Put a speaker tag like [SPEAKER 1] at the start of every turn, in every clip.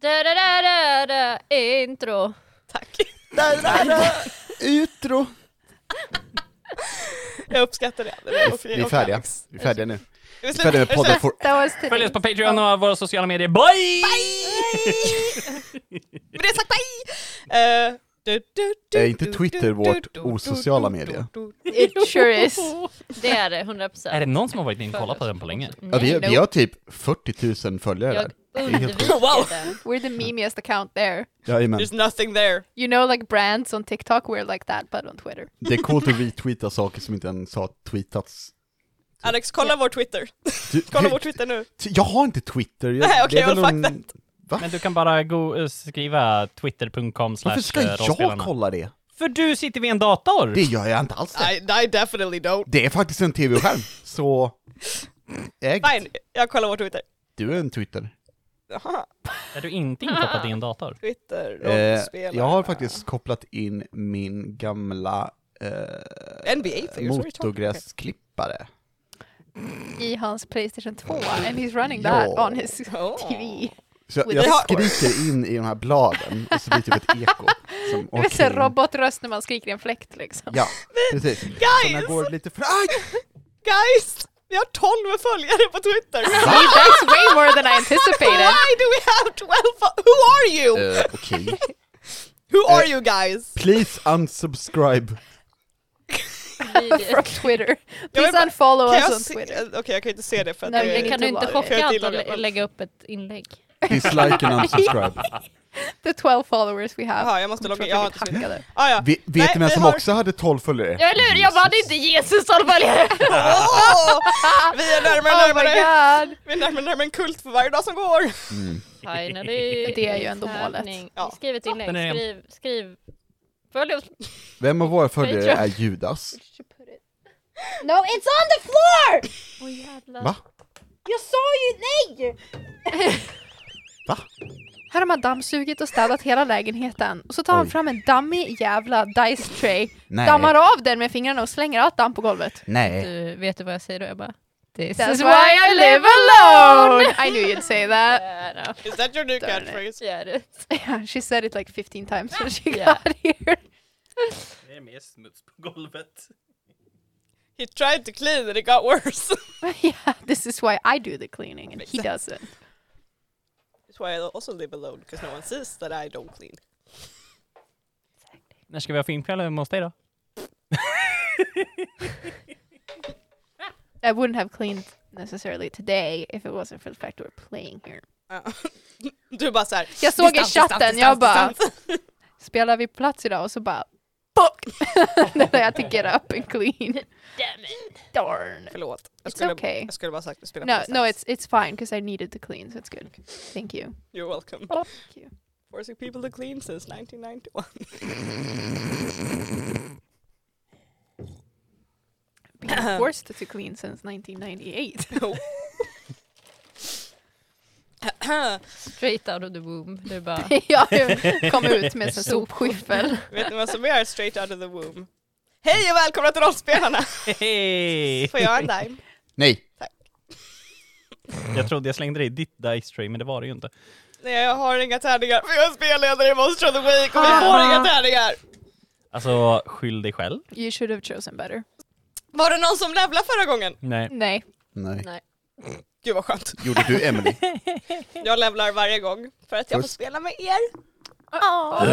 [SPEAKER 1] Da, da, da, da, da, intro.
[SPEAKER 2] Tack.
[SPEAKER 3] Där, där, där. Utro.
[SPEAKER 2] Jag uppskattar det. det var
[SPEAKER 3] Vi är färdiga. Vi är färdiga nu.
[SPEAKER 2] Vi är
[SPEAKER 3] Vi är färdiga med podden for...
[SPEAKER 4] That was today.
[SPEAKER 5] Följ oss på Patreon och våra sociala medier. Bye!
[SPEAKER 2] Med det sagt, bye! Eh, du, du, du,
[SPEAKER 3] Är inte
[SPEAKER 2] du,
[SPEAKER 3] Twitter
[SPEAKER 2] du,
[SPEAKER 3] vårt
[SPEAKER 2] du, du,
[SPEAKER 3] osociala
[SPEAKER 2] du, du,
[SPEAKER 3] medie?
[SPEAKER 2] du, du.
[SPEAKER 4] It sure is.
[SPEAKER 1] Det är det,
[SPEAKER 5] Är
[SPEAKER 1] 100%.
[SPEAKER 5] det någon som har varit inne och kollat på den på länge?
[SPEAKER 3] Ja, vi, vi har typ 40 000 följare
[SPEAKER 1] Jag
[SPEAKER 3] där.
[SPEAKER 1] undviker
[SPEAKER 2] Wow.
[SPEAKER 1] den.
[SPEAKER 4] We're the memeiest account there.
[SPEAKER 3] Jajamän.
[SPEAKER 2] There's nothing there.
[SPEAKER 4] You know, like brands on TikTok, we're like that, but on Twitter.
[SPEAKER 3] Det är coolt att retweeta saker som inte ens har tweetats.
[SPEAKER 2] Alex, kolla vår Twitter.
[SPEAKER 3] Du,
[SPEAKER 2] Kolla
[SPEAKER 3] hur-
[SPEAKER 2] vår Twitter nu.
[SPEAKER 3] t- jag har inte Twitter. Jag,
[SPEAKER 2] Nej, okej,
[SPEAKER 3] det är väl
[SPEAKER 2] jag har
[SPEAKER 3] någon-
[SPEAKER 2] fuckat.
[SPEAKER 3] Va?
[SPEAKER 5] Men du kan bara go, skriva twitter.com slash eh,
[SPEAKER 3] Varför ska jag kolla det?
[SPEAKER 5] För du sitter vid en dator!
[SPEAKER 3] Det gör jag inte alls. Det,
[SPEAKER 2] I, I definitely don't.
[SPEAKER 3] det är faktiskt en tv-skärm. Så... Ägt.
[SPEAKER 2] Fine, jag kollar vår Twitter.
[SPEAKER 3] Du är en Twitter.
[SPEAKER 2] Jaha,
[SPEAKER 5] Är du inte inkoppad i en dator?
[SPEAKER 2] Twitter,
[SPEAKER 3] Eh,
[SPEAKER 2] rollspelarna.
[SPEAKER 3] jag har faktiskt kopplat in min gamla eh,
[SPEAKER 2] NBA figures, what are you talking about?
[SPEAKER 3] motorgräsklippare.
[SPEAKER 4] I hans Playstation 2, and he's running
[SPEAKER 3] Ja.
[SPEAKER 4] that on his
[SPEAKER 2] Oh.
[SPEAKER 4] TV.
[SPEAKER 3] Så jag,
[SPEAKER 4] With a
[SPEAKER 3] jag
[SPEAKER 4] fork.
[SPEAKER 3] skriker in i de här bladen och så blir det typ ett eko. Som
[SPEAKER 4] Det är
[SPEAKER 3] åker
[SPEAKER 4] en
[SPEAKER 3] in.
[SPEAKER 4] robotröst när man skriker i en fläkt liksom.
[SPEAKER 3] Ja, precis. Så när
[SPEAKER 2] Guys!
[SPEAKER 3] jag går lite för... Aj!
[SPEAKER 2] Guys! Vi har 12 följare på Twitter!
[SPEAKER 4] See, that's way more than I anticipated.
[SPEAKER 2] Why do we have 12 fo- Who are you?
[SPEAKER 3] Eh, Okej.
[SPEAKER 2] Who are you guys?
[SPEAKER 3] Please unsubscribe.
[SPEAKER 4] From Twitter. Please
[SPEAKER 2] bara-
[SPEAKER 4] unfollow
[SPEAKER 2] Kan jag
[SPEAKER 4] us on
[SPEAKER 2] se- eh,
[SPEAKER 4] Twitter.
[SPEAKER 2] Okej, jag kan inte se det för att
[SPEAKER 4] Nej,
[SPEAKER 2] det
[SPEAKER 4] men
[SPEAKER 2] är...
[SPEAKER 1] Kan du inte
[SPEAKER 4] Inte bara-
[SPEAKER 1] chocka
[SPEAKER 2] Jag
[SPEAKER 1] allt
[SPEAKER 2] gillar
[SPEAKER 1] och lä-
[SPEAKER 2] det.
[SPEAKER 1] lägga upp ett inlägg?
[SPEAKER 3] Dislike and unsubscribe.
[SPEAKER 4] The 12 followers we have.
[SPEAKER 2] Jaha, jag måste
[SPEAKER 4] Kommer
[SPEAKER 2] logga-
[SPEAKER 4] tro
[SPEAKER 2] jag har
[SPEAKER 4] att
[SPEAKER 2] inte
[SPEAKER 4] blir hackade.
[SPEAKER 2] Ah, ja.
[SPEAKER 3] Vi, vet
[SPEAKER 2] Nej,
[SPEAKER 3] ni vem
[SPEAKER 2] vi
[SPEAKER 3] som
[SPEAKER 2] har-
[SPEAKER 3] också hade 12 följare?
[SPEAKER 1] Jag är lurig, jag vann inte Jesus har följare!
[SPEAKER 2] Åh! Vi är närmare
[SPEAKER 4] Oh my
[SPEAKER 2] närmare.
[SPEAKER 4] god!
[SPEAKER 2] Vi är närmare närmare en kult för varje dag som går.
[SPEAKER 1] Finally,
[SPEAKER 4] Det är ju ändå målet.
[SPEAKER 1] tävling.
[SPEAKER 2] Ja.
[SPEAKER 1] Skriv ett
[SPEAKER 5] Den är-
[SPEAKER 1] inlägg, skriv, skriv. Följ oss.
[SPEAKER 3] Vem av våra följare
[SPEAKER 1] Patreon.
[SPEAKER 3] är Judas?
[SPEAKER 1] No, it's on the floor! Åh jävlar.
[SPEAKER 3] Va?
[SPEAKER 1] Jag sa ju nej!
[SPEAKER 3] Va?
[SPEAKER 4] Här har man dammsugit och städat hela lägenheten och så tar han
[SPEAKER 3] Oj.
[SPEAKER 4] fram en dammig jävla dice tray,
[SPEAKER 3] Nej.
[SPEAKER 4] dammar av den med fingrarna och slänger allt damm på golvet.
[SPEAKER 3] Nej.
[SPEAKER 1] Du, vet du vad jag säger då? Jag bara... This
[SPEAKER 4] That's
[SPEAKER 1] is
[SPEAKER 4] why
[SPEAKER 1] why
[SPEAKER 4] I
[SPEAKER 1] I live
[SPEAKER 4] live
[SPEAKER 1] alone!
[SPEAKER 4] I knew you'd say that.
[SPEAKER 1] Yeah, no.
[SPEAKER 2] Is that your new
[SPEAKER 4] Dörren är-
[SPEAKER 2] catchphrase?
[SPEAKER 1] Yeah, it is.
[SPEAKER 4] Yeah, she said it like 15 times when she
[SPEAKER 1] Yeah.
[SPEAKER 4] got here.
[SPEAKER 5] Det är mer smuts på golvet.
[SPEAKER 2] He tried to clean and it got worse.
[SPEAKER 4] yeah, this is why I do the cleaning and he doesn't.
[SPEAKER 2] That's why I also live alone, because no one sees that I don't clean.
[SPEAKER 5] När ska vi ha filmkväll hemma hos dig då?
[SPEAKER 4] I wouldn't have cleaned necessarily today if it wasn't for the fact we're playing here.
[SPEAKER 2] Ja. Ah. Du bara såhär...
[SPEAKER 4] Jag såg i
[SPEAKER 2] distans,
[SPEAKER 4] chatten,
[SPEAKER 2] distans,
[SPEAKER 4] jag bara-
[SPEAKER 2] distans.
[SPEAKER 4] Spelar vi plats idag och så bara fuck! Then I had to get up and clean.
[SPEAKER 1] Damn it.
[SPEAKER 4] Darn.
[SPEAKER 2] Förlåt. Jag
[SPEAKER 4] It's
[SPEAKER 2] skulle,
[SPEAKER 4] okay.
[SPEAKER 2] jag skulle bara sagt att spela
[SPEAKER 4] No,
[SPEAKER 2] på
[SPEAKER 4] no,
[SPEAKER 2] distans.
[SPEAKER 4] it's it's fine because I needed to clean, so it's good. Thank you.
[SPEAKER 2] You're welcome.
[SPEAKER 4] Thank you.
[SPEAKER 2] Forcing people to clean since 1991.
[SPEAKER 4] Being forced to clean since 1998.
[SPEAKER 1] Straight out of the womb. Du
[SPEAKER 4] Ah.
[SPEAKER 1] bara...
[SPEAKER 4] jag kom ut med en sån sopskyffel.
[SPEAKER 2] Vet ni vad som är straight out of the womb? Hej och välkomna till Rollspelarna!
[SPEAKER 5] Hej!
[SPEAKER 2] Får jag en dime?
[SPEAKER 3] Nej.
[SPEAKER 5] Jag trodde jag slängde det i ditt dice tray, men det var det ju inte.
[SPEAKER 2] Nej jag har inga tärningar för jag är spelledare i Monster of the Week och vi får inga tärningar!
[SPEAKER 5] Alltså, skyll dig själv.
[SPEAKER 4] You should have chosen better.
[SPEAKER 2] Var det någon som levlade förra gången?
[SPEAKER 5] Nej.
[SPEAKER 4] Nej.
[SPEAKER 3] Nej.
[SPEAKER 1] Nej.
[SPEAKER 2] Gud vad skönt.
[SPEAKER 3] Gjorde du Emily?
[SPEAKER 2] Jag levlar varje gång för att jag får
[SPEAKER 3] Puss.
[SPEAKER 2] spela med er.
[SPEAKER 4] Ah.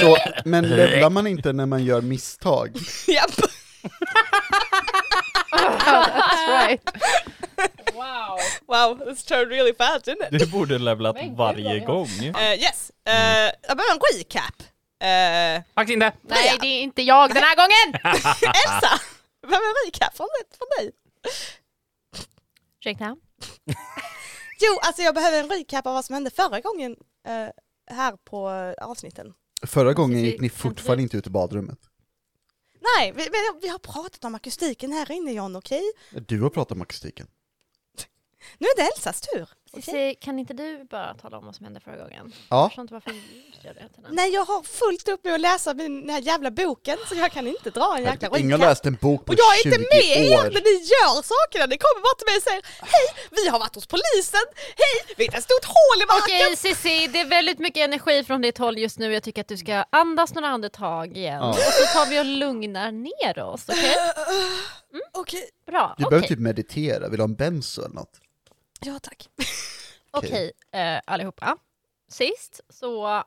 [SPEAKER 3] Så, men levlar man inte när man gör misstag?
[SPEAKER 2] Japp!
[SPEAKER 4] Ah, That's right.
[SPEAKER 1] Wow.
[SPEAKER 2] Wow, this turned really fast didn't it?
[SPEAKER 5] Du borde levlat
[SPEAKER 1] Men gud, vad
[SPEAKER 5] varje
[SPEAKER 1] vi har-
[SPEAKER 5] gång.
[SPEAKER 2] Eh, yes, Eh, jag behöver en recap. Eh,
[SPEAKER 5] Faktiskt inte!
[SPEAKER 4] Nej, det är inte jag den här gången!
[SPEAKER 2] Elsa! Jag behöver en recap från, från dig.
[SPEAKER 1] Ursäkta?
[SPEAKER 2] Jo, alltså jag behöver en recap av vad som hände förra gången eh, här på eh, avsnitten.
[SPEAKER 3] Förra gången
[SPEAKER 1] Precis,
[SPEAKER 3] gick ni fortfarande inte ut i badrummet.
[SPEAKER 2] Nej, vi, vi, vi har pratat om akustiken här inne John, okej?
[SPEAKER 3] Du har pratat om akustiken.
[SPEAKER 2] Nu är det Elsas tur.
[SPEAKER 6] Cissi, kan inte du bara tala om vad som hände förra gången?
[SPEAKER 3] Ja.
[SPEAKER 6] Jag förstår inte varför du gör det. till den.
[SPEAKER 2] Nej, jag har fullt upp med att läsa min, den här jävla boken så jag kan inte dra en jäkla
[SPEAKER 3] Ingen har
[SPEAKER 2] recap.
[SPEAKER 3] läst en bok på
[SPEAKER 2] Och jag är inte
[SPEAKER 3] 20
[SPEAKER 2] med er
[SPEAKER 3] år.
[SPEAKER 2] när ni gör sakerna. Ni kommer bara till mig och säger Hej, vi har varit hos polisen. Hej, vi hittar ett stort hål i marken.
[SPEAKER 6] Okej Cissi, det är väldigt mycket energi från ditt håll just nu. Jag tycker att du ska andas några andetag igen.
[SPEAKER 3] Ja.
[SPEAKER 6] Och så tar vi och lugnar ner oss. Okej?
[SPEAKER 2] Okej.
[SPEAKER 6] Bra.
[SPEAKER 3] Du
[SPEAKER 6] Okej,
[SPEAKER 3] behöver typ meditera, vill du ha en benzo eller något?
[SPEAKER 2] Ja, tack.
[SPEAKER 6] Okej, eh, allihopa. Sist så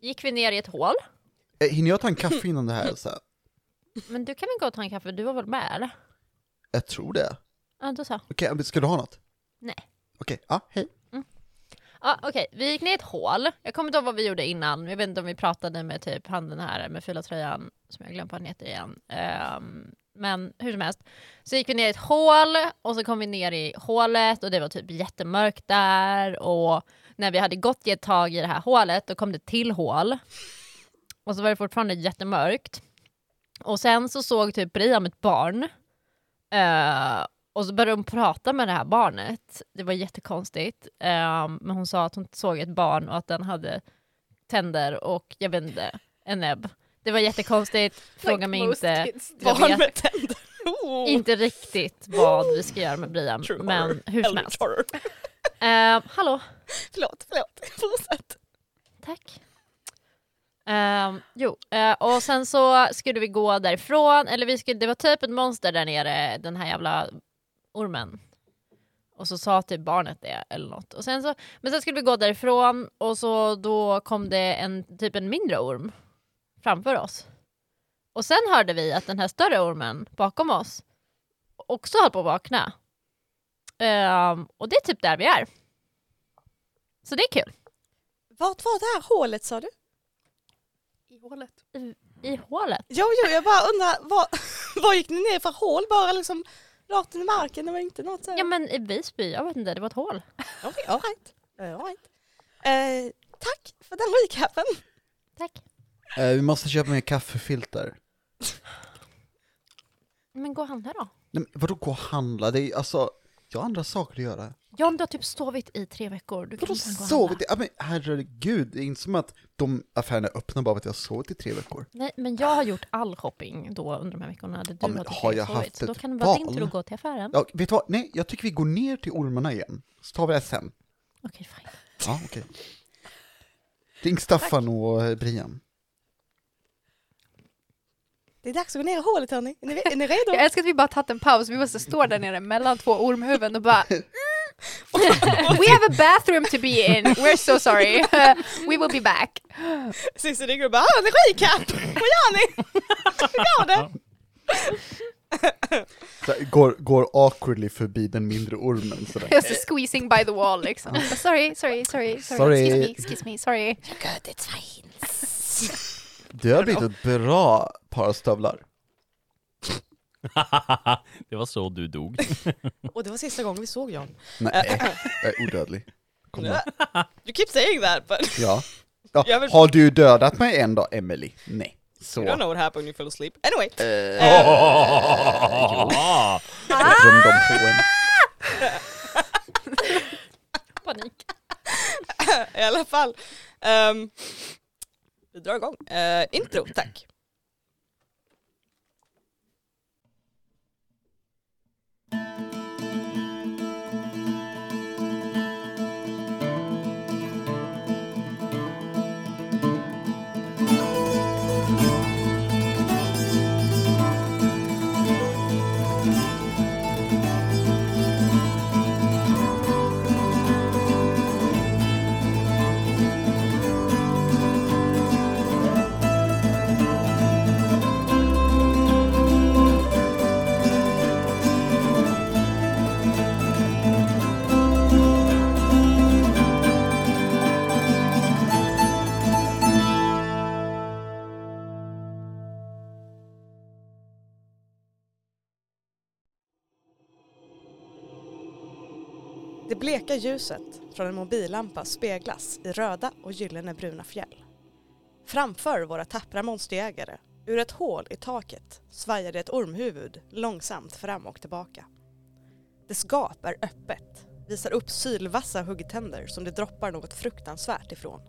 [SPEAKER 6] gick vi ner i ett hål.
[SPEAKER 3] Eh, Hinner jag ta en kaffe innan det här? Så här?
[SPEAKER 6] Men du kan väl gå och ta en kaffe? Du var väl med eller?
[SPEAKER 3] Jag tror det.
[SPEAKER 6] Ja, du sa.
[SPEAKER 3] Okej, men ska du ha något?
[SPEAKER 6] Nej.
[SPEAKER 3] Okej, ja, hej.
[SPEAKER 6] Ja, Okej, vi gick ner i ett hål. Jag kommer inte ihåg vad vi gjorde innan. Jag vet inte om vi pratade med typ han den här med fula tröjan, som jag glömt vad han heter igen. Ehm, men hur som helst. Så gick vi ner i ett hål och så kom vi ner i hålet och det var typ jättemörkt där. Och när vi hade gått i ett tag i det här hålet då kom det till hål. Och så var det fortfarande jättemörkt. Och sen så såg typ Brian ett barn. Eh, och så började hon prata med det här barnet. Det var jättekonstigt. Ehm, men hon sa att hon såg ett barn och att den hade tänder och jag vet inte, en näbb. Det var jättekonstigt. Fråga mig inte. Jag
[SPEAKER 2] Barn
[SPEAKER 6] vet
[SPEAKER 2] med tänder. Oh.
[SPEAKER 6] inte riktigt vad vi ska göra med Brian.
[SPEAKER 2] True horror.
[SPEAKER 6] Men hur som
[SPEAKER 2] Eldritch
[SPEAKER 6] helst.
[SPEAKER 2] horror.
[SPEAKER 6] Eh, hallå,
[SPEAKER 2] Förlåt, förlåt. Fortsätt.
[SPEAKER 6] tack. Eh, jo, eh, och sen så skulle vi gå därifrån. Eller vi skulle, det var typ ett monster där nere, den här jävla ormen. Och så sa typ barnet det eller något. Och sen så, men sen skulle vi gå därifrån och så då kom det en, typ en mindre orm framför oss. Och sen hörde vi att den här större ormen bakom oss också höll på att vakna. Ehm, och det är typ där vi är. Så det är kul.
[SPEAKER 2] Vart var det här hålet sa du?
[SPEAKER 4] I hålet.
[SPEAKER 6] I hålet.
[SPEAKER 2] Jo, jo, jag bara undrar, vad, vad gick ni ner för hål? Bara liksom rakt in i marken? Det var inte något så här...
[SPEAKER 6] Ja men i Visby, jag vet inte, det var ett hål.
[SPEAKER 2] Okej, all right. All right. Eh, tack för den recapen.
[SPEAKER 6] Tack.
[SPEAKER 3] Eh, vi måste köpa mer kaffefilter.
[SPEAKER 6] Men gå och handla då.
[SPEAKER 3] Nej, men vadå gå och handla? Det är ju- alltså, jag har andra saker att göra.
[SPEAKER 6] John, du har typ sovit i tre veckor. Du kan
[SPEAKER 3] Vadå
[SPEAKER 6] inte gå och
[SPEAKER 3] sovit?
[SPEAKER 6] handla.
[SPEAKER 3] i- Ja, men herregud, det är inte som att de affärerna är öppna bara för att jag har sovit i tre veckor.
[SPEAKER 6] Nej, men jag har gjort all shopping då under de här veckorna där du
[SPEAKER 3] Ja, men
[SPEAKER 6] har, typ
[SPEAKER 3] har jag
[SPEAKER 6] sovit.
[SPEAKER 3] haft
[SPEAKER 6] så då
[SPEAKER 3] ett
[SPEAKER 6] kan det vara din
[SPEAKER 3] val?
[SPEAKER 6] tur att gå till affären.
[SPEAKER 3] Ja, vet du vad? Nej, jag tycker vi går ner till ormarna igen. Så tar vi det sen.
[SPEAKER 6] Okej, fine.
[SPEAKER 3] Ja, okej. Ring Staffan och eh, Brian.
[SPEAKER 2] Det är dags att gå ner i hålet hörni. Är ni, är ni redo?
[SPEAKER 4] Jag älskar att vi bara tagit en paus. Vi måste stå där nere mellan två ormhuvuden och bara mm. We have a bathroom to be in. We're so sorry. We will be back.
[SPEAKER 2] Cissi ringer och bara ah, energicap! Vad gör ni? Hur går det?
[SPEAKER 3] Så här, går, går awkwardly förbi den mindre ormen sådär.
[SPEAKER 4] Jag är så squeezing by the wall liksom. Sorry, sorry, sorry, sorry.
[SPEAKER 3] Sorry.
[SPEAKER 4] Excuse me, excuse me, sorry.
[SPEAKER 3] Du har blivit ett bra par av stövlar.
[SPEAKER 5] det var så du dog.
[SPEAKER 2] Och det var sista gången vi såg John.
[SPEAKER 3] Nej, jag är odödlig. Kom igen.
[SPEAKER 2] You keep saying that but
[SPEAKER 3] Ja. ja.
[SPEAKER 2] Jag vill-
[SPEAKER 3] Har du dödat mig en dag, Emily? Nej. Så. eh,
[SPEAKER 2] you don't know what happened when you fell asleep. Anyway.
[SPEAKER 3] Jag drömde om H&M.
[SPEAKER 6] Panik.
[SPEAKER 2] I alla fall. Ehm, vi drar igång. Eh, intro, tack. Det bleka ljuset från en mobillampa speglas i röda och gyllene bruna fjäll. Framför våra tappra monsterjägare, ur ett hål i taket, svajar det ett ormhuvud långsamt fram och tillbaka. Dess gap är öppet, visar upp sylvassa huggtänder som det droppar något fruktansvärt ifrån.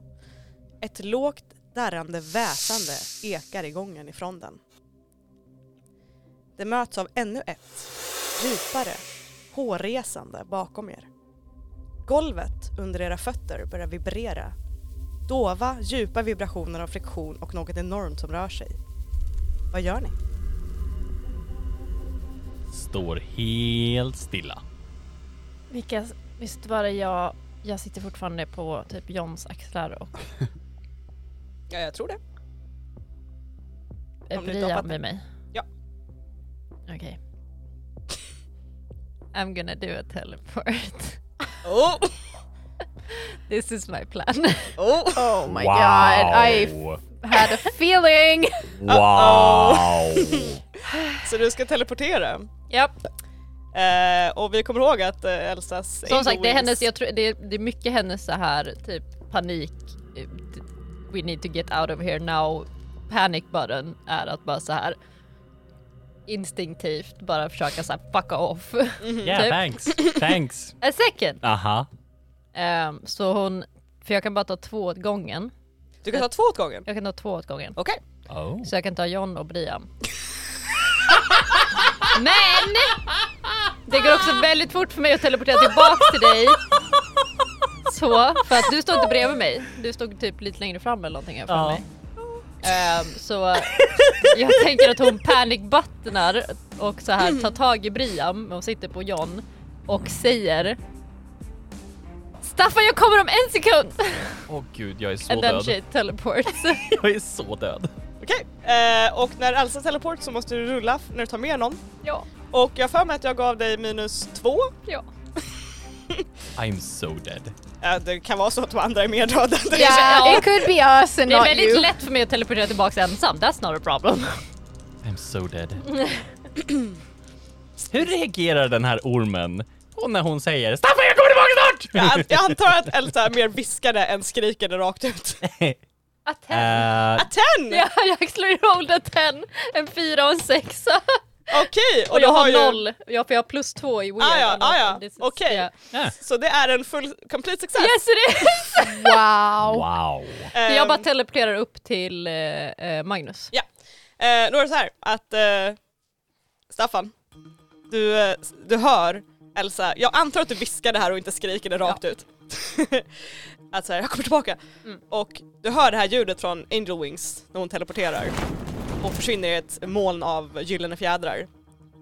[SPEAKER 2] Ett lågt darrande väsande ekar i gången ifrån den. Det möts av ännu ett, djupare, hårresande bakom er. Golvet under era fötter börjar vibrera. Dova, djupa vibrationer av friktion och något enormt som rör sig. Vad gör ni?
[SPEAKER 5] Står helt stilla.
[SPEAKER 6] Vilka, visst var det jag, jag sitter fortfarande på typ Johns axlar och
[SPEAKER 2] Ja, jag tror det.
[SPEAKER 6] eh,
[SPEAKER 2] Om du inte
[SPEAKER 6] Bria
[SPEAKER 2] hoppat.
[SPEAKER 6] med mig?
[SPEAKER 2] Ja.
[SPEAKER 6] Okej. I'm gonna do a teleport.
[SPEAKER 2] Oh,
[SPEAKER 6] This is my plan.
[SPEAKER 2] oh.
[SPEAKER 6] Oh my god, I had a feeling!
[SPEAKER 5] Wow!
[SPEAKER 2] Så du ska teleportera?
[SPEAKER 6] Japp.
[SPEAKER 2] Eh, och vi kommer ihåg att eh, Elsas...
[SPEAKER 6] Som sagt, det är,
[SPEAKER 2] Eloise-
[SPEAKER 6] hennes, jag tror, det, är, det är mycket hennes så här typ panik, eh, d- we need to get out of here now, panic button är att bara så här instinktivt bara försöka så här fucka off.
[SPEAKER 5] Yeah, thanks. Thanks.
[SPEAKER 6] A second!
[SPEAKER 5] Typ. Aha.
[SPEAKER 6] Ehm, så hon, för jag kan bara ta två åt gången,
[SPEAKER 2] Du kan ta två åt gången.
[SPEAKER 6] jag kan ta två åt gången.
[SPEAKER 2] Okej.
[SPEAKER 5] Oh.
[SPEAKER 6] Så jag kan ta John och Brian. Men! Det går också väldigt fort för mig att teleportera tillbaka till dig. Så, för att du står inte bredvid mig. Du stod typ lite längre fram eller någonting här för
[SPEAKER 5] Ja.
[SPEAKER 6] mig. Ehm, så jag tänker att hon panic buttonar och så här tar tag i Brian, hon sitter på John och säger Staffan jag kommer om en sekund!
[SPEAKER 5] Åh gud, jag är så
[SPEAKER 6] And then
[SPEAKER 5] död.
[SPEAKER 6] she teleports.
[SPEAKER 5] Jag är så död.
[SPEAKER 2] Okej. Eh, och när Elsa teleport så måste du rulla f- när du tar med någon.
[SPEAKER 6] ja,
[SPEAKER 2] Och jag har för mig att jag gav dig minus två.
[SPEAKER 6] ja.
[SPEAKER 5] I'm so dead.
[SPEAKER 2] Eh, det kan vara så att de andra är mer döda.
[SPEAKER 4] Yeah, it could be us and
[SPEAKER 6] Det är
[SPEAKER 4] not
[SPEAKER 6] väldigt
[SPEAKER 4] you.
[SPEAKER 6] lätt för mig att teleportera tillbaka ensam, that's not a problem.
[SPEAKER 5] I'm so dead. Hur reagerar den här ormen? Och när hon säger Staffan jag kommer tillbaka snart!
[SPEAKER 2] jag, jag antar att Elsa mer viskade än skrikade rakt ut.
[SPEAKER 6] A ten.
[SPEAKER 5] Eh,
[SPEAKER 2] Ten!
[SPEAKER 6] Ja, jag slår roll a ten, en fyra och en sexa.
[SPEAKER 2] Okej, och,
[SPEAKER 6] Och
[SPEAKER 2] du
[SPEAKER 6] jag har,
[SPEAKER 2] har ju...
[SPEAKER 6] noll, ja, för jag har plus två i weird.
[SPEAKER 2] Ah, ja,
[SPEAKER 6] annars.
[SPEAKER 2] ah, ja.
[SPEAKER 6] This is-
[SPEAKER 2] Okej.
[SPEAKER 6] yeah.
[SPEAKER 5] eh.
[SPEAKER 2] Så det är en full complete success.
[SPEAKER 6] Yes it is!
[SPEAKER 4] Wow.
[SPEAKER 5] wow.
[SPEAKER 2] Eh,
[SPEAKER 6] jag bara teleporterar upp till eh, eh, Magnus.
[SPEAKER 2] Ja. Eh, då är det så här att eh, Staffan, du, eh, du hör Elsa, jag antar att du viskar det här och inte skriker det rakt ut. att så här, jag kommer tillbaka. Och du hör det här ljudet från Angel Wings när hon teleporterar och försvinner i ett moln av gyllene fjädrar.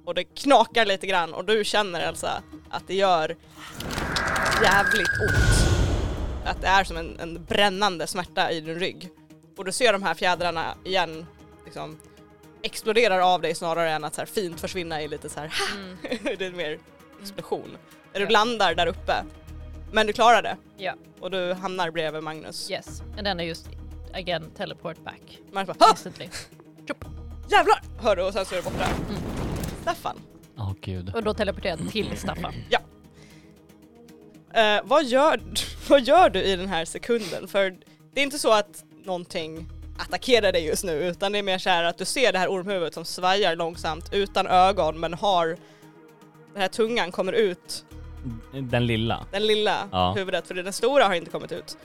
[SPEAKER 2] Och det knakar lite grann och du känner Elsa att det gör jävligt ont. Att det är som en, en brännande smärta i din rygg. Och du ser de här fjädrarna igen liksom exploderar av dig snarare än att så här fint försvinna i lite så här ha!
[SPEAKER 6] Mm.
[SPEAKER 2] det är mer explosion. När du
[SPEAKER 6] Ja.
[SPEAKER 2] landar där uppe. Men du klarar det.
[SPEAKER 6] Ja.
[SPEAKER 2] Och du hamnar bredvid Magnus.
[SPEAKER 6] Yes, and then I just again teleport back.
[SPEAKER 2] Magnus bara "Ha!
[SPEAKER 6] Instantly.
[SPEAKER 2] Jävlar! Hör du och sen så är du borta.
[SPEAKER 6] Mm.
[SPEAKER 2] Staffan,
[SPEAKER 5] Åh gud.
[SPEAKER 6] Och då teleporterar jag till Staffan.
[SPEAKER 2] eh, vad, gör, du- vad gör du i den här sekunden? För det är inte så att någonting attackerar dig just nu utan det är mer så här att du ser det här ormhuvudet som svajar långsamt utan ögon men har den här tungan kommer ut
[SPEAKER 5] Den lilla.
[SPEAKER 2] den lilla
[SPEAKER 5] Ja.
[SPEAKER 2] huvudet, för den stora har inte kommit ut.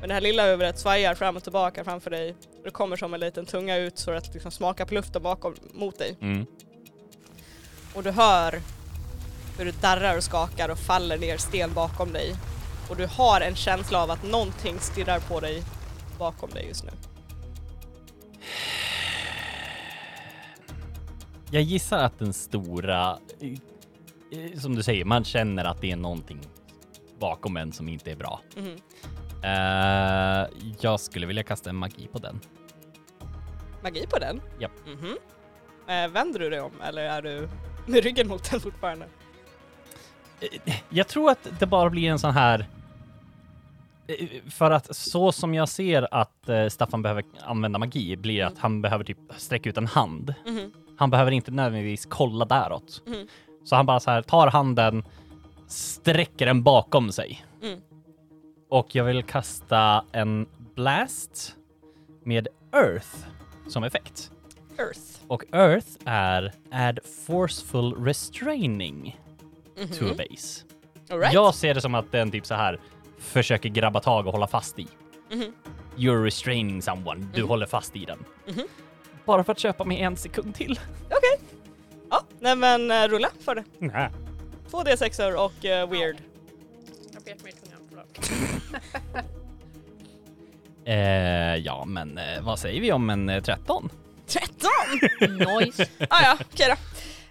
[SPEAKER 2] Men det här lilla huvudet svajar fram och tillbaka framför dig. Och det kommer som en liten tunga ut för att liksom smaka på luften bakom mot dig.
[SPEAKER 5] Mm.
[SPEAKER 2] Och du hör hur du darrar och skakar och faller ner sten bakom dig. Och du har en känsla av att någonting stirrar på dig bakom dig just nu.
[SPEAKER 5] Jag gissar att den stora, eh, eh, som du säger, man känner att det är någonting bakom en som inte är bra.
[SPEAKER 2] Mhm.
[SPEAKER 5] Eh, jag skulle vilja kasta en magi på den.
[SPEAKER 2] Magi på den?
[SPEAKER 5] Japp.
[SPEAKER 2] Mhm. Eh, vänder du dig om eller är du med ryggen mot den fortfarande?
[SPEAKER 5] Eh, Jag tror att det bara blir en sån här... eh, För att så som jag ser att eh, Staffan behöver använda magi blir att han behöver typ sträcka ut en hand.
[SPEAKER 2] Mhm.
[SPEAKER 5] Han behöver inte nödvändigtvis kolla däråt.
[SPEAKER 2] Mhm.
[SPEAKER 5] Så han bara så här tar handen, sträcker den bakom sig.
[SPEAKER 2] Mm.
[SPEAKER 5] Och jag vill kasta en blast med earth som effekt.
[SPEAKER 2] Earth.
[SPEAKER 5] Och earth är add forceful restraining to a
[SPEAKER 2] All
[SPEAKER 5] base.
[SPEAKER 2] Mm-hmm. right.
[SPEAKER 5] Jag ser det som att den typ så här försöker grabba tag och hålla fast i.
[SPEAKER 2] Mhm.
[SPEAKER 5] You're restraining someone.
[SPEAKER 2] Mm-hmm.
[SPEAKER 5] Du håller fast i den.
[SPEAKER 2] Mhm.
[SPEAKER 5] Bara för att köpa mig en sekund till.
[SPEAKER 2] Ja, nej men eh, rulla för det.
[SPEAKER 5] Nä.
[SPEAKER 2] Två D6 och eh, weird.
[SPEAKER 6] Jag bet mig i tungan, förlåt.
[SPEAKER 5] Eh, ja, men eh, vad säger vi om en eh, 13?
[SPEAKER 2] 13!
[SPEAKER 6] Nice.
[SPEAKER 2] Ah, ja, okej då.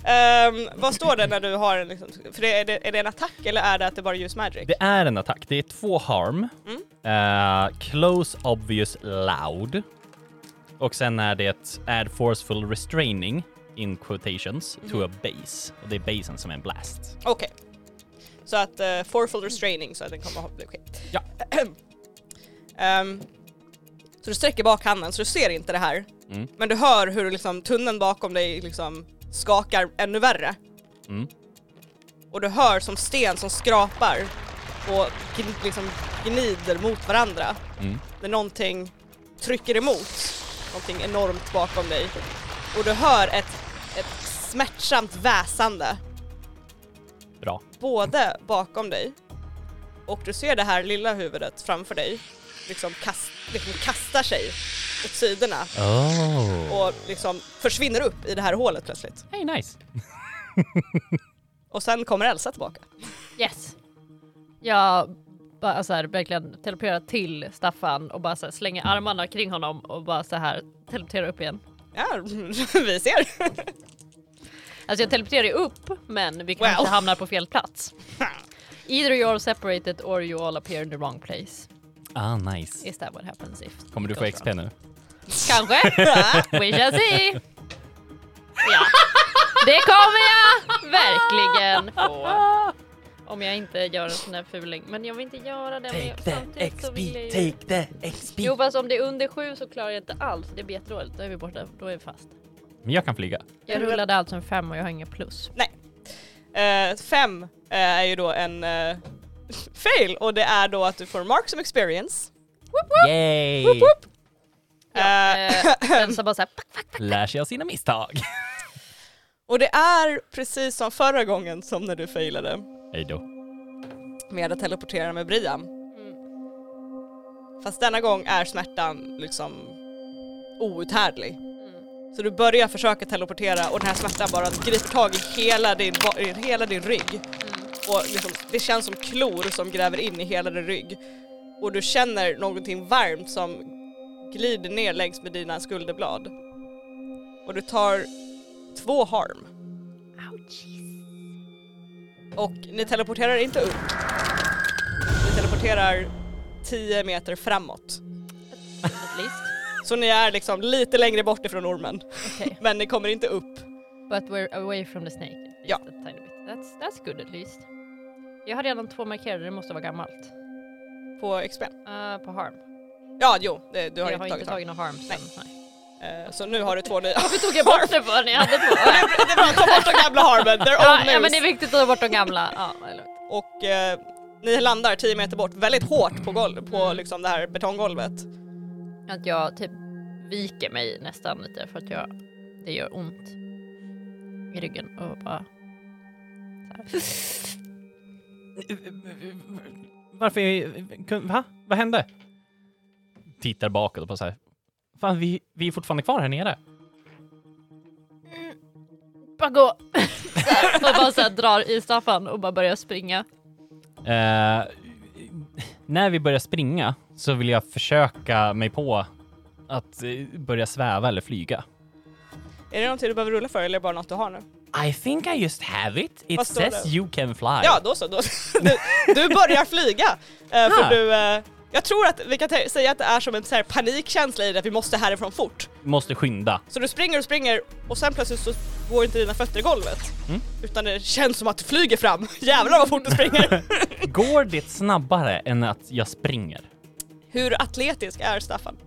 [SPEAKER 2] Ehm, vad står det när du har en liksom, för det, är, det, är det en attack eller är det att det bara use magic?
[SPEAKER 5] Det är en attack. Det är två harm.
[SPEAKER 6] Mm.
[SPEAKER 5] Eh, close, obvious, loud. Och sen är det add forceful restraining in quotations
[SPEAKER 6] Mm.
[SPEAKER 5] to a base. Och det är basen som är en blast.
[SPEAKER 2] Okej. Så att uh, forful restraining så att den kommer att bli okej.
[SPEAKER 5] Ja.
[SPEAKER 2] Ehm, så du sträcker bak handen så du ser inte det här.
[SPEAKER 5] Mm.
[SPEAKER 2] Men du hör hur liksom, tunneln bakom dig liksom skakar ännu värre.
[SPEAKER 5] Mm.
[SPEAKER 2] Och du hör som sten som skrapar och gn- liksom gnider mot varandra.
[SPEAKER 5] Mm.
[SPEAKER 2] När någonting trycker emot någonting enormt bakom dig. Och du hör ett, ett smärtsamt väsande
[SPEAKER 5] Bra.
[SPEAKER 2] både bakom dig och du ser det här lilla huvudet framför dig liksom, kast, liksom kastar sig åt sidorna
[SPEAKER 5] Oh.
[SPEAKER 2] och liksom försvinner upp i det här hålet plötsligt.
[SPEAKER 5] Hey, nice.
[SPEAKER 2] Och sen kommer Elsa tillbaka.
[SPEAKER 6] Yes. Jag bara så här, verkligen teleporterar till Staffan och bara så här, slänger armarna kring honom och bara så här teleporterar upp igen.
[SPEAKER 2] Ja, vi ser.
[SPEAKER 6] Alltså jag teleporterar ju upp men vi kanske
[SPEAKER 2] Well.
[SPEAKER 6] hamnar på fel plats. Either you are separated or you all appear in the wrong place.
[SPEAKER 5] Ah, nice.
[SPEAKER 6] Is that what happens if?
[SPEAKER 5] Kommer du få XP nu?
[SPEAKER 6] Kanske. We shall see. Ja. Det kommer jag verkligen få. Om jag inte gör en sån här fuling. Men jag vill inte göra det. men jag, samtidigt så vill jag ju-
[SPEAKER 5] the XP.
[SPEAKER 6] Jo fast om det är under sju så klarar jag inte alls. Det blir jätteroligt. Då är vi borta. Då är vi fast.
[SPEAKER 5] Men jag kan flyga.
[SPEAKER 6] Jag rullade alltså en fem och jag har inget plus.
[SPEAKER 2] Eh, fem eh, är ju då en eh, fail och det är då att du får mark som experience.
[SPEAKER 5] Yay!
[SPEAKER 2] Eh,
[SPEAKER 6] Eh, Elsa bara såhär pack, pack, pack.
[SPEAKER 5] Lär sig av sina misstag.
[SPEAKER 2] och det är precis som förra gången som när du failade
[SPEAKER 5] Hej då.
[SPEAKER 2] med att teleportera med Brian. Fast denna gång är smärtan liksom outhärdlig.
[SPEAKER 6] mm,
[SPEAKER 2] Så du börjar försöka teleportera och den här smärtan bara griper tag i hela din, ba- i hela din rygg. Och liksom, det känns som klor som gräver in i hela din rygg. Och du känner någonting varmt som glider ner längs med dina skulderblad. Och du tar två harm. Och ni teleporterar inte upp. Ni teleporterar 10 meter framåt.
[SPEAKER 6] At least.
[SPEAKER 2] Så ni är liksom lite längre bort ifrån ormen.
[SPEAKER 6] Okej.
[SPEAKER 2] Men ni kommer inte upp.
[SPEAKER 6] But we're away from the snake. at least
[SPEAKER 2] Ja.
[SPEAKER 6] a tiny bit. That's, that's good at least. Jag har redan två markerade, det måste vara gammalt.
[SPEAKER 2] på XP.
[SPEAKER 6] Eh, på harm.
[SPEAKER 2] Ja, jo, det, du har
[SPEAKER 6] jag
[SPEAKER 2] inte
[SPEAKER 6] har
[SPEAKER 2] tagit
[SPEAKER 6] inte
[SPEAKER 2] tag.
[SPEAKER 6] tagit någon harm sen. Nej.
[SPEAKER 2] Eh, Så nu har du två nya.
[SPEAKER 6] Varför tog jag bort det för när jag hade två?
[SPEAKER 2] det är bra, ta bort de gamla harmen, they're all
[SPEAKER 6] ja,
[SPEAKER 2] loose.
[SPEAKER 6] ja men det är viktigt att ta bort de gamla. Ja, det är lugnt.
[SPEAKER 2] Och eh, ni landar 10 meter bort, väldigt hårt på, golv, på liksom det här betonggolvet.
[SPEAKER 6] att jag typ viker mig nästan lite för att jag, det gör ont i ryggen och bara så här.
[SPEAKER 5] Varför är... kun- Va? Vad hände? Tittar bakåt och bara så här. Fan, vi, vi är fortfarande kvar här nere.
[SPEAKER 6] bara gå. Så här, och bara så här drar i Staffan och bara börjar springa.
[SPEAKER 5] Eh, när vi börjar springa så vill jag försöka mig på att eh, börja sväva eller flyga.
[SPEAKER 2] Är det någonting du behöver rulla för eller är det bara något du har nu?
[SPEAKER 5] I think I just have it. It
[SPEAKER 2] Vad står
[SPEAKER 5] says
[SPEAKER 2] det?
[SPEAKER 5] you can fly.
[SPEAKER 2] Ja, då så. Då, du, du börjar flyga. Eh,
[SPEAKER 5] Ah.
[SPEAKER 2] För du, eh, jag tror att vi kan ta- säga att det är som en så här panikkänsla i det, att vi måste härifrån fort.
[SPEAKER 5] Måste skynda.
[SPEAKER 2] Så du springer och springer och sen plötsligt så går inte dina fötter i golvet.
[SPEAKER 5] Mm.
[SPEAKER 2] Utan det känns som att du flyger fram. Jävlar vad fort du springer!
[SPEAKER 5] Går det snabbare än att jag springer?
[SPEAKER 2] Hur atletisk är Staffan?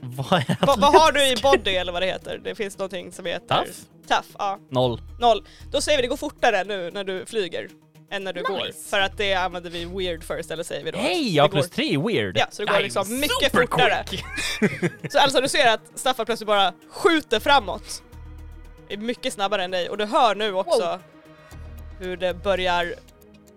[SPEAKER 5] Vad är
[SPEAKER 2] Va, vad har du i body eller vad det heter? Det finns någonting som heter...
[SPEAKER 5] Tough?
[SPEAKER 2] Tough, ja.
[SPEAKER 5] Noll.
[SPEAKER 2] Noll. Då säger vi det går fortare nu när du flyger än när du går.
[SPEAKER 5] Nice.
[SPEAKER 2] För att det använder vi weird för istället säger vi då.
[SPEAKER 5] Hej,
[SPEAKER 2] Det
[SPEAKER 5] jag har
[SPEAKER 2] går-
[SPEAKER 5] plus tre, weird.
[SPEAKER 2] Ja, så det går
[SPEAKER 5] I'm
[SPEAKER 2] liksom mycket
[SPEAKER 5] super
[SPEAKER 2] fortare.
[SPEAKER 5] quick.
[SPEAKER 2] Så alltså du ser att Staffan plötsligt bara skjuter framåt. Är mycket snabbare än dig och du hör nu också hur det börjar,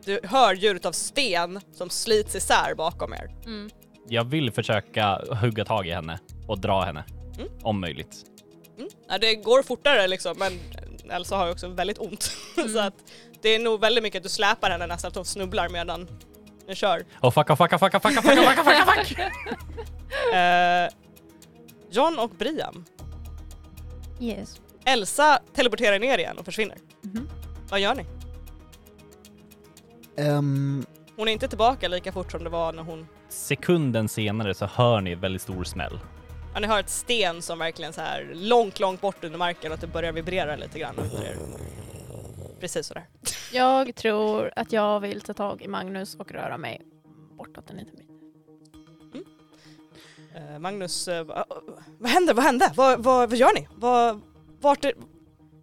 [SPEAKER 2] du hör ljudet av sten som slits isär bakom er.
[SPEAKER 6] Mm.
[SPEAKER 5] Jag vill försöka hugga tag i henne och dra henne.
[SPEAKER 2] Mm.
[SPEAKER 5] Om möjligt.
[SPEAKER 2] Ja, det går fortare liksom men Elsa har ju också väldigt ont. så att det är nog väldigt mycket att du släpar henne nästan att hon snubblar medan den kör.
[SPEAKER 5] Oh fuck, oh fuck, oh fuck, oh fuck, oh fuck, oh fuck, oh fuck, oh fuck.
[SPEAKER 2] Eh, John och Briam,
[SPEAKER 1] Yes.
[SPEAKER 2] Elsa teleporterar ner igen och försvinner.
[SPEAKER 4] Mhm.
[SPEAKER 2] Vad gör ni?
[SPEAKER 3] Ehm,
[SPEAKER 2] Hon är inte tillbaka lika fort som det var när hon...
[SPEAKER 5] Sekunden senare så hör ni en väldigt stor smäll.
[SPEAKER 2] Ja, ni hör ett sten som verkligen så här långt, långt bort under marken och att det börjar vibrera lite grann under er. Precis sådär.
[SPEAKER 4] Jag tror att jag vill ta tag i Magnus och röra mig bortåt en liten bit.
[SPEAKER 2] Eh, Magnus, eh, va- vad händer? Vad hände? Vad, vad, vad gör ni? Vad, vart är...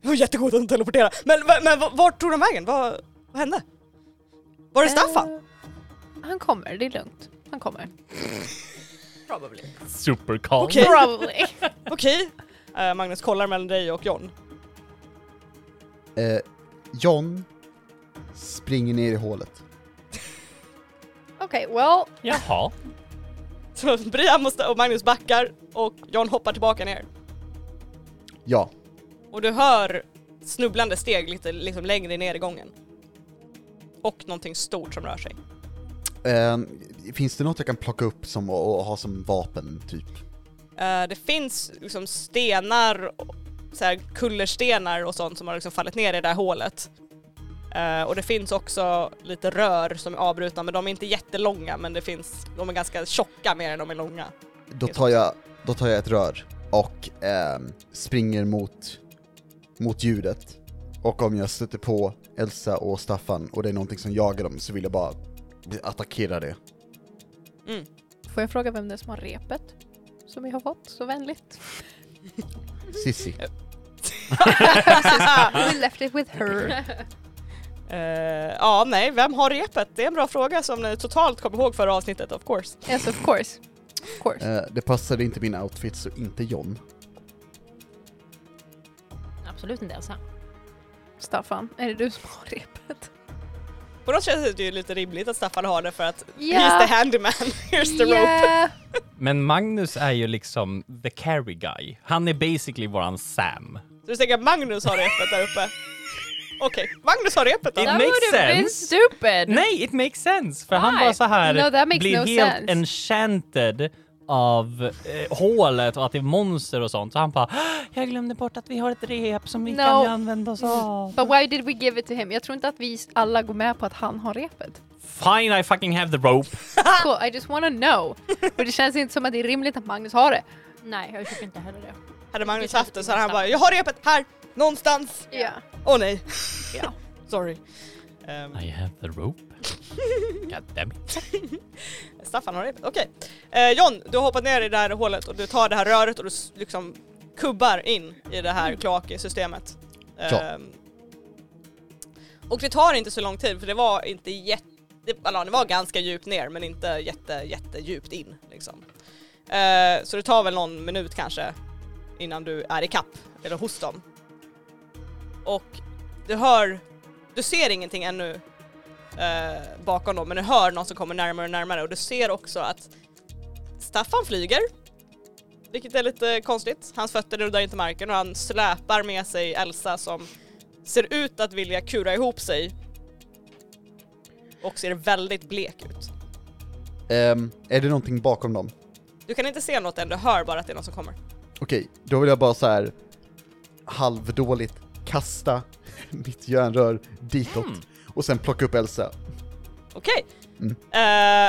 [SPEAKER 2] Det var jättegod att teleportera, men, va- men va- vart tog de vägen? Vad, vad hände? Var det Staffan?
[SPEAKER 4] Eh, han kommer, det är lugnt. Han kommer. Probably.
[SPEAKER 5] Super calm.
[SPEAKER 2] Okej.
[SPEAKER 4] Probably.
[SPEAKER 2] Okej. Eh, Magnus kollar mellan dig och John.
[SPEAKER 3] eh, John springer ner i hålet.
[SPEAKER 4] Okej, well.
[SPEAKER 5] Jaha.
[SPEAKER 2] Så Brian och, och Magnus backar och John hoppar tillbaka ner.
[SPEAKER 3] Ja.
[SPEAKER 2] Och du hör snubblande steg lite liksom längre ner i gången. Och någonting stort som rör sig.
[SPEAKER 3] Ehm, finns det något jag kan plocka upp som, och, och ha som vapen, typ?
[SPEAKER 2] Eh, det finns liksom stenar, och- så här kullerstenar och sånt som har liksom fallit ner i det här hålet. Eh, och det finns också lite rör som är avbrutna men de är inte jättelånga men det finns, de är ganska tjocka mer än de är långa.
[SPEAKER 3] Då tar jag, då tar jag ett rör och ehm, springer mot, mot ljudet. Och om jag stöter på Elsa och Staffan och det är någonting som jagar dem så vill jag bara attackera det.
[SPEAKER 4] Får jag fråga vem det är som har repet? Som vi har fått så vänligt.
[SPEAKER 3] Sissi.
[SPEAKER 4] We left it with her.
[SPEAKER 2] Eh, ja, nej, vem har repet? Det är en bra fråga som ni totalt kommer ihåg förra avsnittet of course.
[SPEAKER 4] Yes, of course. Of course.
[SPEAKER 3] Eh, det passade inte min outfit så inte John.
[SPEAKER 6] Absolut inte Elsa.
[SPEAKER 4] Staffan, är det du som har repet?
[SPEAKER 2] På något sätt är det ju lite rimligt att Staffan har det för att
[SPEAKER 4] Ja.
[SPEAKER 2] he's the handyman, here's the rope.
[SPEAKER 4] Yeah.
[SPEAKER 5] Men Magnus är ju liksom the carry guy. Han är basically våran
[SPEAKER 4] Mm.
[SPEAKER 5] Sam.
[SPEAKER 2] Så du tänker att Magnus har repet där uppe? Okej, Magnus har repet då.
[SPEAKER 5] It
[SPEAKER 6] That
[SPEAKER 5] makes
[SPEAKER 6] would have been
[SPEAKER 5] sense.
[SPEAKER 6] stupid!
[SPEAKER 5] Nej, it makes sense! För han
[SPEAKER 6] Why?
[SPEAKER 5] bara så här
[SPEAKER 4] No, that makes
[SPEAKER 5] blir
[SPEAKER 4] no
[SPEAKER 5] helt
[SPEAKER 4] sense.
[SPEAKER 5] enchanted av eh, hålet och att det är monster och sånt. Så han bara "Ah, jag glömde bort att vi har ett rep som vi
[SPEAKER 4] No.
[SPEAKER 5] kan använda oss av.
[SPEAKER 4] But why did we give it to him? Jag tror inte att vi alla går med på att han har repet.
[SPEAKER 5] Fine I fucking have the rope.
[SPEAKER 4] Cool, I just wanna know. Och det känns inte som att det är rimligt att Magnus har det.
[SPEAKER 6] Nej, jag köper inte heller det.
[SPEAKER 2] Hade Magnus haft det så hade han bara “Jag har repet här! Någonstans!”
[SPEAKER 4] Ja.
[SPEAKER 2] Åh nej!
[SPEAKER 4] Ja.
[SPEAKER 2] Sorry. Ehm,
[SPEAKER 5] I have the rope. God damn it.
[SPEAKER 2] Staffan har repet, okej. Eh, John, du har hoppat ner i det här hålet och du tar det här röret och du s- liksom kubbar in i det här kloaksystemet.
[SPEAKER 3] Ja.
[SPEAKER 2] Ehm, och det tar inte så lång tid för det var inte jätte, eller det var ganska djupt ner men inte jätte, jätte djupt in liksom. Eh, så det tar väl någon minut kanske innan du är i kapp eller hos dem. Och du hör, du ser ingenting ännu eh, bakom dem men du hör någon som kommer närmare och närmare och du ser också att Staffan flyger. Vilket är lite konstigt. Hans fötter nuddar inte marken och han släpar med sig Elsa som ser ut att vilja kura ihop sig och ser väldigt blek ut.
[SPEAKER 3] Ehm, är det någonting bakom dem?
[SPEAKER 2] Du kan inte se något än, du hör bara att det är någon som kommer.
[SPEAKER 3] Okej, då vill jag bara så här halvdåligt kasta mitt järnrör ditåt och sen plocka upp Elsa.
[SPEAKER 2] Okej.
[SPEAKER 3] Mm.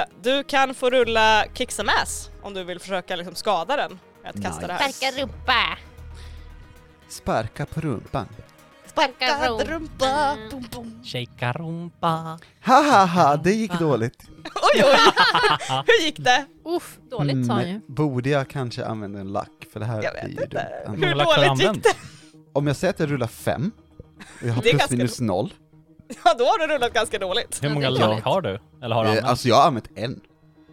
[SPEAKER 2] Eh, du kan få rulla kick some ass om du vill försöka liksom skada den. med Att kasta
[SPEAKER 3] Nice.
[SPEAKER 2] det här.
[SPEAKER 6] Sparka rumpa!
[SPEAKER 3] Sparka på rumpan.
[SPEAKER 6] Sparka rumpa!
[SPEAKER 5] Shakea rumpa.
[SPEAKER 3] Ha ha ha, det gick dåligt.
[SPEAKER 2] Oj oj! Hur gick det?
[SPEAKER 6] Uff, dåligt sa han ju.
[SPEAKER 3] Mm, Borde jag kanske använda en lack? För det här
[SPEAKER 2] Jag
[SPEAKER 3] är
[SPEAKER 2] vet
[SPEAKER 3] ju dumt.
[SPEAKER 2] inte.
[SPEAKER 3] Använd-
[SPEAKER 2] Hur dåligt gick det?
[SPEAKER 3] Om jag säger att jag rullar fem, och jag har
[SPEAKER 2] Det är
[SPEAKER 3] plus
[SPEAKER 2] ganska
[SPEAKER 3] minus noll.
[SPEAKER 2] Ja då har du rullat ganska dåligt.
[SPEAKER 5] Hur många
[SPEAKER 6] Ja, det är
[SPEAKER 5] lag har du? Eller har du
[SPEAKER 3] Eh,
[SPEAKER 5] använt?
[SPEAKER 3] Alltså jag har använt en.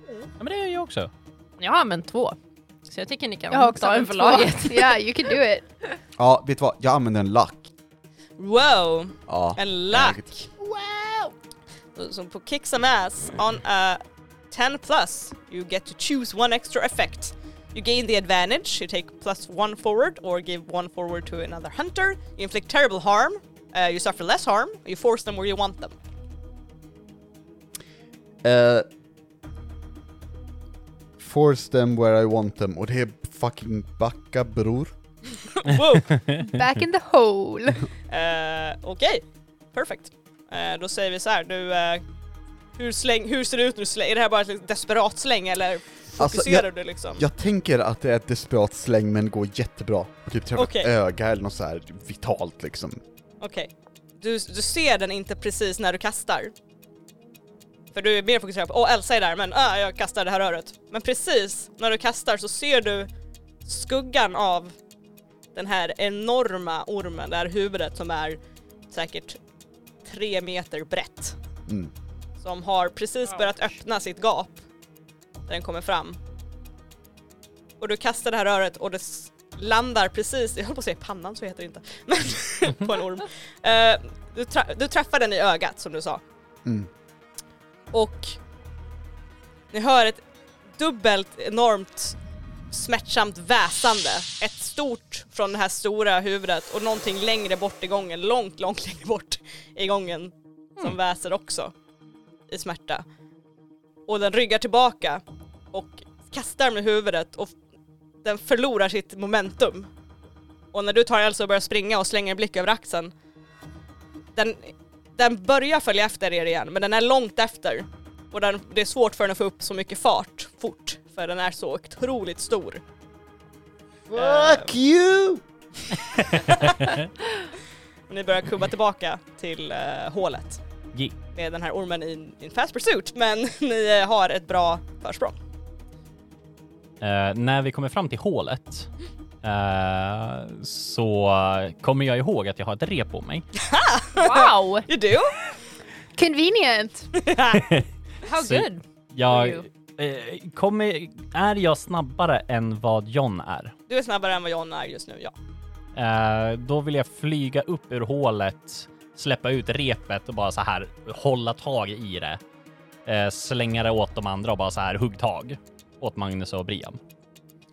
[SPEAKER 5] Ja, men det är jag också.
[SPEAKER 6] Jag har använt två. Så jag tycker ni kan
[SPEAKER 4] Jag har också
[SPEAKER 6] ta
[SPEAKER 4] en
[SPEAKER 6] en för laget.
[SPEAKER 4] Ja, yeah, you can do it.
[SPEAKER 3] Ja, vet du vad? Jag använder en lack.
[SPEAKER 2] Wow,
[SPEAKER 3] Ja.
[SPEAKER 2] en lack.
[SPEAKER 3] Ägt.
[SPEAKER 6] Wow!
[SPEAKER 2] So for kick some ass on a 10 plus, you get to choose one extra effect. You gain the advantage, you take plus one forward or give one forward to another hunter. You inflict terrible harm, uh, you suffer less harm, you force them where you want them.
[SPEAKER 3] Eh, force them where I want them. Och det är fucking backa bror.
[SPEAKER 2] Wow!
[SPEAKER 4] Back in the hole.
[SPEAKER 2] Eh, Okej, perfect. Eh, då säger vi så här, du, eh, hur, släng, hur ser det ut nu? Släng, är det här bara ett liksom desperat släng eller
[SPEAKER 3] Alltså,
[SPEAKER 2] fokuserar du liksom?
[SPEAKER 3] Jag tänker att det är ett desperat släng men går jättebra. Och typ träffar
[SPEAKER 2] Okej.
[SPEAKER 3] ett öga eller något så här vitalt liksom.
[SPEAKER 2] Okej. Du, du ser den inte precis när du kastar. För du är mer fokuserad på, åh Elsa är där men ah, jag kastar det här röret. Men precis när du kastar så ser du skuggan av den här enorma ormen, det här huvudet som är säkert tre meter brett.
[SPEAKER 3] Mm.
[SPEAKER 2] Som har precis börjat öppna sitt gap. Där den kommer fram. Och du kastar det här röret och det s- landar precis, jag höll på att säga i pannan så heter det inte, men på en orm. Eh, du, tra- du träffar den i ögat som du sa.
[SPEAKER 3] Mm.
[SPEAKER 2] Och ni hör ett dubbelt enormt smärtsamt väsande. Ett stort från det här stora huvudet och någonting längre bort i gången, långt, långt längre bort i gången som väser också i smärta. Och den ryggar tillbaka och kastar med huvudet och f- den förlorar sitt momentum. Och när du tar Elsa och börjar springa och slänger en blick över axeln, den, den börjar följa efter er igen men den är långt efter. Och den, det är svårt för den att få upp så mycket fart fort, för den är så otroligt stor.
[SPEAKER 3] Fuck you!
[SPEAKER 2] Och ni börjar kubba tillbaka till eh, hålet
[SPEAKER 5] Ge.
[SPEAKER 2] med den här ormen i en- i en fast pursuit, men ni eh, har ett bra försprång.
[SPEAKER 5] Eh, när vi kommer fram till hålet eh, så kommer jag ihåg att jag har ett rep på mig.
[SPEAKER 6] Wow!
[SPEAKER 2] You do?
[SPEAKER 4] Convenient.
[SPEAKER 6] How
[SPEAKER 5] Så-
[SPEAKER 6] good!
[SPEAKER 5] Jag,
[SPEAKER 6] Oj,
[SPEAKER 5] eh, kommer, är jag snabbare än vad John är?
[SPEAKER 2] Du är snabbare än vad John är just nu, ja.
[SPEAKER 5] Eh, då vill jag flyga upp ur hålet, släppa ut repet och bara så här hålla tag i det. Eh, slänga det åt de andra och bara så här hugg tag åt Magnus och Brian.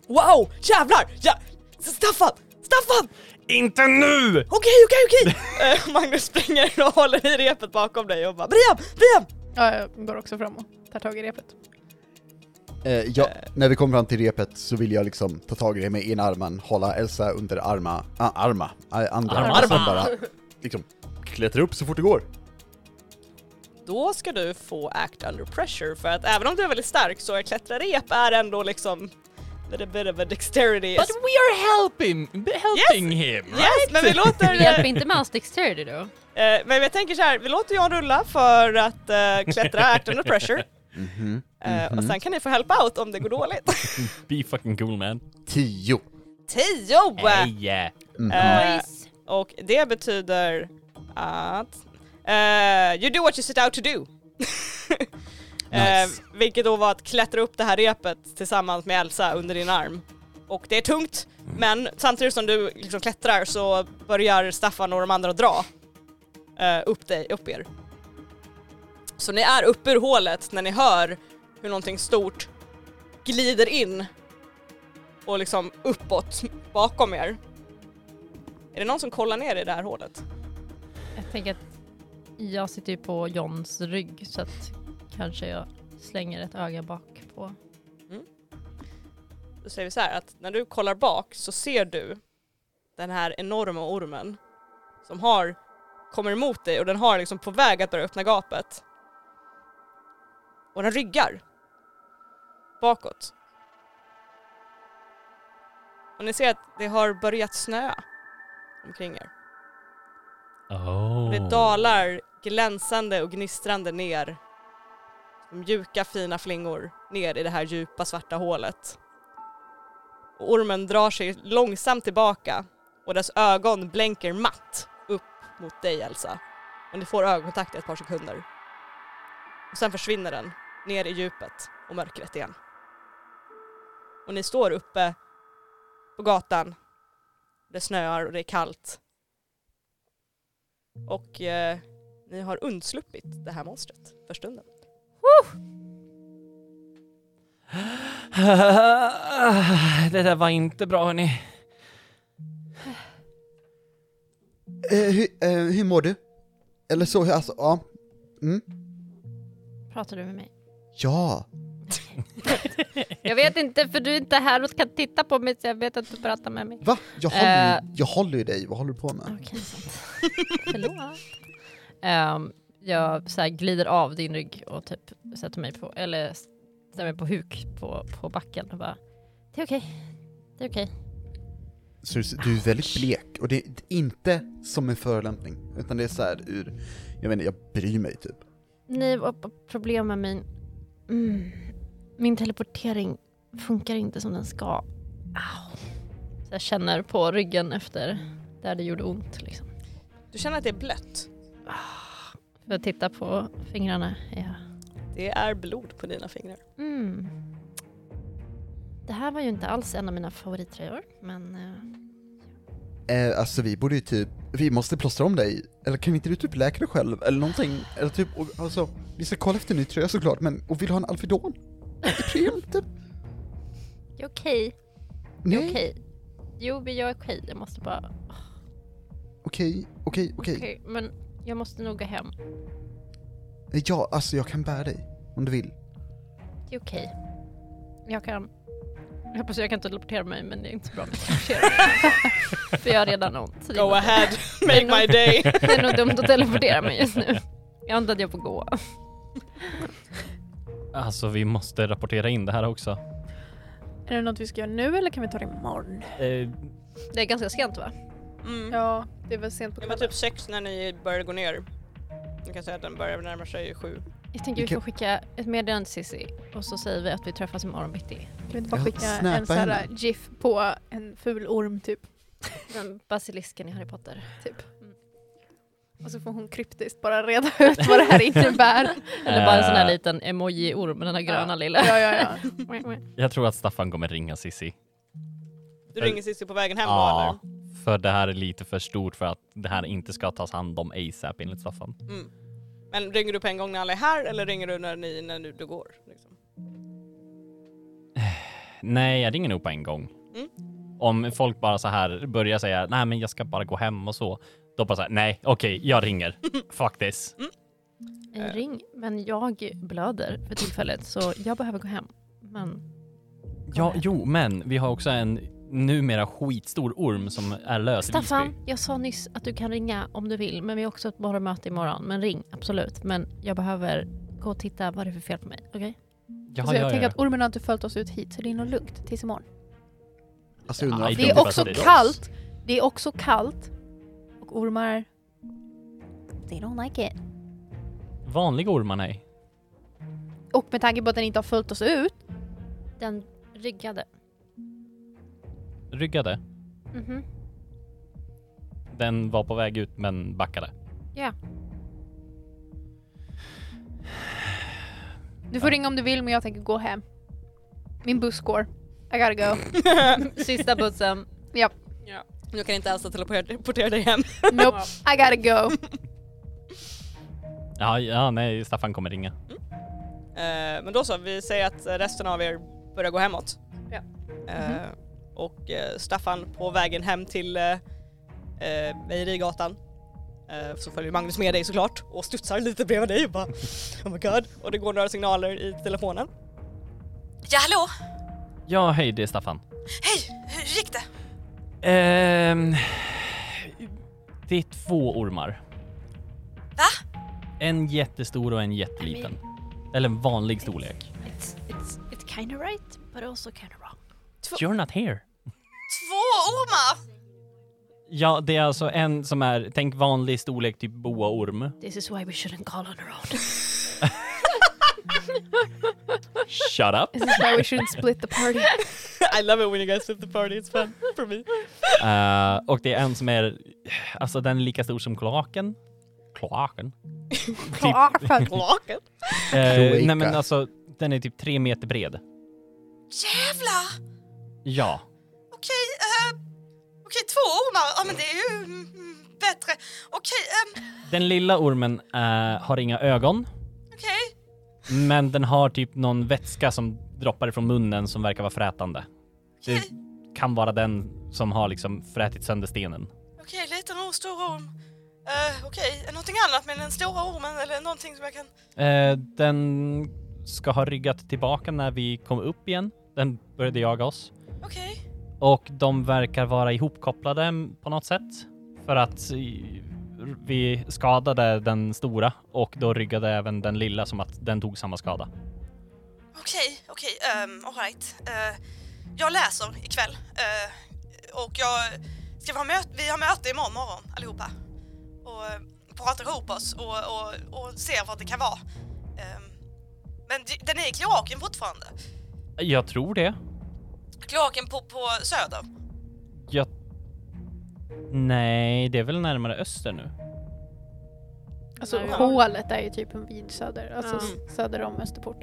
[SPEAKER 2] Wow! Jävlar! Ja. Staffan! Staffan!
[SPEAKER 5] Inte nu!
[SPEAKER 2] Okej, okej, okej! Eh, Magnus springer och håller i repet bakom dig och bara Brian! Brian!
[SPEAKER 4] Ja, jag går också fram och tar tag i repet.
[SPEAKER 3] Eh, ja, när vi kommer fram till repet så vill jag liksom ta tag i det med ena armen, hålla Elsa under arma, ah, arma, ah, andra
[SPEAKER 5] Arma.
[SPEAKER 3] och sen bara liksom klättra upp så fort det går.
[SPEAKER 2] Då ska du få act under pressure för att även om du är väldigt stark så är klättra rep är ändå liksom lite bit of a dexterity.
[SPEAKER 5] But we are helping, helping him!
[SPEAKER 2] Yes, men vi låter...
[SPEAKER 6] Det
[SPEAKER 2] eh,
[SPEAKER 6] hjälper inte med hans dexterity då.
[SPEAKER 2] Eh, men jag tänker så här, vi låter John rulla för att eh, klättra act under pressure. Eh, och sen kan ni få help out om det går dåligt.
[SPEAKER 5] Be fucking cool man.
[SPEAKER 3] Tio.
[SPEAKER 2] Tio!
[SPEAKER 5] Hey.
[SPEAKER 2] Eh,
[SPEAKER 6] Nice.
[SPEAKER 2] och det betyder att... eh, you do what you set out to do. Eh,
[SPEAKER 5] Nice.
[SPEAKER 2] vilket då var att klättra upp det här repet tillsammans med Elsa under din arm. Och det är tungt, men samtidigt som du liksom klättrar så börjar Staffan och de andra dra eh, upp, dig, upp er. Så ni är uppe ur hålet när ni hör hur någonting stort glider in och liksom uppåt bakom er. Är det någon som kollar ner i det här hålet?
[SPEAKER 6] Jag tänker att jag sitter ju på Johns rygg så att kanske jag slänger ett öga bak på.
[SPEAKER 2] Då säger vi så här att när du kollar bak så ser du den här enorma ormen som har, kommer emot dig och den har liksom på väg att börja öppna gapet. Och den ryggar bakåt. Och ni ser att det har börjat snöa omkring er.
[SPEAKER 5] Oh.
[SPEAKER 2] Och det dalar glänsande och gnistrande ner. Som Mjuka fina flingor ner i det här djupa svarta hålet. Och ormen drar sig långsamt tillbaka och dess ögon blänker matt upp mot dig Elsa. Och ni får ögonkontakt i ett par sekunder. Och sen försvinner den ner i djupet och mörkret igen. Och ni står uppe på gatan. Det snöar och det är kallt. Och eh, ni har undsluppit det här monstret för stunden.
[SPEAKER 5] Det där var inte bra hörni.
[SPEAKER 3] Eh, hur, eh, hur mår du? Eller så, alltså, ja. Mm.
[SPEAKER 6] Pratar du med mig?
[SPEAKER 3] Ja.
[SPEAKER 6] Jag vet inte för du är inte här och kan titta på mig så jag vet att du pratar med mig.
[SPEAKER 3] Va? Jag håller, ju- jag håller ju dig, vad håller du på med?
[SPEAKER 6] Okej, sant. Förlåt. Ehm, jag så här glider av din rygg och typ sätter mig på, eller sätter mig på huk på, på backen och bara Det är okej. Det är okej.
[SPEAKER 3] Så du, du är väldigt blek, och det är inte som en förolämpning, utan det är så här ur, jag vet inte, jag bryr mig typ.
[SPEAKER 6] Ni har problem med min... Mm, min teleportering funkar inte som den ska. Au. Så jag känner på ryggen efter där det gjorde ont liksom.
[SPEAKER 2] Du känner att det är blött.
[SPEAKER 6] För att titta på fingrarna. Ja.
[SPEAKER 2] Det är blod på dina fingrar.
[SPEAKER 6] Mm. Det här var ju inte alls en av mina favorittröjor, men... eh,
[SPEAKER 3] Eh, alltså vi borde ju typ, vi måste plåstra om dig, eller kan inte du typ läka dig själv eller någonting? Eller typ, och, alltså, vi ska kolla efter en ny tröja såklart, men, och vill du ha en Alfredon? Ipren typ?
[SPEAKER 6] det är okej. Det är
[SPEAKER 3] Nej?
[SPEAKER 6] okej. Jo, men jag är okej. Jag måste bara...
[SPEAKER 3] Okej, okej, okej.
[SPEAKER 6] Okej, men jag måste nog gå hem.
[SPEAKER 3] Eh, Ja, alltså jag kan bära dig, om du vill.
[SPEAKER 6] Det är okej. Jag kan... Jag hoppas jag kan teleportera mig, men det är inte så bra med teleportering. För jag har redan ont. så det är
[SPEAKER 2] Go
[SPEAKER 6] nog-
[SPEAKER 2] ahead, make my day.
[SPEAKER 6] Det är nog dumt att teleportera mig just nu. Jag antar att jag får gå.
[SPEAKER 5] Alltså vi måste rapportera in det här också.
[SPEAKER 4] Är det något vi ska göra nu eller kan vi ta det imorgon?
[SPEAKER 5] Eh,
[SPEAKER 6] Det är ganska sent va?
[SPEAKER 2] Mm.
[SPEAKER 4] Ja, det var sent på
[SPEAKER 2] Det var
[SPEAKER 4] kvällen.
[SPEAKER 2] typ sex när ni började gå ner. Ni kan säga att den börjar närma sig sju.
[SPEAKER 6] Jag tänker vi
[SPEAKER 3] Vilken-
[SPEAKER 6] får skicka ett meddelande till Cissi och så säger vi att vi träffas imorgon bitti.
[SPEAKER 4] Kan vi inte bara
[SPEAKER 3] Jag
[SPEAKER 4] skicka
[SPEAKER 3] snappar
[SPEAKER 4] en sån här
[SPEAKER 3] henne.
[SPEAKER 4] GIF på en ful orm typ?
[SPEAKER 6] Den basilisken i Harry Potter.
[SPEAKER 4] typ.
[SPEAKER 6] Mm.
[SPEAKER 4] Och så får hon kryptiskt bara reda ut vad det här innebär.
[SPEAKER 6] Eller bara en sån här
[SPEAKER 5] Eh.
[SPEAKER 6] liten emoji-orm, den här gröna
[SPEAKER 4] Ja.
[SPEAKER 6] lilla.
[SPEAKER 4] ja, ja, ja.
[SPEAKER 5] jag tror att Staffan kommer ringa Sissi.
[SPEAKER 2] Du
[SPEAKER 5] Eller-
[SPEAKER 6] Äh,
[SPEAKER 2] ringer Cissi på vägen hem då
[SPEAKER 5] Ja, för det här är lite för stort för att det här inte ska tas hand om ASAP enligt Staffan.
[SPEAKER 2] eller? Mm. Men ringer du på en gång när alla är här eller ringer du när, ni, när du, du går? Liksom?
[SPEAKER 5] Nej, jag ringer nog på en gång.
[SPEAKER 2] Mm.
[SPEAKER 5] Om folk bara så här börjar säga nej, men jag ska bara gå hem och så. Då bara så här, nej, okej, jag ringer. Fuck this.
[SPEAKER 4] Mm.
[SPEAKER 6] Eh, Ring, men jag blöder för tillfället så jag behöver gå hem. Men
[SPEAKER 5] Ja, jo, men vi har också en numera skitstor orm som är lös i Visby.
[SPEAKER 6] Staffan, jag sa nyss att du kan ringa om du vill, men vi har också ett morgonmöte imorgon. Men ring, absolut. Men jag behöver gå och titta vad det är för fel på mig. Okej?
[SPEAKER 5] Ja,
[SPEAKER 4] så alltså, jag
[SPEAKER 5] ja,
[SPEAKER 4] tänker
[SPEAKER 5] ja.
[SPEAKER 4] att ormen har inte följt oss ut hit så det är nog lugnt tills imorgon.
[SPEAKER 3] Alltså jag undrar
[SPEAKER 5] Aj,
[SPEAKER 3] om
[SPEAKER 5] Det är
[SPEAKER 3] de-
[SPEAKER 4] Det är
[SPEAKER 5] dumt
[SPEAKER 4] också
[SPEAKER 5] att det är
[SPEAKER 4] kallt. Det är också kallt. Och ormar... They don't like it.
[SPEAKER 5] Vanliga ormar, nej.
[SPEAKER 4] Och med tanke på att den inte har följt oss ut.
[SPEAKER 6] Den ryggade.
[SPEAKER 5] Ryggade.
[SPEAKER 6] Mhm.
[SPEAKER 5] Den var på väg ut men backade.
[SPEAKER 4] Du får ringa om du vill men jag tänker gå hem. Min buss går. I gotta go.
[SPEAKER 6] Sista bussen.
[SPEAKER 2] Nu kan inte Elsa teleportera teleportera dig hem.
[SPEAKER 4] Nope. I gotta go.
[SPEAKER 5] Ja, ja, nej, Staffan kommer ringa.
[SPEAKER 2] Eh, men då så, vi säger att resten av er börjar gå hemåt.
[SPEAKER 4] Ja.
[SPEAKER 2] Eh, Och eh, Staffan på vägen hem till eh, eh, Mejerigatan. Eh, så följer Magnus med dig såklart och studsar lite bredvid dig och bara oh my god. Och det går några signaler i telefonen.
[SPEAKER 7] Ja, hallå?
[SPEAKER 5] Ja, hej, det är Staffan.
[SPEAKER 7] Hej, hur gick det?
[SPEAKER 5] Ehm, det är två ormar.
[SPEAKER 7] Va?
[SPEAKER 5] En jättestor och en jätteliten. Eller en vanlig storlek.
[SPEAKER 6] It's, it's, it's kind of right, but also kind of wrong.
[SPEAKER 5] You're not here.
[SPEAKER 7] Två ormar?
[SPEAKER 5] Ja, det är alltså en som är, tänk vanlig storlek, typ boaorm.
[SPEAKER 6] This is why we shouldn't call on her own.
[SPEAKER 5] Shut up!
[SPEAKER 4] This is why we shouldn't split the party.
[SPEAKER 2] I love it when you guys flip the party, it's fun for me.
[SPEAKER 5] Eh, och det är en som är, alltså den är lika stor som kloaken. Kloaken? typ,
[SPEAKER 2] Kloaken.
[SPEAKER 5] eh, nej
[SPEAKER 3] Kloaka.
[SPEAKER 5] men alltså, den är typ tre meter bred.
[SPEAKER 7] Jävlar!
[SPEAKER 5] Ja.
[SPEAKER 7] Okej, eh, okej, två ormar. Ja, men det är ju mm, bättre. Okej, ehm,
[SPEAKER 5] Den lilla ormen eh, har inga ögon,
[SPEAKER 7] okej.
[SPEAKER 5] men den har typ någon vätska som droppar ifrån munnen som verkar vara frätande. Det kan vara den som har liksom frätit sönder stenen.
[SPEAKER 7] Okej, liten orm, stor orm. Uh, Okej, okay. någonting annat med den stora ormen eller någonting som jag kan...
[SPEAKER 5] Eh, den ska ha ryggat tillbaka när vi kom upp igen. Den började jaga oss.
[SPEAKER 7] Okej.
[SPEAKER 5] Och de verkar vara ihopkopplade m- på något sätt. För att eh, vi skadade den stora och då ryggade även den lilla som att den tog samma skada.
[SPEAKER 7] Okej, okej, um, alright. Uh, jag läser ikväll. Uh, och jag... Ska vi, ha möte, vi har möte imorgon morgon allihopa. Och eh, pratar ihop oss och, och, och ser vad det kan vara. Ehm, men d- den är i kloaken fortfarande.
[SPEAKER 5] Jag tror det.
[SPEAKER 7] Kloaken på, på söder.
[SPEAKER 5] Jag... Nej, det är väl närmare öster nu?
[SPEAKER 4] Alltså
[SPEAKER 6] Ja.
[SPEAKER 4] hålet är ju typ en vid söder, alltså s- söder om Österport.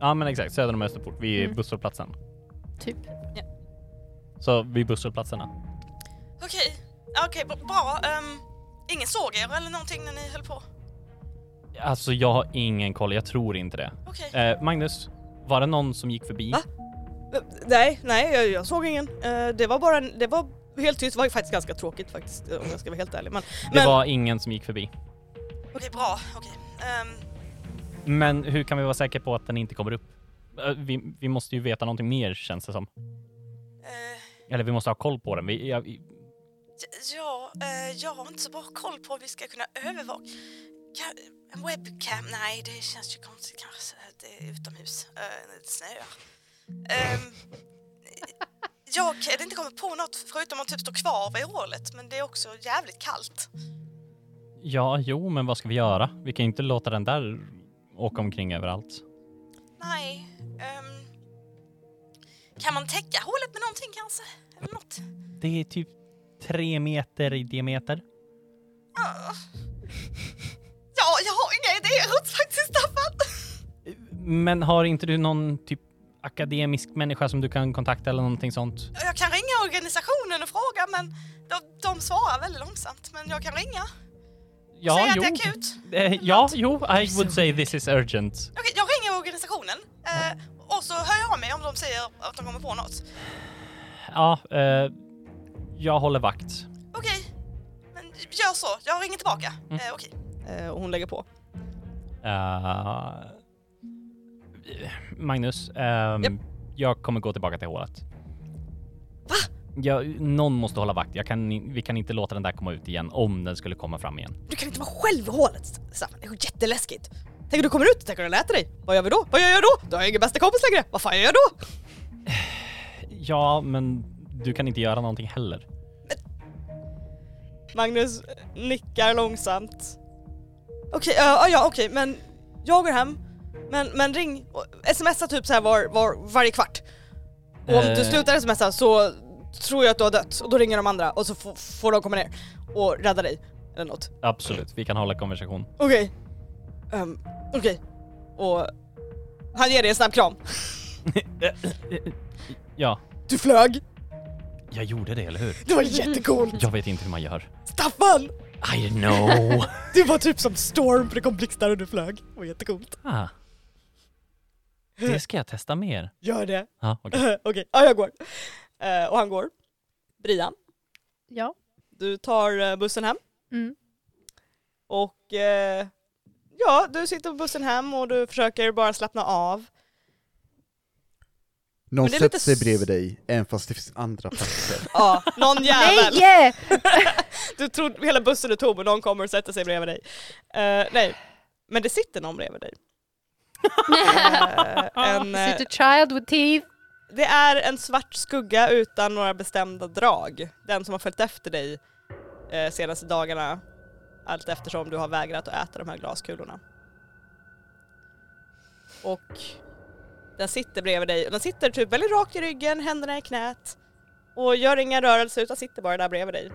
[SPEAKER 5] Ja, men exakt. Söder om Österport, vid
[SPEAKER 4] Mm.
[SPEAKER 5] busshållplatsen.
[SPEAKER 4] Typ.
[SPEAKER 5] Så vid busshållplatserna.
[SPEAKER 7] Okej, okay. okej, b- bra. ehm, ingen såg er eller någonting när ni höll på?
[SPEAKER 5] Alltså, jag har ingen koll. Jag tror inte det.
[SPEAKER 7] Okej.
[SPEAKER 5] Eh, Magnus, var det någon som gick förbi?
[SPEAKER 2] Va? Eh, Nej, nej jag, jag såg ingen. Eh, det var bara en, det var helt tyst, det var ju faktiskt ganska tråkigt faktiskt eh, om jag ska vara helt ärlig. Men,
[SPEAKER 5] Det
[SPEAKER 2] men
[SPEAKER 5] var ingen som gick förbi.
[SPEAKER 7] Okej, bra. Okej. Ehm,
[SPEAKER 5] Men hur kan vi vara säkra på att den inte kommer upp? Eh, Vi, vi måste ju veta någonting mer känns det som.
[SPEAKER 7] eh,
[SPEAKER 5] Eller vi måste ha koll på den. Vi, ja, vi-
[SPEAKER 7] j- ja, eh, jag har inte så bra koll på om vi ska kunna övervaka. Kan, en webcam? Nej, det känns ju konstigt kanske. Det är utomhus. Eh, när det snöar. Ehm, jag kan inte komma på något förutom att typ stå kvar vid hålet, men det är också jävligt kallt.
[SPEAKER 5] ja, jo, men vad ska vi göra? Vi kan ju inte låta den där åka omkring överallt.
[SPEAKER 7] Nej. ehm, kan man täcka hålet med någonting kanske? Eller något?
[SPEAKER 5] Det är typ tre meter i diameter.
[SPEAKER 7] Ah. Ja, jag har inga idéer faktiskt, Staffan.
[SPEAKER 5] Men har inte du någon typ akademisk människa som du kan kontakta eller någonting sånt?
[SPEAKER 7] Jag kan ringa organisationen och fråga, men de, de svarar väldigt långsamt. Men jag kan ringa.
[SPEAKER 5] Ja,
[SPEAKER 7] Säg att
[SPEAKER 5] jo.
[SPEAKER 7] det är akut.
[SPEAKER 5] Eh, ja, jo, I would say this is urgent.
[SPEAKER 7] Okej, jag ringer organisationen eh, och så hör jag av mig om de säger att de kommer på något.
[SPEAKER 5] Ja, eh, jag håller vakt.
[SPEAKER 7] Okej, men gör så. Jag ringer tillbaka.
[SPEAKER 5] Mm.
[SPEAKER 7] Eh, Okej.
[SPEAKER 2] eh, och hon lägger på.
[SPEAKER 5] Eh, Magnus, ehm,
[SPEAKER 2] Japp.
[SPEAKER 5] jag kommer gå tillbaka till hålet. Va? Ja, någon måste hålla vakt. Jag kan, i- vi kan inte låta den där komma ut igen om den skulle komma fram igen.
[SPEAKER 2] Du kan inte vara själv i hålet Staffan, det är ju jätteläskigt. Tänk om du kommer ut, tänk om den äter dig. Vad gör vi då? Vad gör jag då? Då har jag ingen bästa kompis längre. Vad fan gör jag då?
[SPEAKER 5] Ja, men du kan inte göra någonting heller.
[SPEAKER 2] Magnus eh, nickar långsamt. Okej, ja, ja okej, men jag går hem. Men, men ring, och smsa typ så här var, var, varje kvart. Och om du
[SPEAKER 5] Eh.
[SPEAKER 2] slutar smsa så tror jag att du har dött och då ringer de andra och så får, får de komma ner och rädda dig. Eller något.
[SPEAKER 5] Absolut, vi kan hålla konversation.
[SPEAKER 2] Okej. Ehm, okej. Och han ger dig en snabb kram.
[SPEAKER 5] Ja,
[SPEAKER 2] Du flög!
[SPEAKER 5] jag gjorde det, eller hur?
[SPEAKER 2] Det var jättecoolt!
[SPEAKER 5] Jag vet inte hur man gör.
[SPEAKER 2] Staffan!
[SPEAKER 5] I know!
[SPEAKER 2] Du var typ som Storm för det kom blixtar och du flög. Det var jättecoolt.
[SPEAKER 5] ah. Det ska jag testa mer.
[SPEAKER 2] Gör det.
[SPEAKER 5] Ja, okej.
[SPEAKER 2] Okej, ja, jag går. Eh, och han går. Brian,
[SPEAKER 4] Ja.
[SPEAKER 2] du tar eh, bussen hem
[SPEAKER 4] Mm.
[SPEAKER 2] och eh, ja, du sitter på bussen hem och du försöker bara slappna av.
[SPEAKER 3] Någon
[SPEAKER 2] Men det är
[SPEAKER 3] sätter
[SPEAKER 2] lite
[SPEAKER 3] sig
[SPEAKER 2] s-
[SPEAKER 3] bredvid dig, även fast det finns andra platser.
[SPEAKER 2] Ja, någon jävel.
[SPEAKER 4] Nej!
[SPEAKER 2] Du trodde hela bussen är tom och någon kommer och sätter sig bredvid dig. Eh, nej, men det sitter någon bredvid dig. Eh, en, eh,
[SPEAKER 4] Is it a child with teeth?
[SPEAKER 2] Det är en svart skugga utan några bestämda drag. Den som har följt efter dig eh, senaste dagarna allt eftersom du har vägrat att äta de här glaskulorna. Och den sitter bredvid dig och den sitter typ väldigt rakt i ryggen, händerna i knät och gör inga rörelser utan sitter bara där bredvid dig.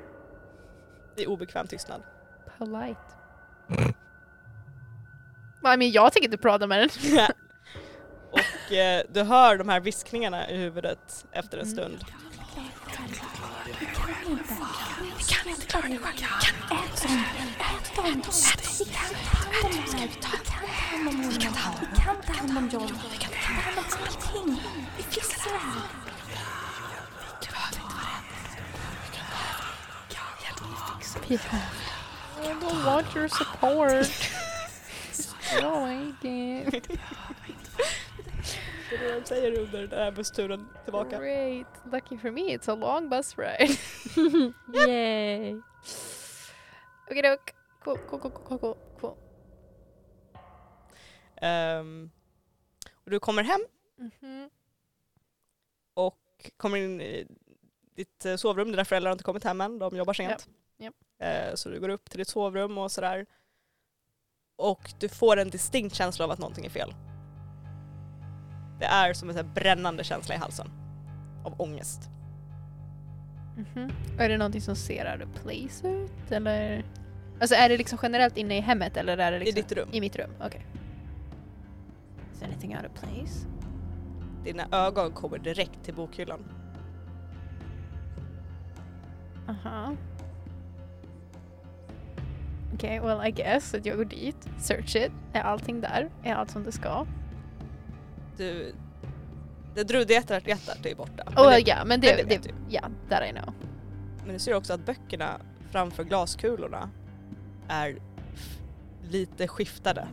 [SPEAKER 2] I obekväm tystnad.
[SPEAKER 4] Polite. I mean, jag tänker inte prata med den.
[SPEAKER 2] och eh, du hör de här viskningarna i huvudet efter en stund.
[SPEAKER 1] inte. Vi kan inte klara det själva. Ät dem. Ät dem. Ät dem. Vi kan ta hand om dem. Vi kan ta hand om John. Vi kan ta hand om John. Vi kan ta hand om allting. Vi fixar det här.
[SPEAKER 4] I don't want your support. no, I did.
[SPEAKER 2] Det är det de säger under den här bussturen tillbaka.
[SPEAKER 4] Great. Lucky for me, it's a long bus ride.
[SPEAKER 6] Yay.
[SPEAKER 4] okay, doke. Cool, cool, cool, cool, cool, cool, cool.
[SPEAKER 2] Ehm, och du kommer hem,
[SPEAKER 4] Mhm.
[SPEAKER 2] kommer in i ditt eh, sovrum, dina föräldrar har inte kommit hem än, de jobbar sent.
[SPEAKER 4] japp.
[SPEAKER 2] Eh, så du går upp till ditt sovrum och sådär. Och du får en distinkt känsla av att någonting är fel. Det är som en så här brännande känsla i halsen. Av ångest.
[SPEAKER 4] Mhm. Och Är det någonting som ser out of place ut eller? Alltså är det liksom generellt inne i hemmet eller är det liksom?
[SPEAKER 2] I ditt rum.
[SPEAKER 4] I mitt rum, okej. Is anything out of place?
[SPEAKER 2] Dina ögon kommer direkt till bokhyllan.
[SPEAKER 4] Aha. Okej, well I guess att jag går dit, search it. Är allting där? Är allt som det ska?
[SPEAKER 2] Du, eh, det drudhjärtat hjärtat är borta. Men,
[SPEAKER 4] Oh
[SPEAKER 2] det,
[SPEAKER 4] ja, men
[SPEAKER 2] men
[SPEAKER 4] det,
[SPEAKER 2] det
[SPEAKER 4] det,
[SPEAKER 2] vet du.
[SPEAKER 4] ja, that I know.
[SPEAKER 2] men du ser också att böckerna framför glaskulorna är f- lite skiftade.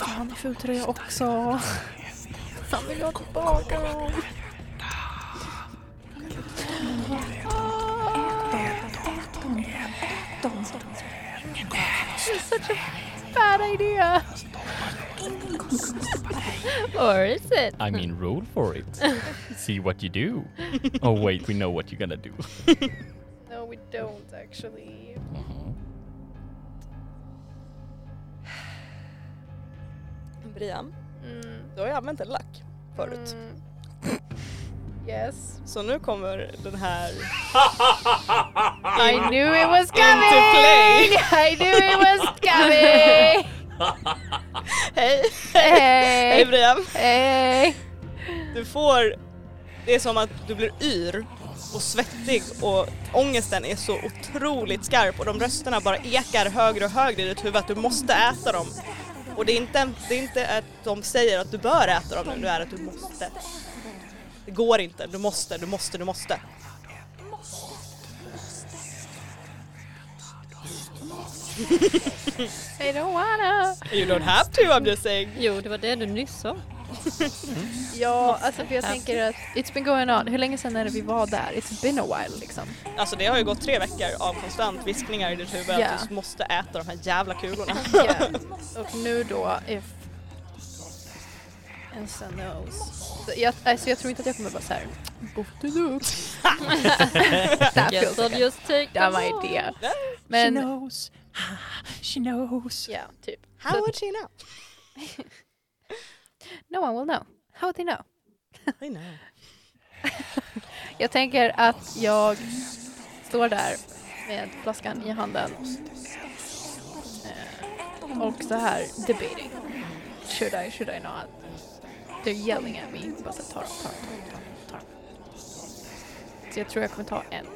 [SPEAKER 4] Han har ful tröja också. Han vill ha tillbaka dem. Such a Ah, bad idea.
[SPEAKER 6] Or is it?
[SPEAKER 5] I mean, roll for it. See what you do. Oh wait, we know what you're gonna do.
[SPEAKER 4] No we don't actually.
[SPEAKER 2] Brian,
[SPEAKER 4] Mm,
[SPEAKER 2] du har ju använt en lack förut.
[SPEAKER 4] mm. Yes.
[SPEAKER 2] Så nu kommer den här...
[SPEAKER 4] I knew it was coming!
[SPEAKER 2] play.
[SPEAKER 4] I knew it was coming!
[SPEAKER 2] Hej! Hej
[SPEAKER 4] Hej!
[SPEAKER 2] Brian!
[SPEAKER 4] Hej!
[SPEAKER 2] Du får... Det är som att du blir yr och svettig och ångesten är så otroligt skarp och de rösterna bara ekar högre och högre i ditt huvud att du måste äta dem. Och det är inte, det är inte att de säger att du bör äta dem nu, det är att du måste. Det går inte, du måste, du måste, du måste.
[SPEAKER 4] I don't wanna!
[SPEAKER 2] You don't have to, I'm just saying.
[SPEAKER 6] Jo, det var det du nyss sa.
[SPEAKER 4] Ja, alltså för jag tänker att it's been going on. Hur länge sedan är det vi var där? It's been a while liksom.
[SPEAKER 2] Alltså det har ju gått tre veckor av konstant viskningar i ditt huvud
[SPEAKER 4] Ja.
[SPEAKER 2] att du måste äta de här jävla kulorna.
[SPEAKER 4] Yeah. Och nu då, if... Elsa knows. Så jag, alltså jag tror inte att jag kommer vara såhär... Botten upp! That
[SPEAKER 6] Yes,
[SPEAKER 4] feels
[SPEAKER 6] I'll
[SPEAKER 4] like a
[SPEAKER 6] just take them
[SPEAKER 4] dumb
[SPEAKER 6] all.
[SPEAKER 4] idea. Men, ja,
[SPEAKER 5] knows. She knows.
[SPEAKER 4] typ.
[SPEAKER 2] How would she know?
[SPEAKER 4] No one will know. How would they know?
[SPEAKER 2] I know.
[SPEAKER 4] Jag tänker att jag står där med flaskan i handen eh, och så här debating. Should I, should I not? They're yelling at me. Bara så här, ta dem, ta dem, ta dem, ta dem. Så jag tror jag kommer ta en.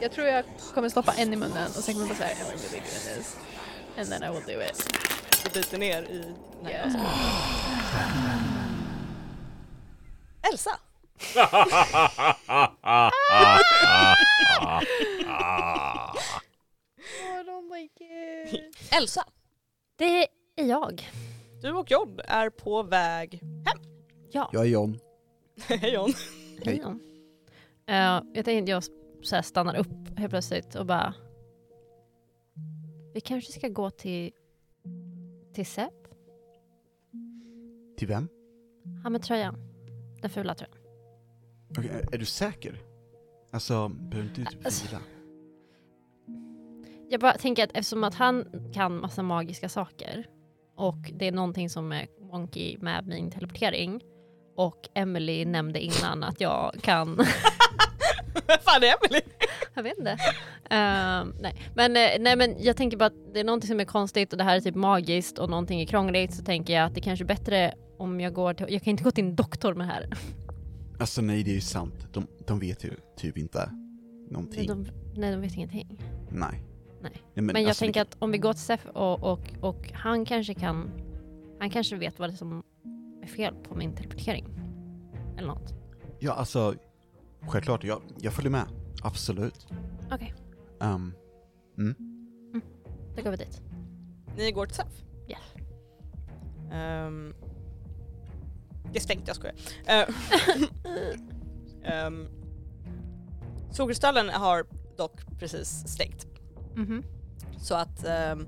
[SPEAKER 4] Jag tror jag kommer stoppa en i munnen och sen kommer jag bara säga I'm really doing this. And then I will do it.
[SPEAKER 2] Du biter ner i... Nej, alltså.
[SPEAKER 4] Yeah.
[SPEAKER 2] jag skojar. Elsa!
[SPEAKER 4] Oh, I don't like it.
[SPEAKER 2] Elsa!
[SPEAKER 6] Det är jag.
[SPEAKER 2] Du och John är på väg...
[SPEAKER 6] Ja.
[SPEAKER 3] Jag är John.
[SPEAKER 2] Hej John!
[SPEAKER 3] Hej.
[SPEAKER 6] Ja. Eh, jag tänkte jag så här stannar upp helt plötsligt och bara... Vi kanske ska gå till... Till Sepp?
[SPEAKER 3] Till vem?
[SPEAKER 6] Han med tröjan. Den fula tröjan.
[SPEAKER 3] Okej, är- är du säker? Alltså, behöver inte du typ
[SPEAKER 6] Alltså-
[SPEAKER 3] vila?
[SPEAKER 6] Jag bara tänker att eftersom att han kan massa magiska saker och det är någonting som är wonky med min teleportering och Emily nämnde innan att jag kan...
[SPEAKER 2] Vem fan är Emily?
[SPEAKER 6] Jag vet inte. Ehm, nej. Men, eh, nej men jag tänker bara att det är någonting som är konstigt och det här är typ magiskt och någonting är krångligt så tänker jag att det kanske är bättre om jag går till, jag kan inte gå till en doktor med det här.
[SPEAKER 3] Alltså nej, det är ju sant. De, de vet ju typ inte någonting.
[SPEAKER 6] De, nej de vet ingenting.
[SPEAKER 3] Nej.
[SPEAKER 6] Nej.
[SPEAKER 3] men,
[SPEAKER 6] Men, jag
[SPEAKER 3] alltså,
[SPEAKER 6] tänker
[SPEAKER 3] det-
[SPEAKER 6] att om vi går till Sef och, och, och han kanske kan, han kanske vet vad det är som är fel på min teleportering. Eller något.
[SPEAKER 3] Ja, alltså självklart. Jag, jag följer med. Absolut.
[SPEAKER 6] Okej,
[SPEAKER 3] Ehm,
[SPEAKER 6] då går vi dit.
[SPEAKER 2] Ni går till SEF?
[SPEAKER 6] Ja.
[SPEAKER 2] Ehm, det är stängt, jag skojar. Eh, ehm, Solkristallen har dock precis stängt.
[SPEAKER 6] Mhm.
[SPEAKER 2] Så att ehm,